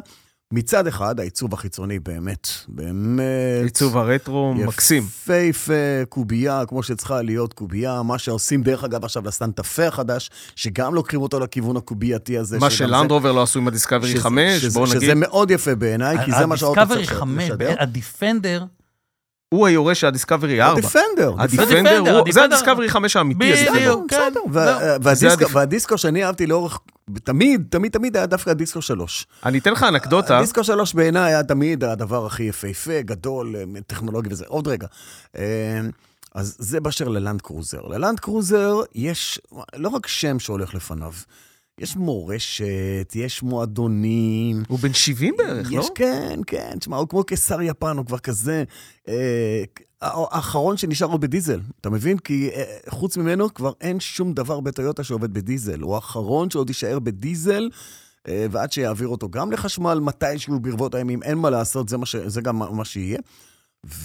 [SPEAKER 2] מצד אחד, העיצוב החיצוני באמת, באמת...
[SPEAKER 4] עיצוב הרטרו מקסים.
[SPEAKER 2] יפהפה, קובייה, כמו שצריכה להיות קובייה, מה שעושים דרך אגב עכשיו לסטנטה פה החדש, שגם לוקחים אותו לכיוון הקובייתי הזה.
[SPEAKER 4] מה
[SPEAKER 2] שגם
[SPEAKER 4] שלנדרובר לא עשו עם הדיסקאברי
[SPEAKER 2] שזה-
[SPEAKER 4] 5,
[SPEAKER 2] שזה-
[SPEAKER 4] בואו
[SPEAKER 2] שזה
[SPEAKER 4] נגיד. אה,
[SPEAKER 2] מאוד יפה בעיניי, כי זה מה שהאוטו
[SPEAKER 3] הדיסקאברי
[SPEAKER 2] צריך
[SPEAKER 3] 5,
[SPEAKER 2] לשדר.
[SPEAKER 3] הדיפנדר,
[SPEAKER 4] הוא היורש של הדיסקאברי 4.
[SPEAKER 2] הדיפנדר.
[SPEAKER 4] הדיפנדר, הוא-
[SPEAKER 3] הדיפנדר.
[SPEAKER 4] זה הדיסקאברי 5 האמיתי.
[SPEAKER 3] בדיוק.
[SPEAKER 4] הדיסקאברי.
[SPEAKER 3] בדיוק, כן.
[SPEAKER 2] בסדר, וה-
[SPEAKER 4] לא, זה
[SPEAKER 2] והדיסקו-
[SPEAKER 4] הדיפ-
[SPEAKER 2] והדיסקו שאני אהבתי לאורך, תמיד, תמיד, תמיד היה דווקא הדיסקו שלוש.
[SPEAKER 4] לא- אני אתן לך אנקדוטה.
[SPEAKER 2] הדיסקו שלוש בעיניי היה תמיד הדבר הכי יפהפה, גדול, אה, טכנולוגי וזה. עוד רגע. אה, אז זה באשר ללנד קרוזר. ללנד קרוזר יש לא רק שם שהולך לפניו, יש מורשת, יש מועדונים,
[SPEAKER 4] הוא בן 70 בערך,
[SPEAKER 2] יש,
[SPEAKER 4] לא?
[SPEAKER 2] כן, כן, תשמע, הוא כמו קיסר יפן, הוא כבר כזה... אה, האחרון שנשאר עוד בדיזל, אתה מבין? כי אה, חוץ ממנו כבר אין שום דבר בטויוטה שעובד בדיזל. הוא האחרון שעוד יישאר בדיזל, אה, ועד שיעביר אותו גם לחשמל, מתישהו ברבות הימים, אין מה לעשות, זה, מה ש... זה גם מה- מה שיהיה.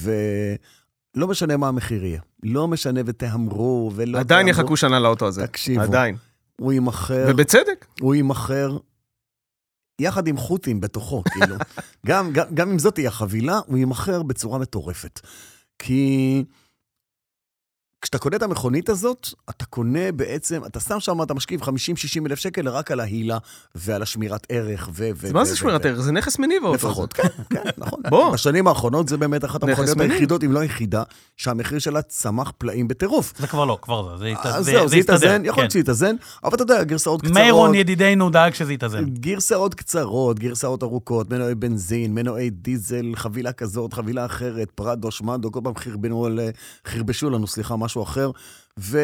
[SPEAKER 2] ולא משנה מה המחיר יהיה. לא משנה ותהמרו, ולא...
[SPEAKER 4] עדיין
[SPEAKER 2] תהמרו.
[SPEAKER 4] יחכו שנה לאוטו הזה.
[SPEAKER 2] לא תקשיבו. אה,
[SPEAKER 4] עדיין.
[SPEAKER 2] הוא יימכר.
[SPEAKER 4] ובצדק.
[SPEAKER 2] הוא יימכר יחד עם חות'ים בתוכו,
[SPEAKER 4] *laughs*
[SPEAKER 2] כאילו. גם, גם, גם אם זאת תהיה החבילה, הוא יימכר בצורה מטורפת. כי כשאתה קונה את המכונית הזאת, אתה קונה בעצם, אתה שם שם, אתה משכיב 50-60 אלף שקל רק על ההילה ועל השמירת ערך ו... ו-
[SPEAKER 4] אז
[SPEAKER 2] ו-
[SPEAKER 4] מה זה
[SPEAKER 2] ו-
[SPEAKER 4] שמירת
[SPEAKER 2] ו-
[SPEAKER 4] ערך? זה נכס מניב האוטו. הזה.
[SPEAKER 2] לפחות, כן, כן,
[SPEAKER 4] *laughs*
[SPEAKER 2] נכון.
[SPEAKER 4] בוא.
[SPEAKER 2] בשנים האחרונות זה באמת אחת
[SPEAKER 4] נכס
[SPEAKER 2] המכוניות
[SPEAKER 4] מניב.
[SPEAKER 2] היחידות, אם לא היחידה, שהמחיר שלה צמח פלאים בטירוף.
[SPEAKER 3] זה כבר לא, כבר זה, זה ית-
[SPEAKER 2] אז
[SPEAKER 3] זה-
[SPEAKER 2] אה, זהו,
[SPEAKER 3] זה
[SPEAKER 2] זה
[SPEAKER 3] יסתדר,
[SPEAKER 2] יתאזן, יכול להיות
[SPEAKER 3] כן.
[SPEAKER 2] שיתאזן, אבל אתה יודע, גרסאות קצרות.
[SPEAKER 3] מיירון ידידנו דאג שזה יתאזן.
[SPEAKER 2] גרסאות קצרות, גרסאות ארוכות, מנועי בנזין, מנועי דיזל, חבילה כזאת, חבילה אחרת, פרדו, שמנדו, כל פעם חרבנו על... חרבשו לנו, סליחה, משהו אחר. ו...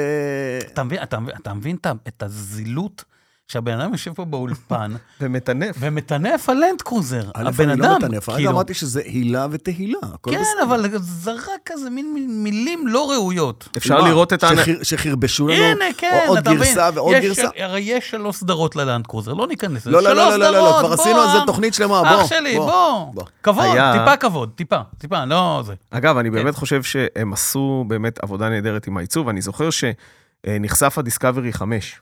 [SPEAKER 3] אתה מבין, אתה מבין, אתה מבין את ה- את הזילות שהבן אדם יושב פה באולפן *laughs*
[SPEAKER 4] ומטנף.
[SPEAKER 3] ומטנף על לנד קרוזר.
[SPEAKER 2] א',
[SPEAKER 3] הבן
[SPEAKER 2] אני לא
[SPEAKER 3] אדם,
[SPEAKER 2] מטנף, אגב,
[SPEAKER 3] כאילו,
[SPEAKER 2] אמרתי שזה הילה ותהילה. הכל
[SPEAKER 3] כן,
[SPEAKER 2] בסדר.
[SPEAKER 3] אבל זרק כזה מין מין מילים לא ראויות.
[SPEAKER 4] אפשר
[SPEAKER 2] מה,
[SPEAKER 4] לראות את ה...
[SPEAKER 2] שחיר- שחרבשו לנו
[SPEAKER 3] הנה, כן,
[SPEAKER 2] לא, עוד
[SPEAKER 3] אתה מבין.
[SPEAKER 2] גרסה ועוד
[SPEAKER 3] יש-
[SPEAKER 2] גרסה?
[SPEAKER 3] הרי יש שלוש סדרות ללנד קרוזר, לא ניכנס לזה.
[SPEAKER 2] לא, לא, לא,
[SPEAKER 3] שלוש
[SPEAKER 2] לא, לא, לא,
[SPEAKER 3] סדרות,
[SPEAKER 2] כבר
[SPEAKER 3] בוא,
[SPEAKER 2] עשינו על זה
[SPEAKER 3] עם.
[SPEAKER 2] תוכנית שלמה, בוא.
[SPEAKER 3] אח שלי, בוא. כבוד,
[SPEAKER 4] היה-
[SPEAKER 3] טיפה כבוד, טיפה, טיפה, לא זה.
[SPEAKER 4] אגב, אני באמת חושב שהם עשו באמת עבודה נהדרת עם העיצוב. אני זוכר שנחשף הדיסקאברי 5.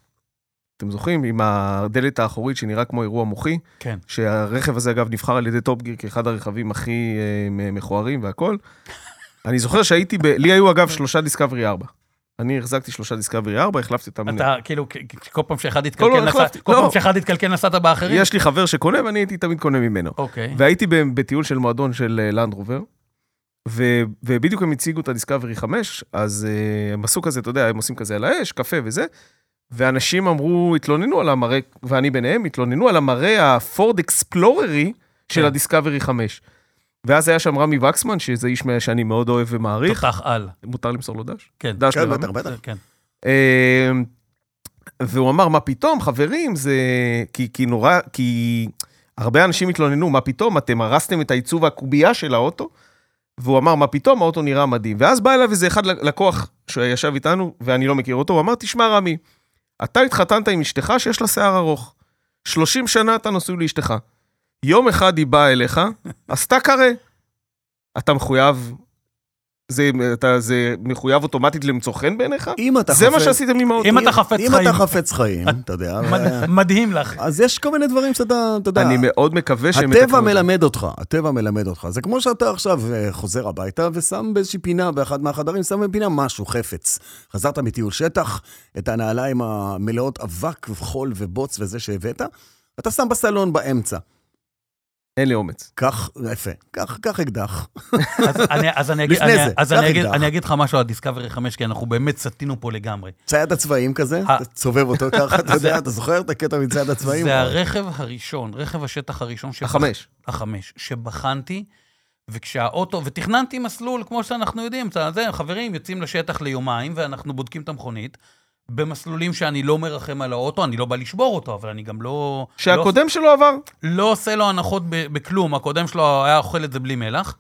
[SPEAKER 4] אתם זוכרים? עם הדלת האחורית שנראה כמו אירוע מוחי,
[SPEAKER 3] כן.
[SPEAKER 4] שהרכב הזה אגב נבחר על ידי טופגיר כאחד הרכבים הכי אה, מ- מכוערים והכול. אני זוכר שהייתי ב... לי היו אגב שלושה דיסקאברי 4. אני החזקתי שלושה דיסקאברי 4, החלפתי אותם.
[SPEAKER 3] אתה כאילו, כ- כ- כל פעם שאחד
[SPEAKER 4] לא,
[SPEAKER 3] יתקלקל, נסע-
[SPEAKER 4] החלפתי,
[SPEAKER 3] כל
[SPEAKER 4] לא.
[SPEAKER 3] פעם שאחד יתקלקל נסעת באחרים?
[SPEAKER 4] יש לי חבר שקונה ואני הייתי תמיד קונה ממנו.
[SPEAKER 3] אוקיי.
[SPEAKER 4] והייתי ב- בטיול של מועדון של אה, לנד רובר, ו- ובדיוק הם הציגו את הדיסקאברי 5, אז אה, הם עשו כזה, אתה יודע, הם עושים כזה על האש, קפה וזה, ואנשים אמרו, התלוננו על המראה, ואני ביניהם, התלוננו על המראה הפורד אקספלוררי של
[SPEAKER 3] כן.
[SPEAKER 4] הדיסקאברי 5. ואז היה שם רמי וקסמן, שזה איש מה- שאני מאוד אוהב ומעריך,
[SPEAKER 3] תותח על.
[SPEAKER 4] מותר למסור לו דש?
[SPEAKER 3] כן.
[SPEAKER 4] דש
[SPEAKER 2] כן,
[SPEAKER 4] לרמי.
[SPEAKER 2] בטח, בטח.
[SPEAKER 3] כן.
[SPEAKER 4] אה, והוא אמר, מה פתאום, חברים, זה... כי, כי נורא, כי הרבה אנשים התלוננו, מה פתאום, אתם הרסתם את העיצוב הקובייה של האוטו? והוא אמר, מה פתאום, האוטו נראה מדהים. ואז בא אליו איזה אחד לקוח שישב איתנו, ואני לא מכיר אותו, הוא אמר, תשמע, רמי, אתה התחתנת עם אשתך שיש לה שיער ארוך. 30 שנה אתה נשוי לאשתך. יום אחד היא באה אליך, עשתה קרה. אתה מחויב, זה, אתה, זה מחויב אוטומטית למצוא חן בעיניך?
[SPEAKER 2] אם אתה
[SPEAKER 4] זה מה
[SPEAKER 2] חפץ-
[SPEAKER 4] שעשיתם עם האוטו.
[SPEAKER 3] אם אתה חפץ
[SPEAKER 2] אם
[SPEAKER 3] חיים,
[SPEAKER 2] אתה חפץ חיים, אתה יודע,
[SPEAKER 3] מד- מדהים לך.
[SPEAKER 2] אז יש כל מיני דברים שאתה, אתה יודע...
[SPEAKER 4] אני מאוד מקווה שהם...
[SPEAKER 2] הטבע
[SPEAKER 4] יתקנו את זה.
[SPEAKER 2] מלמד אותך, הטבע מלמד אותך. זה כמו שאתה עכשיו אה, חוזר הביתה ושם באיזושהי פינה, באחד מהחדרים, שם בפינה משהו, חפץ. חזרת מטיול שטח, את הנעליים המלאות אבק וחול ובוץ וזה שהבאת, אתה שם בסלון באמצע.
[SPEAKER 4] אין לי אומץ.
[SPEAKER 2] קח, יפה, קח, קח אקדח.
[SPEAKER 3] אז אני- אז אני אגיד-
[SPEAKER 2] לפני
[SPEAKER 3] אני-
[SPEAKER 2] זה,
[SPEAKER 3] אז
[SPEAKER 2] קח
[SPEAKER 3] אני אגיד-
[SPEAKER 2] אקדח.
[SPEAKER 3] אני אגיד לך משהו על דיסקאברי 5, כי אנחנו באמת סטינו פה לגמרי.
[SPEAKER 2] צייד הצבעים כזה,
[SPEAKER 3] אה.
[SPEAKER 2] אתה צובב אותו ככה,
[SPEAKER 3] *laughs*
[SPEAKER 2] אתה יודע, אתה זוכר את הקטע מצייד הצבעים?
[SPEAKER 3] זה הרכב הראשון, רכב השטח הראשון, שבח-
[SPEAKER 4] החמש.
[SPEAKER 3] החמש, שבחנתי, וכשהאוטו, ותכננתי מסלול, כמו שאנחנו יודעים, אתה- זה, חברים יוצאים לשטח ליומיים, ואנחנו בודקים את המכונית, במסלולים שאני לא מרחם על האוטו, אני לא בא לשבור אותו, אבל אני גם לא... לא
[SPEAKER 4] שהקודם שלו עבר,
[SPEAKER 3] לא עושה לו הנחות ב- בכלום, הקודם שלו היה אוכל את זה בלי מלח.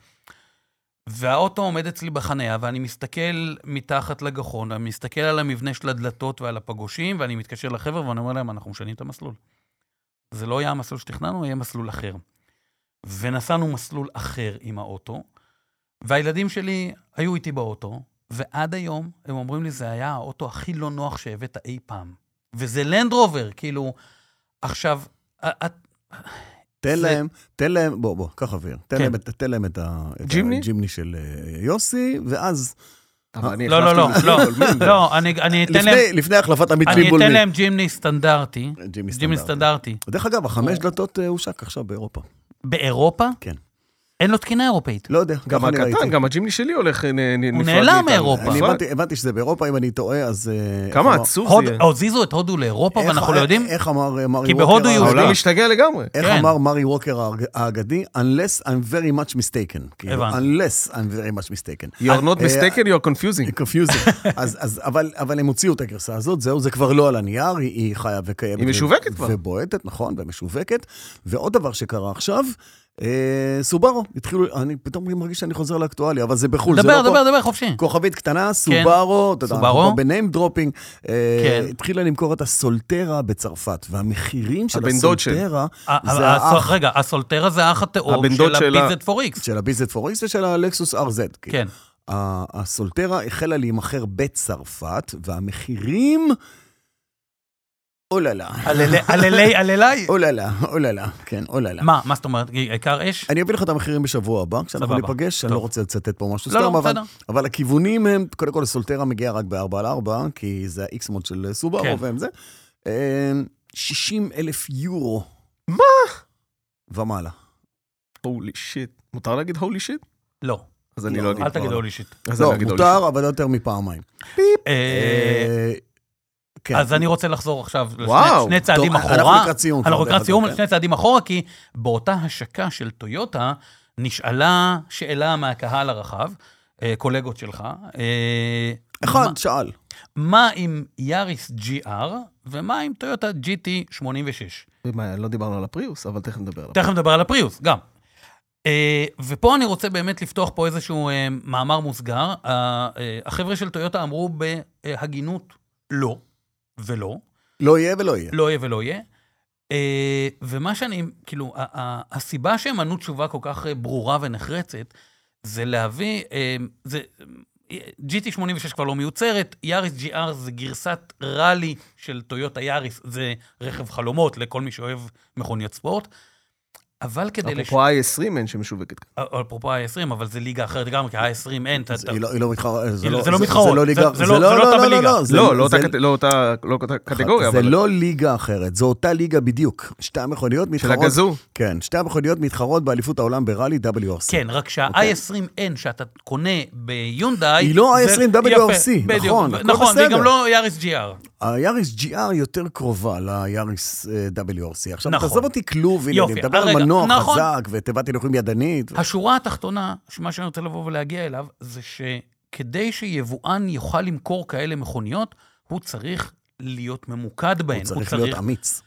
[SPEAKER 3] והאוטו עומד אצלי בחניה, ואני מסתכל מתחת לגחון, ואני מסתכל על המבנה של הדלתות ועל הפגושים, ואני מתקשר לחבר'ה ואני אומר להם, אנחנו משנים את המסלול. זה לא יהיה המסלול שתכננו, יהיה מסלול אחר. ונסענו מסלול אחר עם האוטו, והילדים שלי היו איתי באוטו, ועד היום הם אומרים לי, זה היה האוטו הכי לא נוח שהבאת אי פעם. וזה לנד רובר, כאילו... עכשיו, א- את-
[SPEAKER 2] תן
[SPEAKER 3] זה-
[SPEAKER 2] להם, תן להם, בוא, בוא, קח אוויר. תן
[SPEAKER 3] כן.
[SPEAKER 2] להם את- תן להם את ה- את
[SPEAKER 4] ג'ימני?
[SPEAKER 2] הג'ימני של אה, יוסי, ואז
[SPEAKER 4] אבל אני
[SPEAKER 3] לא, לא, לא,
[SPEAKER 4] החלפתי
[SPEAKER 3] לא,
[SPEAKER 4] מסלול גולמי.
[SPEAKER 3] לא, אני- אני אתן להם-
[SPEAKER 2] לפני- לפני החלפת
[SPEAKER 3] אני
[SPEAKER 2] המתלים
[SPEAKER 3] אתן
[SPEAKER 2] בולמים.
[SPEAKER 3] להם ג'ימני סטנדרטי,
[SPEAKER 2] ג'ימי
[SPEAKER 3] ג'ימני
[SPEAKER 2] סטנדרטי.
[SPEAKER 3] סטנדרטי.
[SPEAKER 2] דרך אגב, החמש דלתות אה, הושק עכשיו באירופה.
[SPEAKER 3] באירופה?
[SPEAKER 2] כן.
[SPEAKER 3] אין לו תקינה אירופאית.
[SPEAKER 2] לא יודע,
[SPEAKER 4] גם
[SPEAKER 2] ככה אני ראיתי.
[SPEAKER 4] הקטן, גם הג'ימני שלי הולך אה, נ- נ- נפרד.
[SPEAKER 3] נעלם אה,
[SPEAKER 4] מאיתנו.
[SPEAKER 3] מאירופה.
[SPEAKER 2] אני
[SPEAKER 4] נפרד.
[SPEAKER 2] הבנתי- הבנתי שזה באירופה, אם אני טועה, אז... אה, איך
[SPEAKER 4] כמה
[SPEAKER 2] אמר-
[SPEAKER 4] עצוב
[SPEAKER 3] הוד-
[SPEAKER 4] זה יהיה.
[SPEAKER 3] הוזיזו את הודו לאירופה,
[SPEAKER 2] איך-
[SPEAKER 3] ואנחנו לא יודעים...
[SPEAKER 2] איך אמר אה, מרי
[SPEAKER 3] כי
[SPEAKER 2] ווקר?
[SPEAKER 3] בהודו
[SPEAKER 2] ה-
[SPEAKER 3] יהודי-
[SPEAKER 4] העולם משתגע לגמרי.
[SPEAKER 2] איך
[SPEAKER 3] כן.
[SPEAKER 2] אמר מרי ווקר האג- האגדי? Unless I'm very much mistaken. כאילו,
[SPEAKER 3] הבנתי.
[SPEAKER 2] Unless I'm very much mistaken.
[SPEAKER 4] You're not
[SPEAKER 2] אה,
[SPEAKER 4] mistaken, you're confusing.
[SPEAKER 2] confusing.
[SPEAKER 4] *laughs*
[SPEAKER 2] אז, אז, אבל, אבל הם הוציאו את הגרסה הזאת, זהו, זה כבר לא על הנייר, היא, היא חיה וקיימת.
[SPEAKER 4] היא משווקת
[SPEAKER 2] ו-
[SPEAKER 4] כבר.
[SPEAKER 2] ובועטת, נכון, ומשווקת. ועוד דבר שקרה עכשיו, אה, סובארו, התחילו, אני פתאום מרגיש שאני חוזר לאקטואליה, אבל זה בחו"ל, זה
[SPEAKER 3] דבר,
[SPEAKER 2] לא פה.
[SPEAKER 3] דבר, דבר, חופשי.
[SPEAKER 2] כוכבית
[SPEAKER 4] כן.
[SPEAKER 2] קטנה, סובארו, אתה יודע,
[SPEAKER 3] סובארו.
[SPEAKER 2] אנחנו פה בניים דרופינג, אה,
[SPEAKER 3] כן.
[SPEAKER 2] התחילה למכור את הסולטרה בצרפת, והמחירים של
[SPEAKER 4] הבן דוד של-
[SPEAKER 2] הסולטרה,
[SPEAKER 3] ה-
[SPEAKER 2] זה
[SPEAKER 3] ה-
[SPEAKER 2] האח
[SPEAKER 3] רגע, הסולטרה זה האח התאום
[SPEAKER 4] הבן דוד
[SPEAKER 3] של
[SPEAKER 4] שלה.
[SPEAKER 3] הביזט פור איקס.
[SPEAKER 2] של הביזט פוריקס ושל הלקסוס RZ. כאילו.
[SPEAKER 3] כן.
[SPEAKER 2] ה- הסולטרה החלה להימכר בצרפת, והמחירים... אוללה.
[SPEAKER 3] עללי, עללי, עללי.
[SPEAKER 2] אוללה, אוללה, כן, אוללה.
[SPEAKER 3] מה, מה זאת אומרת? עיקר אש?
[SPEAKER 2] אני אביא לך את המחירים בשבוע הבא, כשאנחנו
[SPEAKER 3] סבבה.
[SPEAKER 2] ניפגש, אני
[SPEAKER 3] טוב.
[SPEAKER 2] לא רוצה לצטט פה משהו
[SPEAKER 3] לא,
[SPEAKER 2] סתם,
[SPEAKER 3] לא,
[SPEAKER 2] אבל-
[SPEAKER 3] בסדר.
[SPEAKER 2] אבל הכיוונים הם, קודם כל הסולטרה מגיעה רק ב-4 על 4, כי זה ה-X מוד של
[SPEAKER 3] כן.
[SPEAKER 2] סובארו והם זה. אה, 60 אלף יורו. מה? ומעלה.
[SPEAKER 4] הולי שיט. אה, מותר להגיד הולי שיט?
[SPEAKER 3] לא.
[SPEAKER 4] אז אני
[SPEAKER 2] לא,
[SPEAKER 4] לא אגיד.
[SPEAKER 3] אל תגידו לי שיט.
[SPEAKER 4] אז אני
[SPEAKER 2] לא,
[SPEAKER 4] אגיד holy
[SPEAKER 2] מותר, אבל לא יותר מפעמיים.
[SPEAKER 3] אה,
[SPEAKER 2] אה, כן.
[SPEAKER 3] אז אני רוצה לחזור עכשיו לשני-
[SPEAKER 4] וואו.
[SPEAKER 3] שני
[SPEAKER 2] טוב,
[SPEAKER 3] צעדים אחורה.
[SPEAKER 2] אנחנו לקראת סיום. כבר,
[SPEAKER 3] אנחנו
[SPEAKER 2] דרך
[SPEAKER 3] לקראת
[SPEAKER 2] אגב,
[SPEAKER 3] סיום,
[SPEAKER 2] כן.
[SPEAKER 3] שני צעדים אחורה, כי באותה השקה של טויוטה נשאלה שאלה מהקהל הרחב, אה, קולגות שלך, אה,
[SPEAKER 2] אחד, שאל.
[SPEAKER 3] מה עם יאריס GR ומה עם טויוטה GT 86?
[SPEAKER 4] ומה, לא דיברנו על הפריוס, אבל תכף נדבר עליו.
[SPEAKER 3] תכף נדבר על הפריוס, גם. אה, ופה אני רוצה באמת לפתוח פה איזשהו אה, מאמר מוסגר. אה, אה, החבר'ה של טויוטה אמרו בהגינות לא ולא.
[SPEAKER 2] לא יהיה ולא יהיה.
[SPEAKER 3] לא יהיה ולא יהיה. אה, ומה שאני, כאילו, ה- ה- הסיבה שהם ענו תשובה כל כך אה, ברורה ונחרצת, זה להביא, אה, זה, אה, GT86 כבר לא מיוצרת, יאריס GR זה גרסת ראלי של טויוטה יאריס, זה רכב חלומות לכל מי שאוהב מכוניות ספורט. אבל כדי... לש- אה,
[SPEAKER 4] אפרופו i20 אין שמשווקת.
[SPEAKER 3] אפרופו ה-20, אבל זה ליגה אחרת לגמרי, כי ה-20 אין, אתה-
[SPEAKER 2] אז היא לא- היא לא מתחרה,
[SPEAKER 3] היא לא- זה לא מתחרות,
[SPEAKER 2] זה לא
[SPEAKER 3] זה-
[SPEAKER 2] ליגה,
[SPEAKER 3] זה לא- זה לא אותה בליגה.
[SPEAKER 2] זה-
[SPEAKER 4] לא, לא אותה
[SPEAKER 2] זה-
[SPEAKER 4] קט- לא אותה לא אותה קטגוריה,
[SPEAKER 2] זה
[SPEAKER 4] אבל...
[SPEAKER 2] לא ליגה אחרת, זו אותה ליגה בדיוק. שתי המכוניות
[SPEAKER 4] של
[SPEAKER 2] מתחרות...
[SPEAKER 4] הגזור.
[SPEAKER 2] כן, שתי המכוניות מתחרות באליפות העולם בראלי WRC.
[SPEAKER 3] כן, רק שה-i20N שאתה קונה ביונדאי...
[SPEAKER 2] היא לא
[SPEAKER 3] זה-
[SPEAKER 2] i20
[SPEAKER 3] יפה,
[SPEAKER 2] WRC,
[SPEAKER 3] בדיוק,
[SPEAKER 2] נכון, הכל
[SPEAKER 3] נכון, והיא
[SPEAKER 2] בסדר.
[SPEAKER 3] גם לא יאריס GR.
[SPEAKER 2] היאריס GR יותר קרובה ליאריס אה, WRC. עכשיו,
[SPEAKER 3] נכון.
[SPEAKER 2] תעזוב אותי כלוב, הנה,
[SPEAKER 3] יופי,
[SPEAKER 2] אני מדבר
[SPEAKER 3] הרגע,
[SPEAKER 2] על מנוע
[SPEAKER 3] נכון.
[SPEAKER 2] חזק ותיבת הילוכים ידנית.
[SPEAKER 3] השורה התחתונה, שמה שאני רוצה לבוא ולהגיע אליו, זה שכדי שיבואן יוכל למכור כאלה מכוניות, הוא צריך להיות ממוקד בהן. אה,
[SPEAKER 2] הוא צריך להיות אמ- אמיץ.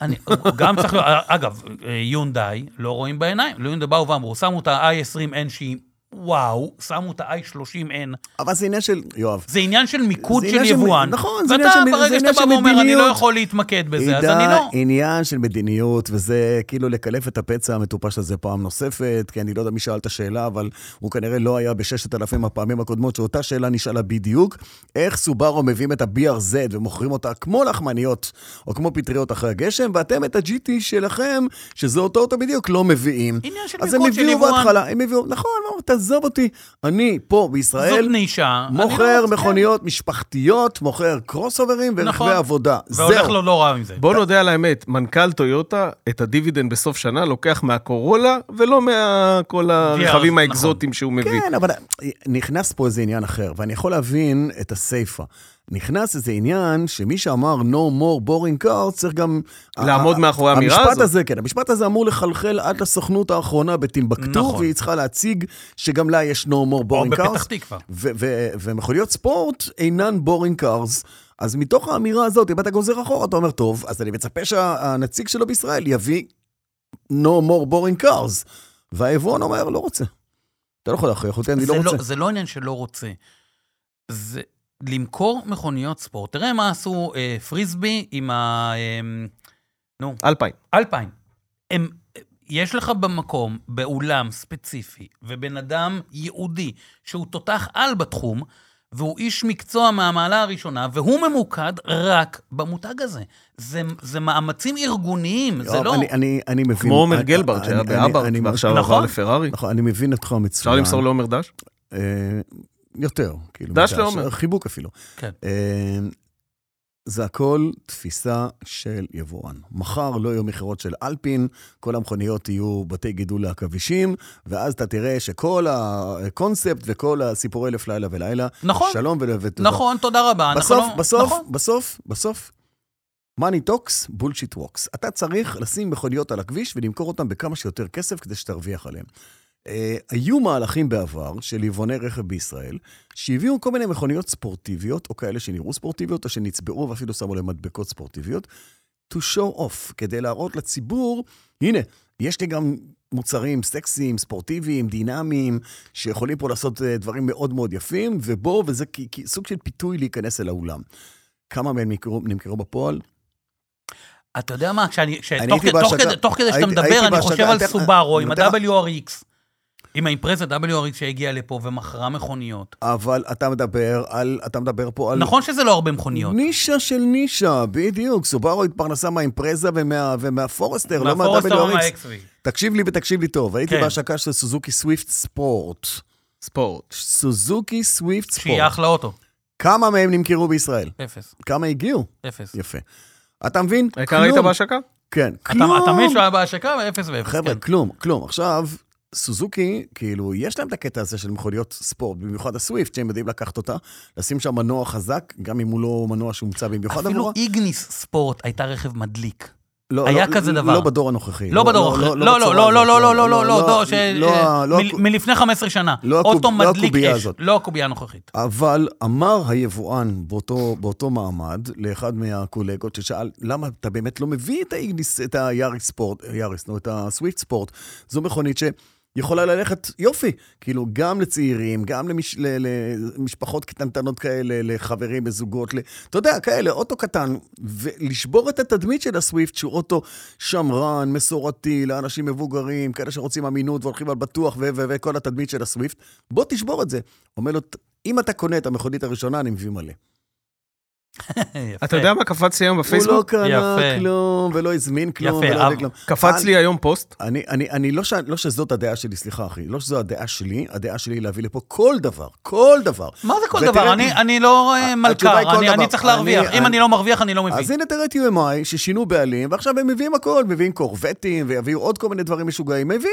[SPEAKER 3] אני, הוא גם צריך להיות, אגב, אה, יונדאי, לא רואים בעיניים. יונדאי באו ואמרו, שמו את ה-i20N שהיא וואו, שמו את ה-i30N.
[SPEAKER 2] אבל זה עניין של... יואב.
[SPEAKER 3] זה עניין של מיקוד
[SPEAKER 2] זה
[SPEAKER 3] של
[SPEAKER 2] עניין של-
[SPEAKER 3] יבואן.
[SPEAKER 2] נכון, זה עניין של-
[SPEAKER 3] ואתה,
[SPEAKER 2] זה
[SPEAKER 3] ברגע שאתה
[SPEAKER 2] עניין של
[SPEAKER 3] בא ואומר, אני לא
[SPEAKER 2] מדיניות."
[SPEAKER 3] יכול להתמקד בזה, אז
[SPEAKER 2] עידן,
[SPEAKER 3] אני לא.
[SPEAKER 2] עניין של מדיניות, וזה כאילו לקלף את הפצע המטופש הזה פעם נוספת, כי אני לא יודע מי שאל את השאלה, אבל הוא כנראה לא היה בששת אלפים הפעמים הקודמות, שאותה שאלה נשאלה בדיוק, איך סובארו מביאים את ה-BRZ ומוכרים אותה כמו לחמניות, או כמו פטריות אחרי הגשם, ואתם את ה-GT שלכם, שזה אותו אוטו בדיוק, לא מביאים.
[SPEAKER 3] עניין של
[SPEAKER 2] אז הם
[SPEAKER 3] מיקוד של
[SPEAKER 2] הביאו
[SPEAKER 3] יבואן.
[SPEAKER 2] בהתחלה, הם הביאו, נכון, לא, תעזוב אותי, אני פה
[SPEAKER 3] זאת
[SPEAKER 2] בישראל.
[SPEAKER 3] נישה. אני לא
[SPEAKER 2] מוכר
[SPEAKER 3] רוצה-
[SPEAKER 2] מכוניות משפחתיות, מוכר קרוס אוברים
[SPEAKER 3] נכון.
[SPEAKER 2] ורכבי עבודה.
[SPEAKER 3] והולך
[SPEAKER 2] זהו.
[SPEAKER 3] לו לא רע עם זה.
[SPEAKER 4] בוא נודה על האמת, מנכ"ל טויוטה את הדיבידנד בסוף שנה לוקח מהקורולה ולא מכל
[SPEAKER 3] נכון.
[SPEAKER 4] הרכבים האקזוטיים שהוא מביא.
[SPEAKER 2] כן, אבל נכנס פה איזה עניין אחר, ואני יכול להבין את הסיפה. נכנס איזה עניין שמי שאמר no more boring cars צריך גם...
[SPEAKER 4] לעמוד
[SPEAKER 2] ה-
[SPEAKER 4] מאחורי האמירה
[SPEAKER 2] המשפט
[SPEAKER 4] הזאת.
[SPEAKER 2] הזה, כן, המשפט הזה אמור לחלחל עד לסוכנות האחרונה בטימבקטור,
[SPEAKER 3] נכון.
[SPEAKER 2] והיא צריכה להציג שגם לה יש no more
[SPEAKER 3] או
[SPEAKER 2] boring cars.
[SPEAKER 3] בפתח תקווה.
[SPEAKER 2] ו- ו- ומכוניות ספורט אינן בורינג קארס. אז מתוך האמירה הזאת, אם אתה גוזר אחורה, אתה אומר, טוב, אז אני מצפה שהנציג שלו בישראל יביא no more boring cars. והיבואן אומר, לא רוצה. אתה לא יכול להכריח אותי, אני לא
[SPEAKER 3] זה
[SPEAKER 2] רוצה.
[SPEAKER 3] זה לא עניין שלא רוצה. זה למכור מכוניות ספורט. תראה מה עשו אה, פריסבי עם ה... אה,
[SPEAKER 4] אלפיים.
[SPEAKER 3] אלפיים. הם, יש לך במקום, באולם ספציפי, ובן אדם יהודי, שהוא תותח על בתחום, והוא איש מקצוע מהמעלה הראשונה, והוא ממוקד רק במותג הזה. זה, זה מאמצים ארגוניים, זה
[SPEAKER 2] יואב,
[SPEAKER 3] לא...
[SPEAKER 2] אני, אני, אני מבין.
[SPEAKER 4] כמו עומר
[SPEAKER 2] אני-
[SPEAKER 4] גלברט
[SPEAKER 2] אני-
[SPEAKER 4] שהיה
[SPEAKER 2] אני-
[SPEAKER 4] באברט
[SPEAKER 2] אני-
[SPEAKER 4] ועכשיו
[SPEAKER 3] נכון.
[SPEAKER 4] עבר לפרארי.
[SPEAKER 2] נכון, אני מבין אותך מצוין.
[SPEAKER 4] אפשר למסור לעומר דש?
[SPEAKER 2] אה, יותר, כאילו.
[SPEAKER 4] דש
[SPEAKER 2] מדש,
[SPEAKER 4] לעומר.
[SPEAKER 2] חיבוק אפילו.
[SPEAKER 3] כן.
[SPEAKER 2] אה, זה הכל תפיסה של יבואן. מחר לא יהיו מכירות של אלפין, כל המכוניות יהיו בתי גידול לעכבישים, ואז אתה תראה שכל הקונספט וכל הסיפורי אלף לילה ולילה,
[SPEAKER 3] נכון.
[SPEAKER 2] שלום ול- ותודה.
[SPEAKER 3] נכון, תודה רבה. אנחנו
[SPEAKER 2] בסוף,
[SPEAKER 3] לא-
[SPEAKER 2] בסוף,
[SPEAKER 3] נכון.
[SPEAKER 2] בסוף, בסוף, money talks, bullshit walks. אתה צריך לשים מכוניות על הכביש ולמכור אותן בכמה שיותר כסף כדי שתרוויח עליהן. אה, היו מהלכים בעבר של יבואני רכב בישראל, שהביאו כל מיני מכוניות ספורטיביות, או כאלה שנראו ספורטיביות, או שנצבעו ואפילו שמו להם מדבקות ספורטיביות, to show off, כדי להראות לציבור, הנה, יש לי גם מוצרים סקסיים, ספורטיביים, דינמיים, שיכולים פה לעשות אה, דברים מאוד מאוד יפים, ובואו, וזה כי, כי סוג של פיתוי להיכנס אל האולם. כמה מהם נמכרו, נמכרו בפועל?
[SPEAKER 3] אתה יודע מה, כשאני, שתוך
[SPEAKER 2] הייתי
[SPEAKER 3] כדי, תוך,
[SPEAKER 2] בהשקה-
[SPEAKER 3] כדי, תוך כדי שאתה
[SPEAKER 2] הייתי-
[SPEAKER 3] מדבר,
[SPEAKER 2] הייתי
[SPEAKER 3] אני חושב
[SPEAKER 2] בהשקה-
[SPEAKER 3] על
[SPEAKER 2] אתה-
[SPEAKER 3] סובארו עם
[SPEAKER 2] אני נותן-
[SPEAKER 3] ה-WRX, עם האימפרזה WRX שהגיעה לפה ומכרה מכוניות.
[SPEAKER 2] אבל אתה מדבר על, אתה מדבר פה על...
[SPEAKER 3] נכון שזה לא הרבה מכוניות.
[SPEAKER 2] נישה של נישה, בדיוק. סובארו התפרנסה מהאימפרזה ומה, ומהפורסטר, לא
[SPEAKER 3] מהפורסטר או
[SPEAKER 2] מה-WRX.
[SPEAKER 3] מה-XV.
[SPEAKER 2] תקשיב לי ותקשיב לי טוב, הייתי
[SPEAKER 3] כן.
[SPEAKER 2] בהשקה של סוזוקי סוויפט ספורט.
[SPEAKER 4] ספורט.
[SPEAKER 2] סוזוקי סוויפט ספורט.
[SPEAKER 3] שהיא אחלה אוטו.
[SPEAKER 2] כמה מהם נמכרו בישראל?
[SPEAKER 3] אפס,
[SPEAKER 2] כמה הגיעו?
[SPEAKER 3] אפס.
[SPEAKER 2] יפה. אתה מבין?
[SPEAKER 4] העיקר היית בהשקה?
[SPEAKER 2] כן.
[SPEAKER 3] אתה אתה מבין שהוא היה בהשקה? אפס ואפס.
[SPEAKER 2] חבר'ה,
[SPEAKER 3] כן.
[SPEAKER 2] כלום, כלום. עכשיו, סוזוקי, כאילו, יש להם את הקטע הזה של מכוניות ספורט, במיוחד הסוויפט, שהם יודעים לקחת אותה, לשים שם מנוע חזק, גם אם הוא לא מנוע שהומצא במיוחד
[SPEAKER 3] אפילו
[SPEAKER 2] עבורה.
[SPEAKER 3] איגניס ספורט הייתה רכב מדליק.
[SPEAKER 2] לא,
[SPEAKER 3] היה
[SPEAKER 2] לא,
[SPEAKER 3] כזה
[SPEAKER 2] לא,
[SPEAKER 3] דבר.
[SPEAKER 2] לא בדור הנוכחי.
[SPEAKER 3] לא בדור אחר. לא, לא,
[SPEAKER 2] בצורה
[SPEAKER 3] לא,
[SPEAKER 2] הזאת,
[SPEAKER 3] לא, לא, לא, לא, לא, לא, ש-
[SPEAKER 2] לא,
[SPEAKER 3] אה,
[SPEAKER 2] לא,
[SPEAKER 3] מ- מלפני 15 שנה.
[SPEAKER 2] לא הקוב-
[SPEAKER 3] אוטו
[SPEAKER 2] לא
[SPEAKER 3] מדליק
[SPEAKER 2] הקובייה
[SPEAKER 3] אש.
[SPEAKER 2] הזאת.
[SPEAKER 3] לא הקובייה
[SPEAKER 2] *laughs*
[SPEAKER 3] הנוכחית.
[SPEAKER 2] אבל אמר היבואן באותו, באותו מעמד לאחד מהקולגות ששאל, למה אתה באמת לא מביא את האיגניס, את היאריס ספורט, יאריס, נו, את הסוויפט ספורט? זו מכונית שיכולה ללכת יופי, כאילו, גם לצעירים, גם למש, ל, למשפחות קטנטנות כאלה, לחברים, לזוגות, ל, אתה יודע, כאלה, אוטו קטן, ולשבור את התדמית של הסוויפט, שהוא אוטו שמרן, מסורתי, לאנשים מבוגרים, כאלה שרוצים אמינות והולכים על בטוח, ו- ו- וכל התדמית של הסוויפט, בוא תשבור את זה. אומר לו, אם אתה קונה את המכונית הראשונה, אני מביא מלא.
[SPEAKER 3] יפה.
[SPEAKER 4] אתה יודע מה קפץ לי היום
[SPEAKER 2] כן. הוא לא
[SPEAKER 4] בפייסבוק?
[SPEAKER 2] קנה
[SPEAKER 3] יפה.
[SPEAKER 2] כלום, ולא הזמין כלום,
[SPEAKER 3] יפה, אה,
[SPEAKER 2] ולא
[SPEAKER 3] אבל-
[SPEAKER 2] יודע כלום.
[SPEAKER 4] קפץ לי היום פוסט.
[SPEAKER 2] אני, אני, אני לא, ש... לא שזאת הדעה שלי, סליחה אחי, לא שזו הדעה שלי, הדעה שלי היא להביא לפה כל דבר, כל דבר.
[SPEAKER 3] מה זה כל
[SPEAKER 2] ותראה-
[SPEAKER 3] דבר? אני- אני לא אה,
[SPEAKER 2] התשובה
[SPEAKER 3] מלכר,
[SPEAKER 2] היא כל
[SPEAKER 3] אני-
[SPEAKER 2] דבר.
[SPEAKER 3] אני צריך להרוויח.
[SPEAKER 2] אני-
[SPEAKER 3] אם
[SPEAKER 2] אני-
[SPEAKER 3] אני לא מרוויח, אני לא
[SPEAKER 2] אז
[SPEAKER 3] מבין.
[SPEAKER 2] הנה תראה את UMI ששינו בעלים, ועכשיו הם מביאים הכל, מביאים קורבטים, ויביאו עוד כל מיני דברים משוגעים, מביאים.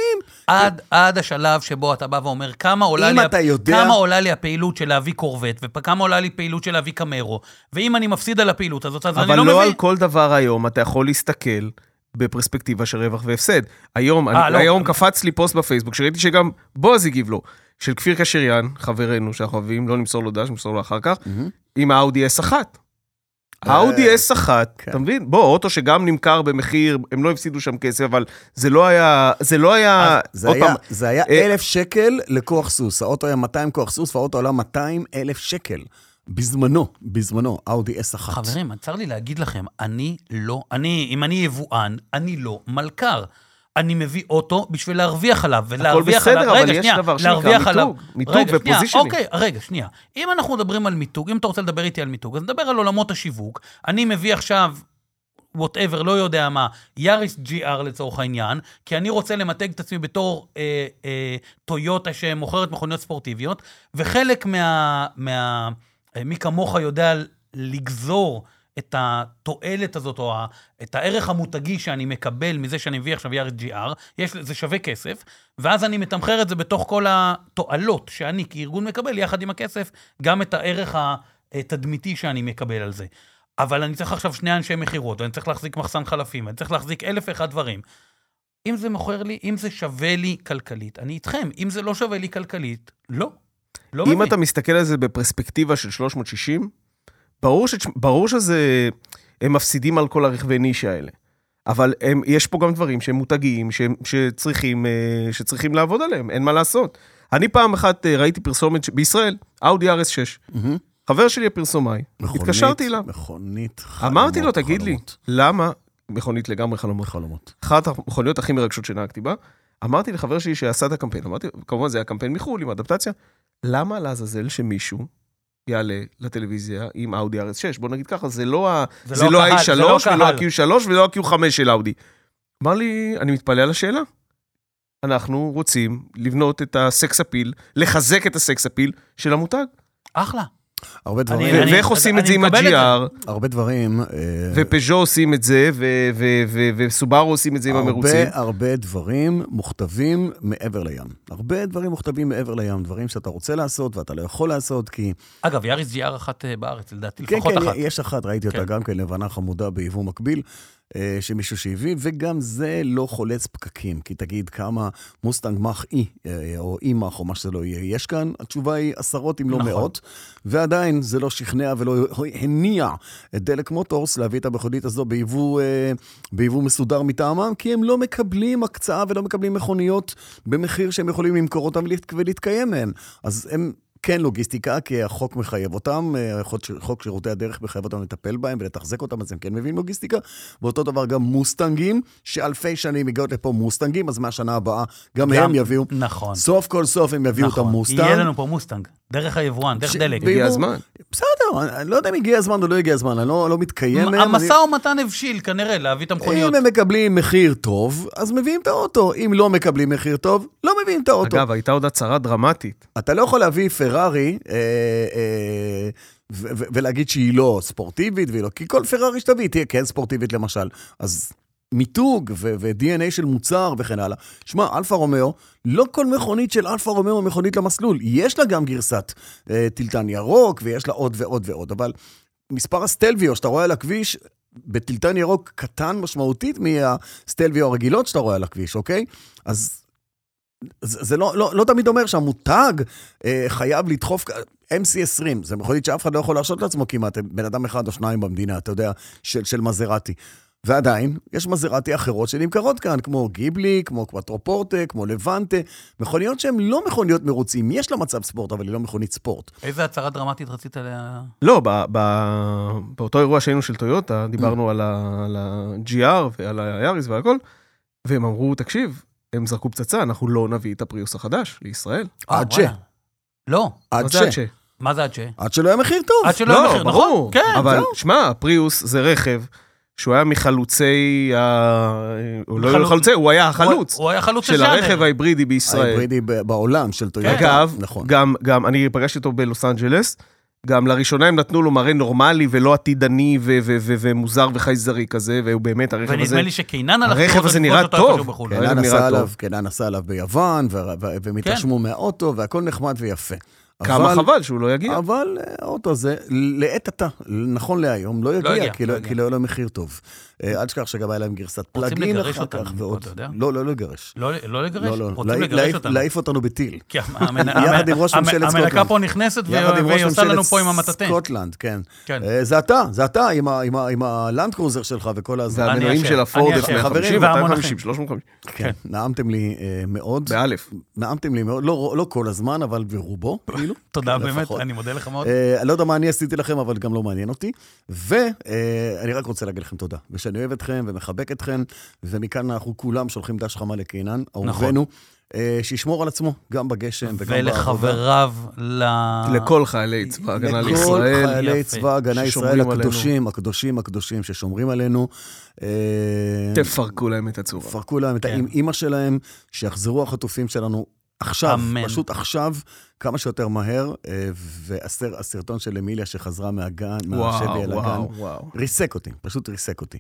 [SPEAKER 3] עד- עד השלב שבו אתה בא ואומר, כמה עולה
[SPEAKER 2] אם
[SPEAKER 3] לי ה-
[SPEAKER 2] אתה יודע-
[SPEAKER 3] כמה עולה לי הפעילות של להביא קורבט, וכמה עולה לי פעילות של להביא קמרו, ואם אני מפסיד על הפעילות הזאת, אז אני
[SPEAKER 4] אבל
[SPEAKER 3] לא
[SPEAKER 4] לא על
[SPEAKER 3] מבין.
[SPEAKER 4] כל דבר היום אתה יכול להסתכל בפרספקטיבה של רווח והפסד. היום,
[SPEAKER 3] אה,
[SPEAKER 4] אני-
[SPEAKER 3] לא.
[SPEAKER 4] היום קפץ לי פוסט בפייסבוק, שראיתי שגם בועז הגיב לו, של כפיר קשריאן, חברנו שאנחנו אוהבים, לא נמסור לו דש, נמסור לו אחר כך, עם האאודי S1.
[SPEAKER 2] אה,
[SPEAKER 4] האאודי S1,
[SPEAKER 2] כן.
[SPEAKER 4] אתה מבין? בוא, אוטו שגם נמכר במחיר, הם לא הפסידו שם כסף, אבל זה לא היה, זה לא
[SPEAKER 3] אה,
[SPEAKER 4] היה,
[SPEAKER 2] זה
[SPEAKER 4] עוד
[SPEAKER 2] היה,
[SPEAKER 4] פעם,
[SPEAKER 2] זה היה
[SPEAKER 4] אה,
[SPEAKER 2] אלף שקל לכוח סוס, האוטו היה 200 כוח סוס, והאוטו עלה 200 אלף שקל. בזמנו, בזמנו, אאודי S1.
[SPEAKER 3] חברים, צר לי להגיד לכם, אני לא, אני, אם אני יבואן, אני לא מלכר. אני מביא אוטו בשביל להרוויח עליו, ולהרוויח
[SPEAKER 4] בסדר,
[SPEAKER 3] עליו,
[SPEAKER 4] אבל
[SPEAKER 3] רגע,
[SPEAKER 4] יש
[SPEAKER 3] שנייה,
[SPEAKER 4] דבר שנקרא
[SPEAKER 3] להרוויח עליו.
[SPEAKER 4] מיתוג, מיתוג
[SPEAKER 3] רגע, שנייה,
[SPEAKER 4] ופוזישנינג.
[SPEAKER 3] אוקיי, רגע, שנייה. אם אנחנו מדברים על מיתוג, אם אתה רוצה לדבר איתי על מיתוג, אז נדבר על עולמות השיווק. אני מביא עכשיו, וואטאבר, לא יודע מה, יאריס GR לצורך העניין, כי אני רוצה למתג את עצמי בתור אה, אה, טויוטה שמוכרת מכוניות ספורטיביות, וחלק מה... מה אה, מי כמוך יודע לגזור את התועלת הזאת, או ה- את הערך המותגי שאני מקבל מזה שאני מביא עכשיו יארד GR, יש, זה שווה כסף, ואז אני מתמחר את זה בתוך כל התועלות שאני כארגון מקבל, יחד עם הכסף, גם את הערך התדמיתי שאני מקבל על זה. אבל אני צריך עכשיו שני אנשי מכירות, ואני צריך להחזיק מחסן חלפים, ואני צריך להחזיק אלף ואחד דברים. אם זה מוכר לי, אם זה שווה לי כלכלית, אני איתכם. אם זה לא שווה לי כלכלית, לא. לא
[SPEAKER 4] אם
[SPEAKER 3] מבין.
[SPEAKER 4] אתה מסתכל על זה בפרספקטיבה של 360, ברור, ש... ברור שזה... הם מפסידים על כל הרכבי נישה האלה. אבל הם, יש פה גם דברים שהם מותגיים, שהם, שצריכים, אה, שצריכים לעבוד עליהם, אין מה לעשות. אני פעם אחת אה, ראיתי פרסומת ש... בישראל, אאודי RS6.
[SPEAKER 2] מהמם.
[SPEAKER 4] חבר שלי הפרסומאי,
[SPEAKER 2] מכונית-
[SPEAKER 4] התקשרתי אליו.
[SPEAKER 2] מכונית חלומות.
[SPEAKER 4] אמרתי לו, תגיד לי,
[SPEAKER 2] חלומות,
[SPEAKER 4] למה, מכונית לגמרי חלומות,
[SPEAKER 2] חלומות.
[SPEAKER 4] אחת המכוניות הכי מרגשות שנהגתי בה, אמרתי לחבר שלי שעשה את הקמפיין, אמרתי, כמובן זה היה קמפיין מחו"ל עם אדפטציה, למה לעזאזל שמישהו יעלה לטלוויזיה עם אאודי RS6? בוא נגיד ככה, זה לא, ה-
[SPEAKER 3] זה
[SPEAKER 4] זה
[SPEAKER 3] לא
[SPEAKER 4] לא
[SPEAKER 3] הקהל,
[SPEAKER 4] ה-i3
[SPEAKER 3] זה לא
[SPEAKER 4] ולא
[SPEAKER 3] הקהל.
[SPEAKER 4] ה-Q3 ולא ה-Q5 של אאודי. אמר לי, אני מתפלא על השאלה. אנחנו רוצים לבנות את הסקס אפיל, לחזק את הסקס אפיל של המותג.
[SPEAKER 3] אחלה.
[SPEAKER 2] הרבה
[SPEAKER 3] אני-
[SPEAKER 2] דברים,
[SPEAKER 4] ו-
[SPEAKER 3] אני-
[SPEAKER 4] ואיך עושים
[SPEAKER 3] אני
[SPEAKER 4] את זה עם
[SPEAKER 3] מקבל את זה.
[SPEAKER 4] ה-GR,
[SPEAKER 2] הרבה דברים... אה,
[SPEAKER 4] ופז'ו עושים את זה, ו- ו- ו- וסובארו עושים את זה עם המרוצים.
[SPEAKER 2] הרבה הרבה דברים מוכתבים מעבר לים. הרבה דברים מוכתבים מעבר לים, דברים שאתה רוצה לעשות ואתה לא יכול לעשות, כי...
[SPEAKER 3] אגב, יאריס GR אחת אה, בארץ, לדעתי,
[SPEAKER 2] כן,
[SPEAKER 3] לפחות
[SPEAKER 2] כן,
[SPEAKER 3] אחת.
[SPEAKER 2] יש אחת, ראיתי אותה
[SPEAKER 3] כן.
[SPEAKER 2] גם כן, לבנה חמודה ביבוא מקביל, אה, שמישהו שהביא, וגם זה לא חולץ פקקים, כי תגיד כמה מוסטנג מח אי, אה, או אי מח, או מה שזה לא יהיה, יש כאן, התשובה היא עשרות אם לא
[SPEAKER 3] נכון.
[SPEAKER 2] מאות, ועדיין זה לא שכנע ולא הניע את דלק מוטורס להביא את המכונית הזו ביבוא, אה, ביבוא מסודר מטעמם, כי הם לא מקבלים הקצאה ולא מקבלים מכוניות במחיר שהם יכולים למכור אותם ולהת- ולהתקיים מהן. אז הם... כן לוגיסטיקה, כי החוק מחייב אותם, אה, חוק ש- חוק שירותי הדרך מחייב אותם לטפל בהם ולתחזק אותם, אז הם כן מביאים לוגיסטיקה. ואותו דבר גם מוסטנגים, שאלפי שנים הגיעו לפה מוסטנגים, אז מהשנה הבאה גם
[SPEAKER 3] גם-
[SPEAKER 2] הם יביאו.
[SPEAKER 3] נכון.
[SPEAKER 2] סוף כל סוף הם יביאו
[SPEAKER 3] נכון.
[SPEAKER 2] את המוסטנג.
[SPEAKER 3] יהיה לנו פה מוסטנג, דרך היבואן, דרך
[SPEAKER 2] ש-
[SPEAKER 3] דלק.
[SPEAKER 2] ב-
[SPEAKER 4] הגיע
[SPEAKER 2] ואם הוא-
[SPEAKER 4] הזמן.
[SPEAKER 2] בסדר, אני- אני לא יודע אם הגיע הזמן או לא הגיע הזמן, אני לא, לא מתקיים מהם. אני-
[SPEAKER 3] המשא ומתן הבשיל כנראה להביא את המכוניות.
[SPEAKER 2] אם הם מקבלים מחיר טוב, אז מביאים את האוטו. אם לא מקבלים מחיר טוב, לא מביאים את האוטו.
[SPEAKER 4] אגב, הייתה עוד הצהרה דרמטית.
[SPEAKER 2] אתה לא יכול להביא פרארי אה, אה, ו- ו- ולהגיד שהיא לא ספורטיבית, והיא לא, כי כל פרארי שתביא תהיה כן ספורטיבית למשל. אז מיתוג ו- ו-DNA של מוצר וכן הלאה. שמע, אלפה רומאו, לא כל מכונית של אלפה רומאו היא מכונית למסלול. יש לה גם גרסת אה, טילטן ירוק, ויש לה עוד ועוד ועוד, אבל מספר הסטלוויו שאתה רואה על הכביש, בטילטן ירוק קטן משמעותית מהסטלוויו הרגילות שאתה רואה על הכביש, אוקיי? אז זה, זה לא, לא, לא תמיד אומר שהמותג אה, חייב לדחוף... כ- MC20, זה מכונית שאף אחד לא יכול להרשות לעצמו כמעט, הם בן אדם אחד או שניים במדינה, אתה יודע, של, של מזרטי. ועדיין, יש מזרטי אחרות שנמכרות כאן, כמו גיבלי, כמו קוואטרופורטה, כמו לבנטה, מכוניות שהן לא מכוניות מרוצים, יש לה מצב ספורט, אבל היא לא מכונית ספורט.
[SPEAKER 3] איזה הצהרה דרמטית רצית ל...
[SPEAKER 2] אה,
[SPEAKER 4] לא, ב- ב- באותו אירוע שהיינו של טויוטה,
[SPEAKER 3] Mm.
[SPEAKER 4] דיברנו על ה- על ה-GR ועל היאריס ועל הכל, והם אמרו, תקשיב, הם זרקו פצצה, אנחנו לא נביא את הפריוס החדש לישראל.
[SPEAKER 3] אה,
[SPEAKER 2] עד ש.
[SPEAKER 3] וואלה. לא.
[SPEAKER 2] עד,
[SPEAKER 4] מה
[SPEAKER 2] ש...
[SPEAKER 4] זה עד ש...
[SPEAKER 3] מה זה עד ש?
[SPEAKER 2] עד שלא יהיה מחיר טוב.
[SPEAKER 3] עד שלא יהיה מחיר, נכון?
[SPEAKER 4] לא, ברור.
[SPEAKER 3] כן,
[SPEAKER 4] אבל
[SPEAKER 3] זהו.
[SPEAKER 4] שמע, הפריוס זה רכב שהוא היה מחלוצי ה... הוא לא
[SPEAKER 3] חלוץ.
[SPEAKER 4] חלוצי, הוא היה החלוץ
[SPEAKER 3] הוא- הוא היה חלוץ
[SPEAKER 4] של הרכב ההיברידי בישראל.
[SPEAKER 2] ההיברידי ב- בעולם של טויוטה.
[SPEAKER 4] אגב,
[SPEAKER 2] נכון.
[SPEAKER 4] גם, גם, אני פגשתי אותו בלוס אנג'לס, גם לראשונה הם נתנו לו מראה נורמלי ולא עתידני ו- ו- ו- ומוזר וחייזרי כזה, והוא באמת, הרכב הזה...
[SPEAKER 3] ונדמה לי שקינן הלך
[SPEAKER 4] הרכב
[SPEAKER 3] לראות אותו
[SPEAKER 4] הזה נראה
[SPEAKER 3] לפגוש אותו
[SPEAKER 4] טוב.
[SPEAKER 3] איפשהו בחו"ל.
[SPEAKER 4] כן.
[SPEAKER 2] קנן
[SPEAKER 4] זה נראה
[SPEAKER 2] נסע
[SPEAKER 4] טוב. כן.
[SPEAKER 2] עליו, קנן נסע עליו ביוון, ו- ו- והם התרשמו מהאוטו, והכל נחמד ויפה.
[SPEAKER 4] כמה
[SPEAKER 2] אבל-
[SPEAKER 4] חבל שהוא לא יגיע.
[SPEAKER 2] אבל אה, האוטו הזה, לעת עתה, נכון להיום, לא יגיע,
[SPEAKER 3] יגיע,
[SPEAKER 2] כי
[SPEAKER 3] לא
[SPEAKER 2] לא-
[SPEAKER 3] יגיע.
[SPEAKER 2] כי לא יהיה לו מחיר טוב. אה, אל תשכח שגם היה להם גרסת
[SPEAKER 3] רוצים
[SPEAKER 2] פלאגין
[SPEAKER 3] לגרש
[SPEAKER 2] אחר כך
[SPEAKER 3] אותנו,
[SPEAKER 2] ועוד.
[SPEAKER 3] אתה יודע?
[SPEAKER 2] לא, לא לגרש.
[SPEAKER 3] לא לא לגרש?
[SPEAKER 2] לא, לא.
[SPEAKER 3] רוצים
[SPEAKER 2] להעיף-
[SPEAKER 3] לגרש
[SPEAKER 2] להעיף-
[SPEAKER 3] אותנו.
[SPEAKER 2] להעיף אותנו בטיל.
[SPEAKER 3] כי המנ-
[SPEAKER 2] יחד עם ראש
[SPEAKER 3] המ-
[SPEAKER 2] ממשלת
[SPEAKER 3] המנקה
[SPEAKER 2] סקוטלנד.
[SPEAKER 3] פה נכנסת
[SPEAKER 2] יחד עם
[SPEAKER 3] ו-
[SPEAKER 2] ראש
[SPEAKER 3] והיא עושה לנו
[SPEAKER 2] ממשלת
[SPEAKER 3] פה עם המטאטה.
[SPEAKER 2] סקוטלנד, כן.
[SPEAKER 3] כן.
[SPEAKER 2] אה, זה אתה, זה אתה עם ה- עם ה- עם הלנד קרוזר שלך וכל הזה.
[SPEAKER 3] אני
[SPEAKER 4] והמנועים
[SPEAKER 3] אשם,
[SPEAKER 4] של
[SPEAKER 3] אני
[SPEAKER 4] הפורד,
[SPEAKER 3] אשם. והמונחים.
[SPEAKER 4] 250, 250, 350,
[SPEAKER 2] כן. נעמתם לי אה, מאוד.
[SPEAKER 4] באלף.
[SPEAKER 2] נעמתם לי מאוד, לא לא כל הזמן, אבל ברובו, כאילו.
[SPEAKER 3] תודה באמת,
[SPEAKER 2] לפחות.
[SPEAKER 3] אני מודה לך מאוד.
[SPEAKER 4] נכון.
[SPEAKER 2] אה, אני לא יודע מה אני עשיתי לכם, אבל גם לא מעניין אותי. ואני רק רוצה להגיד לכם תודה, ושאני אוהב אתכם ומחבק אתכם, ומכאן אנחנו כולם שולחים דש חמה לקינן,
[SPEAKER 4] נכון.
[SPEAKER 2] אהובנו, אה, שישמור על עצמו, גם בגשם וגם בעבודה.
[SPEAKER 3] ולחבריו ל...
[SPEAKER 4] לכל חיילי צבא הגנה
[SPEAKER 2] אה. לכל
[SPEAKER 4] לישראל.
[SPEAKER 2] חיילי
[SPEAKER 3] יפה.
[SPEAKER 2] צבא הגנה
[SPEAKER 4] ששומרים
[SPEAKER 2] ישראל
[SPEAKER 4] עלינו.
[SPEAKER 2] הקדושים, הקדושים, הקדושים, ששומרים עלינו. אה,
[SPEAKER 4] תפרקו להם את הצורה.
[SPEAKER 2] פרקו להם את
[SPEAKER 3] כן.
[SPEAKER 2] האימא שלהם, שיחזרו החטופים שלנו עכשיו,
[SPEAKER 3] אמן.
[SPEAKER 2] פשוט עכשיו, כמה שיותר מהר, אה, והסרטון של אמיליה שחזרה מהגן, מהשבי
[SPEAKER 4] וואו,
[SPEAKER 2] אל הגן,
[SPEAKER 4] וואו, וואו.
[SPEAKER 2] ריסק אותי, פשוט ריסק אותי.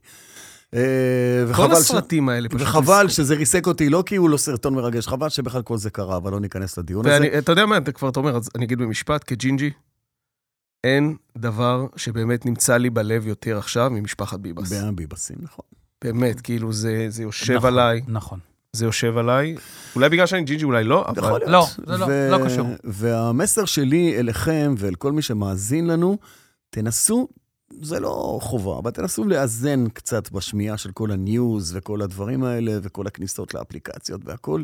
[SPEAKER 2] אה,
[SPEAKER 4] כל
[SPEAKER 2] וחבל ש-
[SPEAKER 4] הסרטים האלה פשוט...
[SPEAKER 2] וחבל שזה ריסק אותי, לא כי הוא לא סרטון מרגש, חבל שבכלל כל זה קרה, אבל לא ניכנס לדיון הזה.
[SPEAKER 4] ואני, אתה יודע מה, אתה כבר אתה אומר, אז אני אגיד במשפט, כג'ינג'י, אין דבר שבאמת נמצא לי בלב יותר עכשיו ממשפחת ביבס.
[SPEAKER 2] בהביבסים, נכון.
[SPEAKER 4] באמת, כאילו, זה, זה יושב
[SPEAKER 3] נכון,
[SPEAKER 4] עליי,
[SPEAKER 3] נכון.
[SPEAKER 4] זה יושב עליי. אולי בגלל שאני ג'ינג'י, אולי לא, אבל...
[SPEAKER 2] יכול להיות.
[SPEAKER 3] לא, זה לא- לא קשור.
[SPEAKER 2] והמסר שלי אליכם ואל כל מי שמאזין לנו, תנסו, זה לא חובה, אבל תנסו לאזן קצת בשמיעה של כל הניוז וכל הדברים האלה, וכל הכניסות לאפליקציות והכול.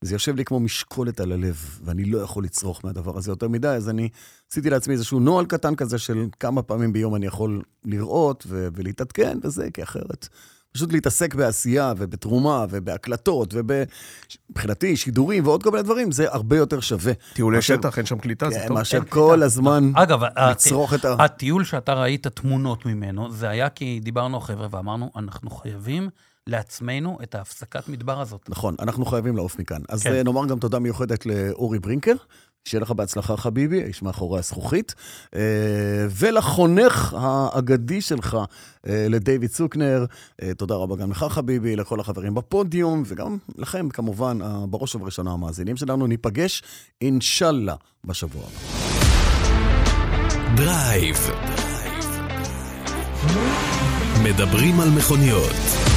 [SPEAKER 2] זה יושב לי כמו משקולת על הלב, ואני לא יכול לצרוך מהדבר הזה יותר מדי, אז אני עשיתי לעצמי איזשהו נוהל קטן כזה של כמה פעמים ביום אני יכול לראות ו- ולהתעדכן וזה, כי אחרת... פשוט להתעסק בעשייה ובתרומה ובהקלטות ומבחינתי שידורים ועוד כל מיני דברים, זה הרבה יותר שווה.
[SPEAKER 4] טיולי
[SPEAKER 2] מאשר-
[SPEAKER 4] שטח, אין שם קליטה, זה
[SPEAKER 2] כן,
[SPEAKER 4] טוב.
[SPEAKER 2] מאשר כל הזמן
[SPEAKER 3] אגב, ה-
[SPEAKER 2] לצרוך את ה...
[SPEAKER 3] הטיול שאתה ראית תמונות ממנו, זה היה כי דיברנו, חבר'ה, ואמרנו, אנחנו חייבים לעצמנו את ההפסקת מדבר הזאת.
[SPEAKER 2] נכון, אנחנו חייבים לעוף מכאן. אז
[SPEAKER 3] כן.
[SPEAKER 2] אה, נאמר גם תודה מיוחדת לאורי ברינקר, שיהיה לך בהצלחה, חביבי, האיש מאחורי הזכוכית. אה, ולחונך האגדי שלך, אה, לדייוויד צוקנר, אה, תודה רבה גם לך, חביבי, לכל החברים בפודיום, וגם לכם, כמובן, אה, בראש ובראשונה המאזינים שלנו. ניפגש, אינשאללה, בשבוע הבא.
[SPEAKER 1] דרייב. מדברים על מכוניות.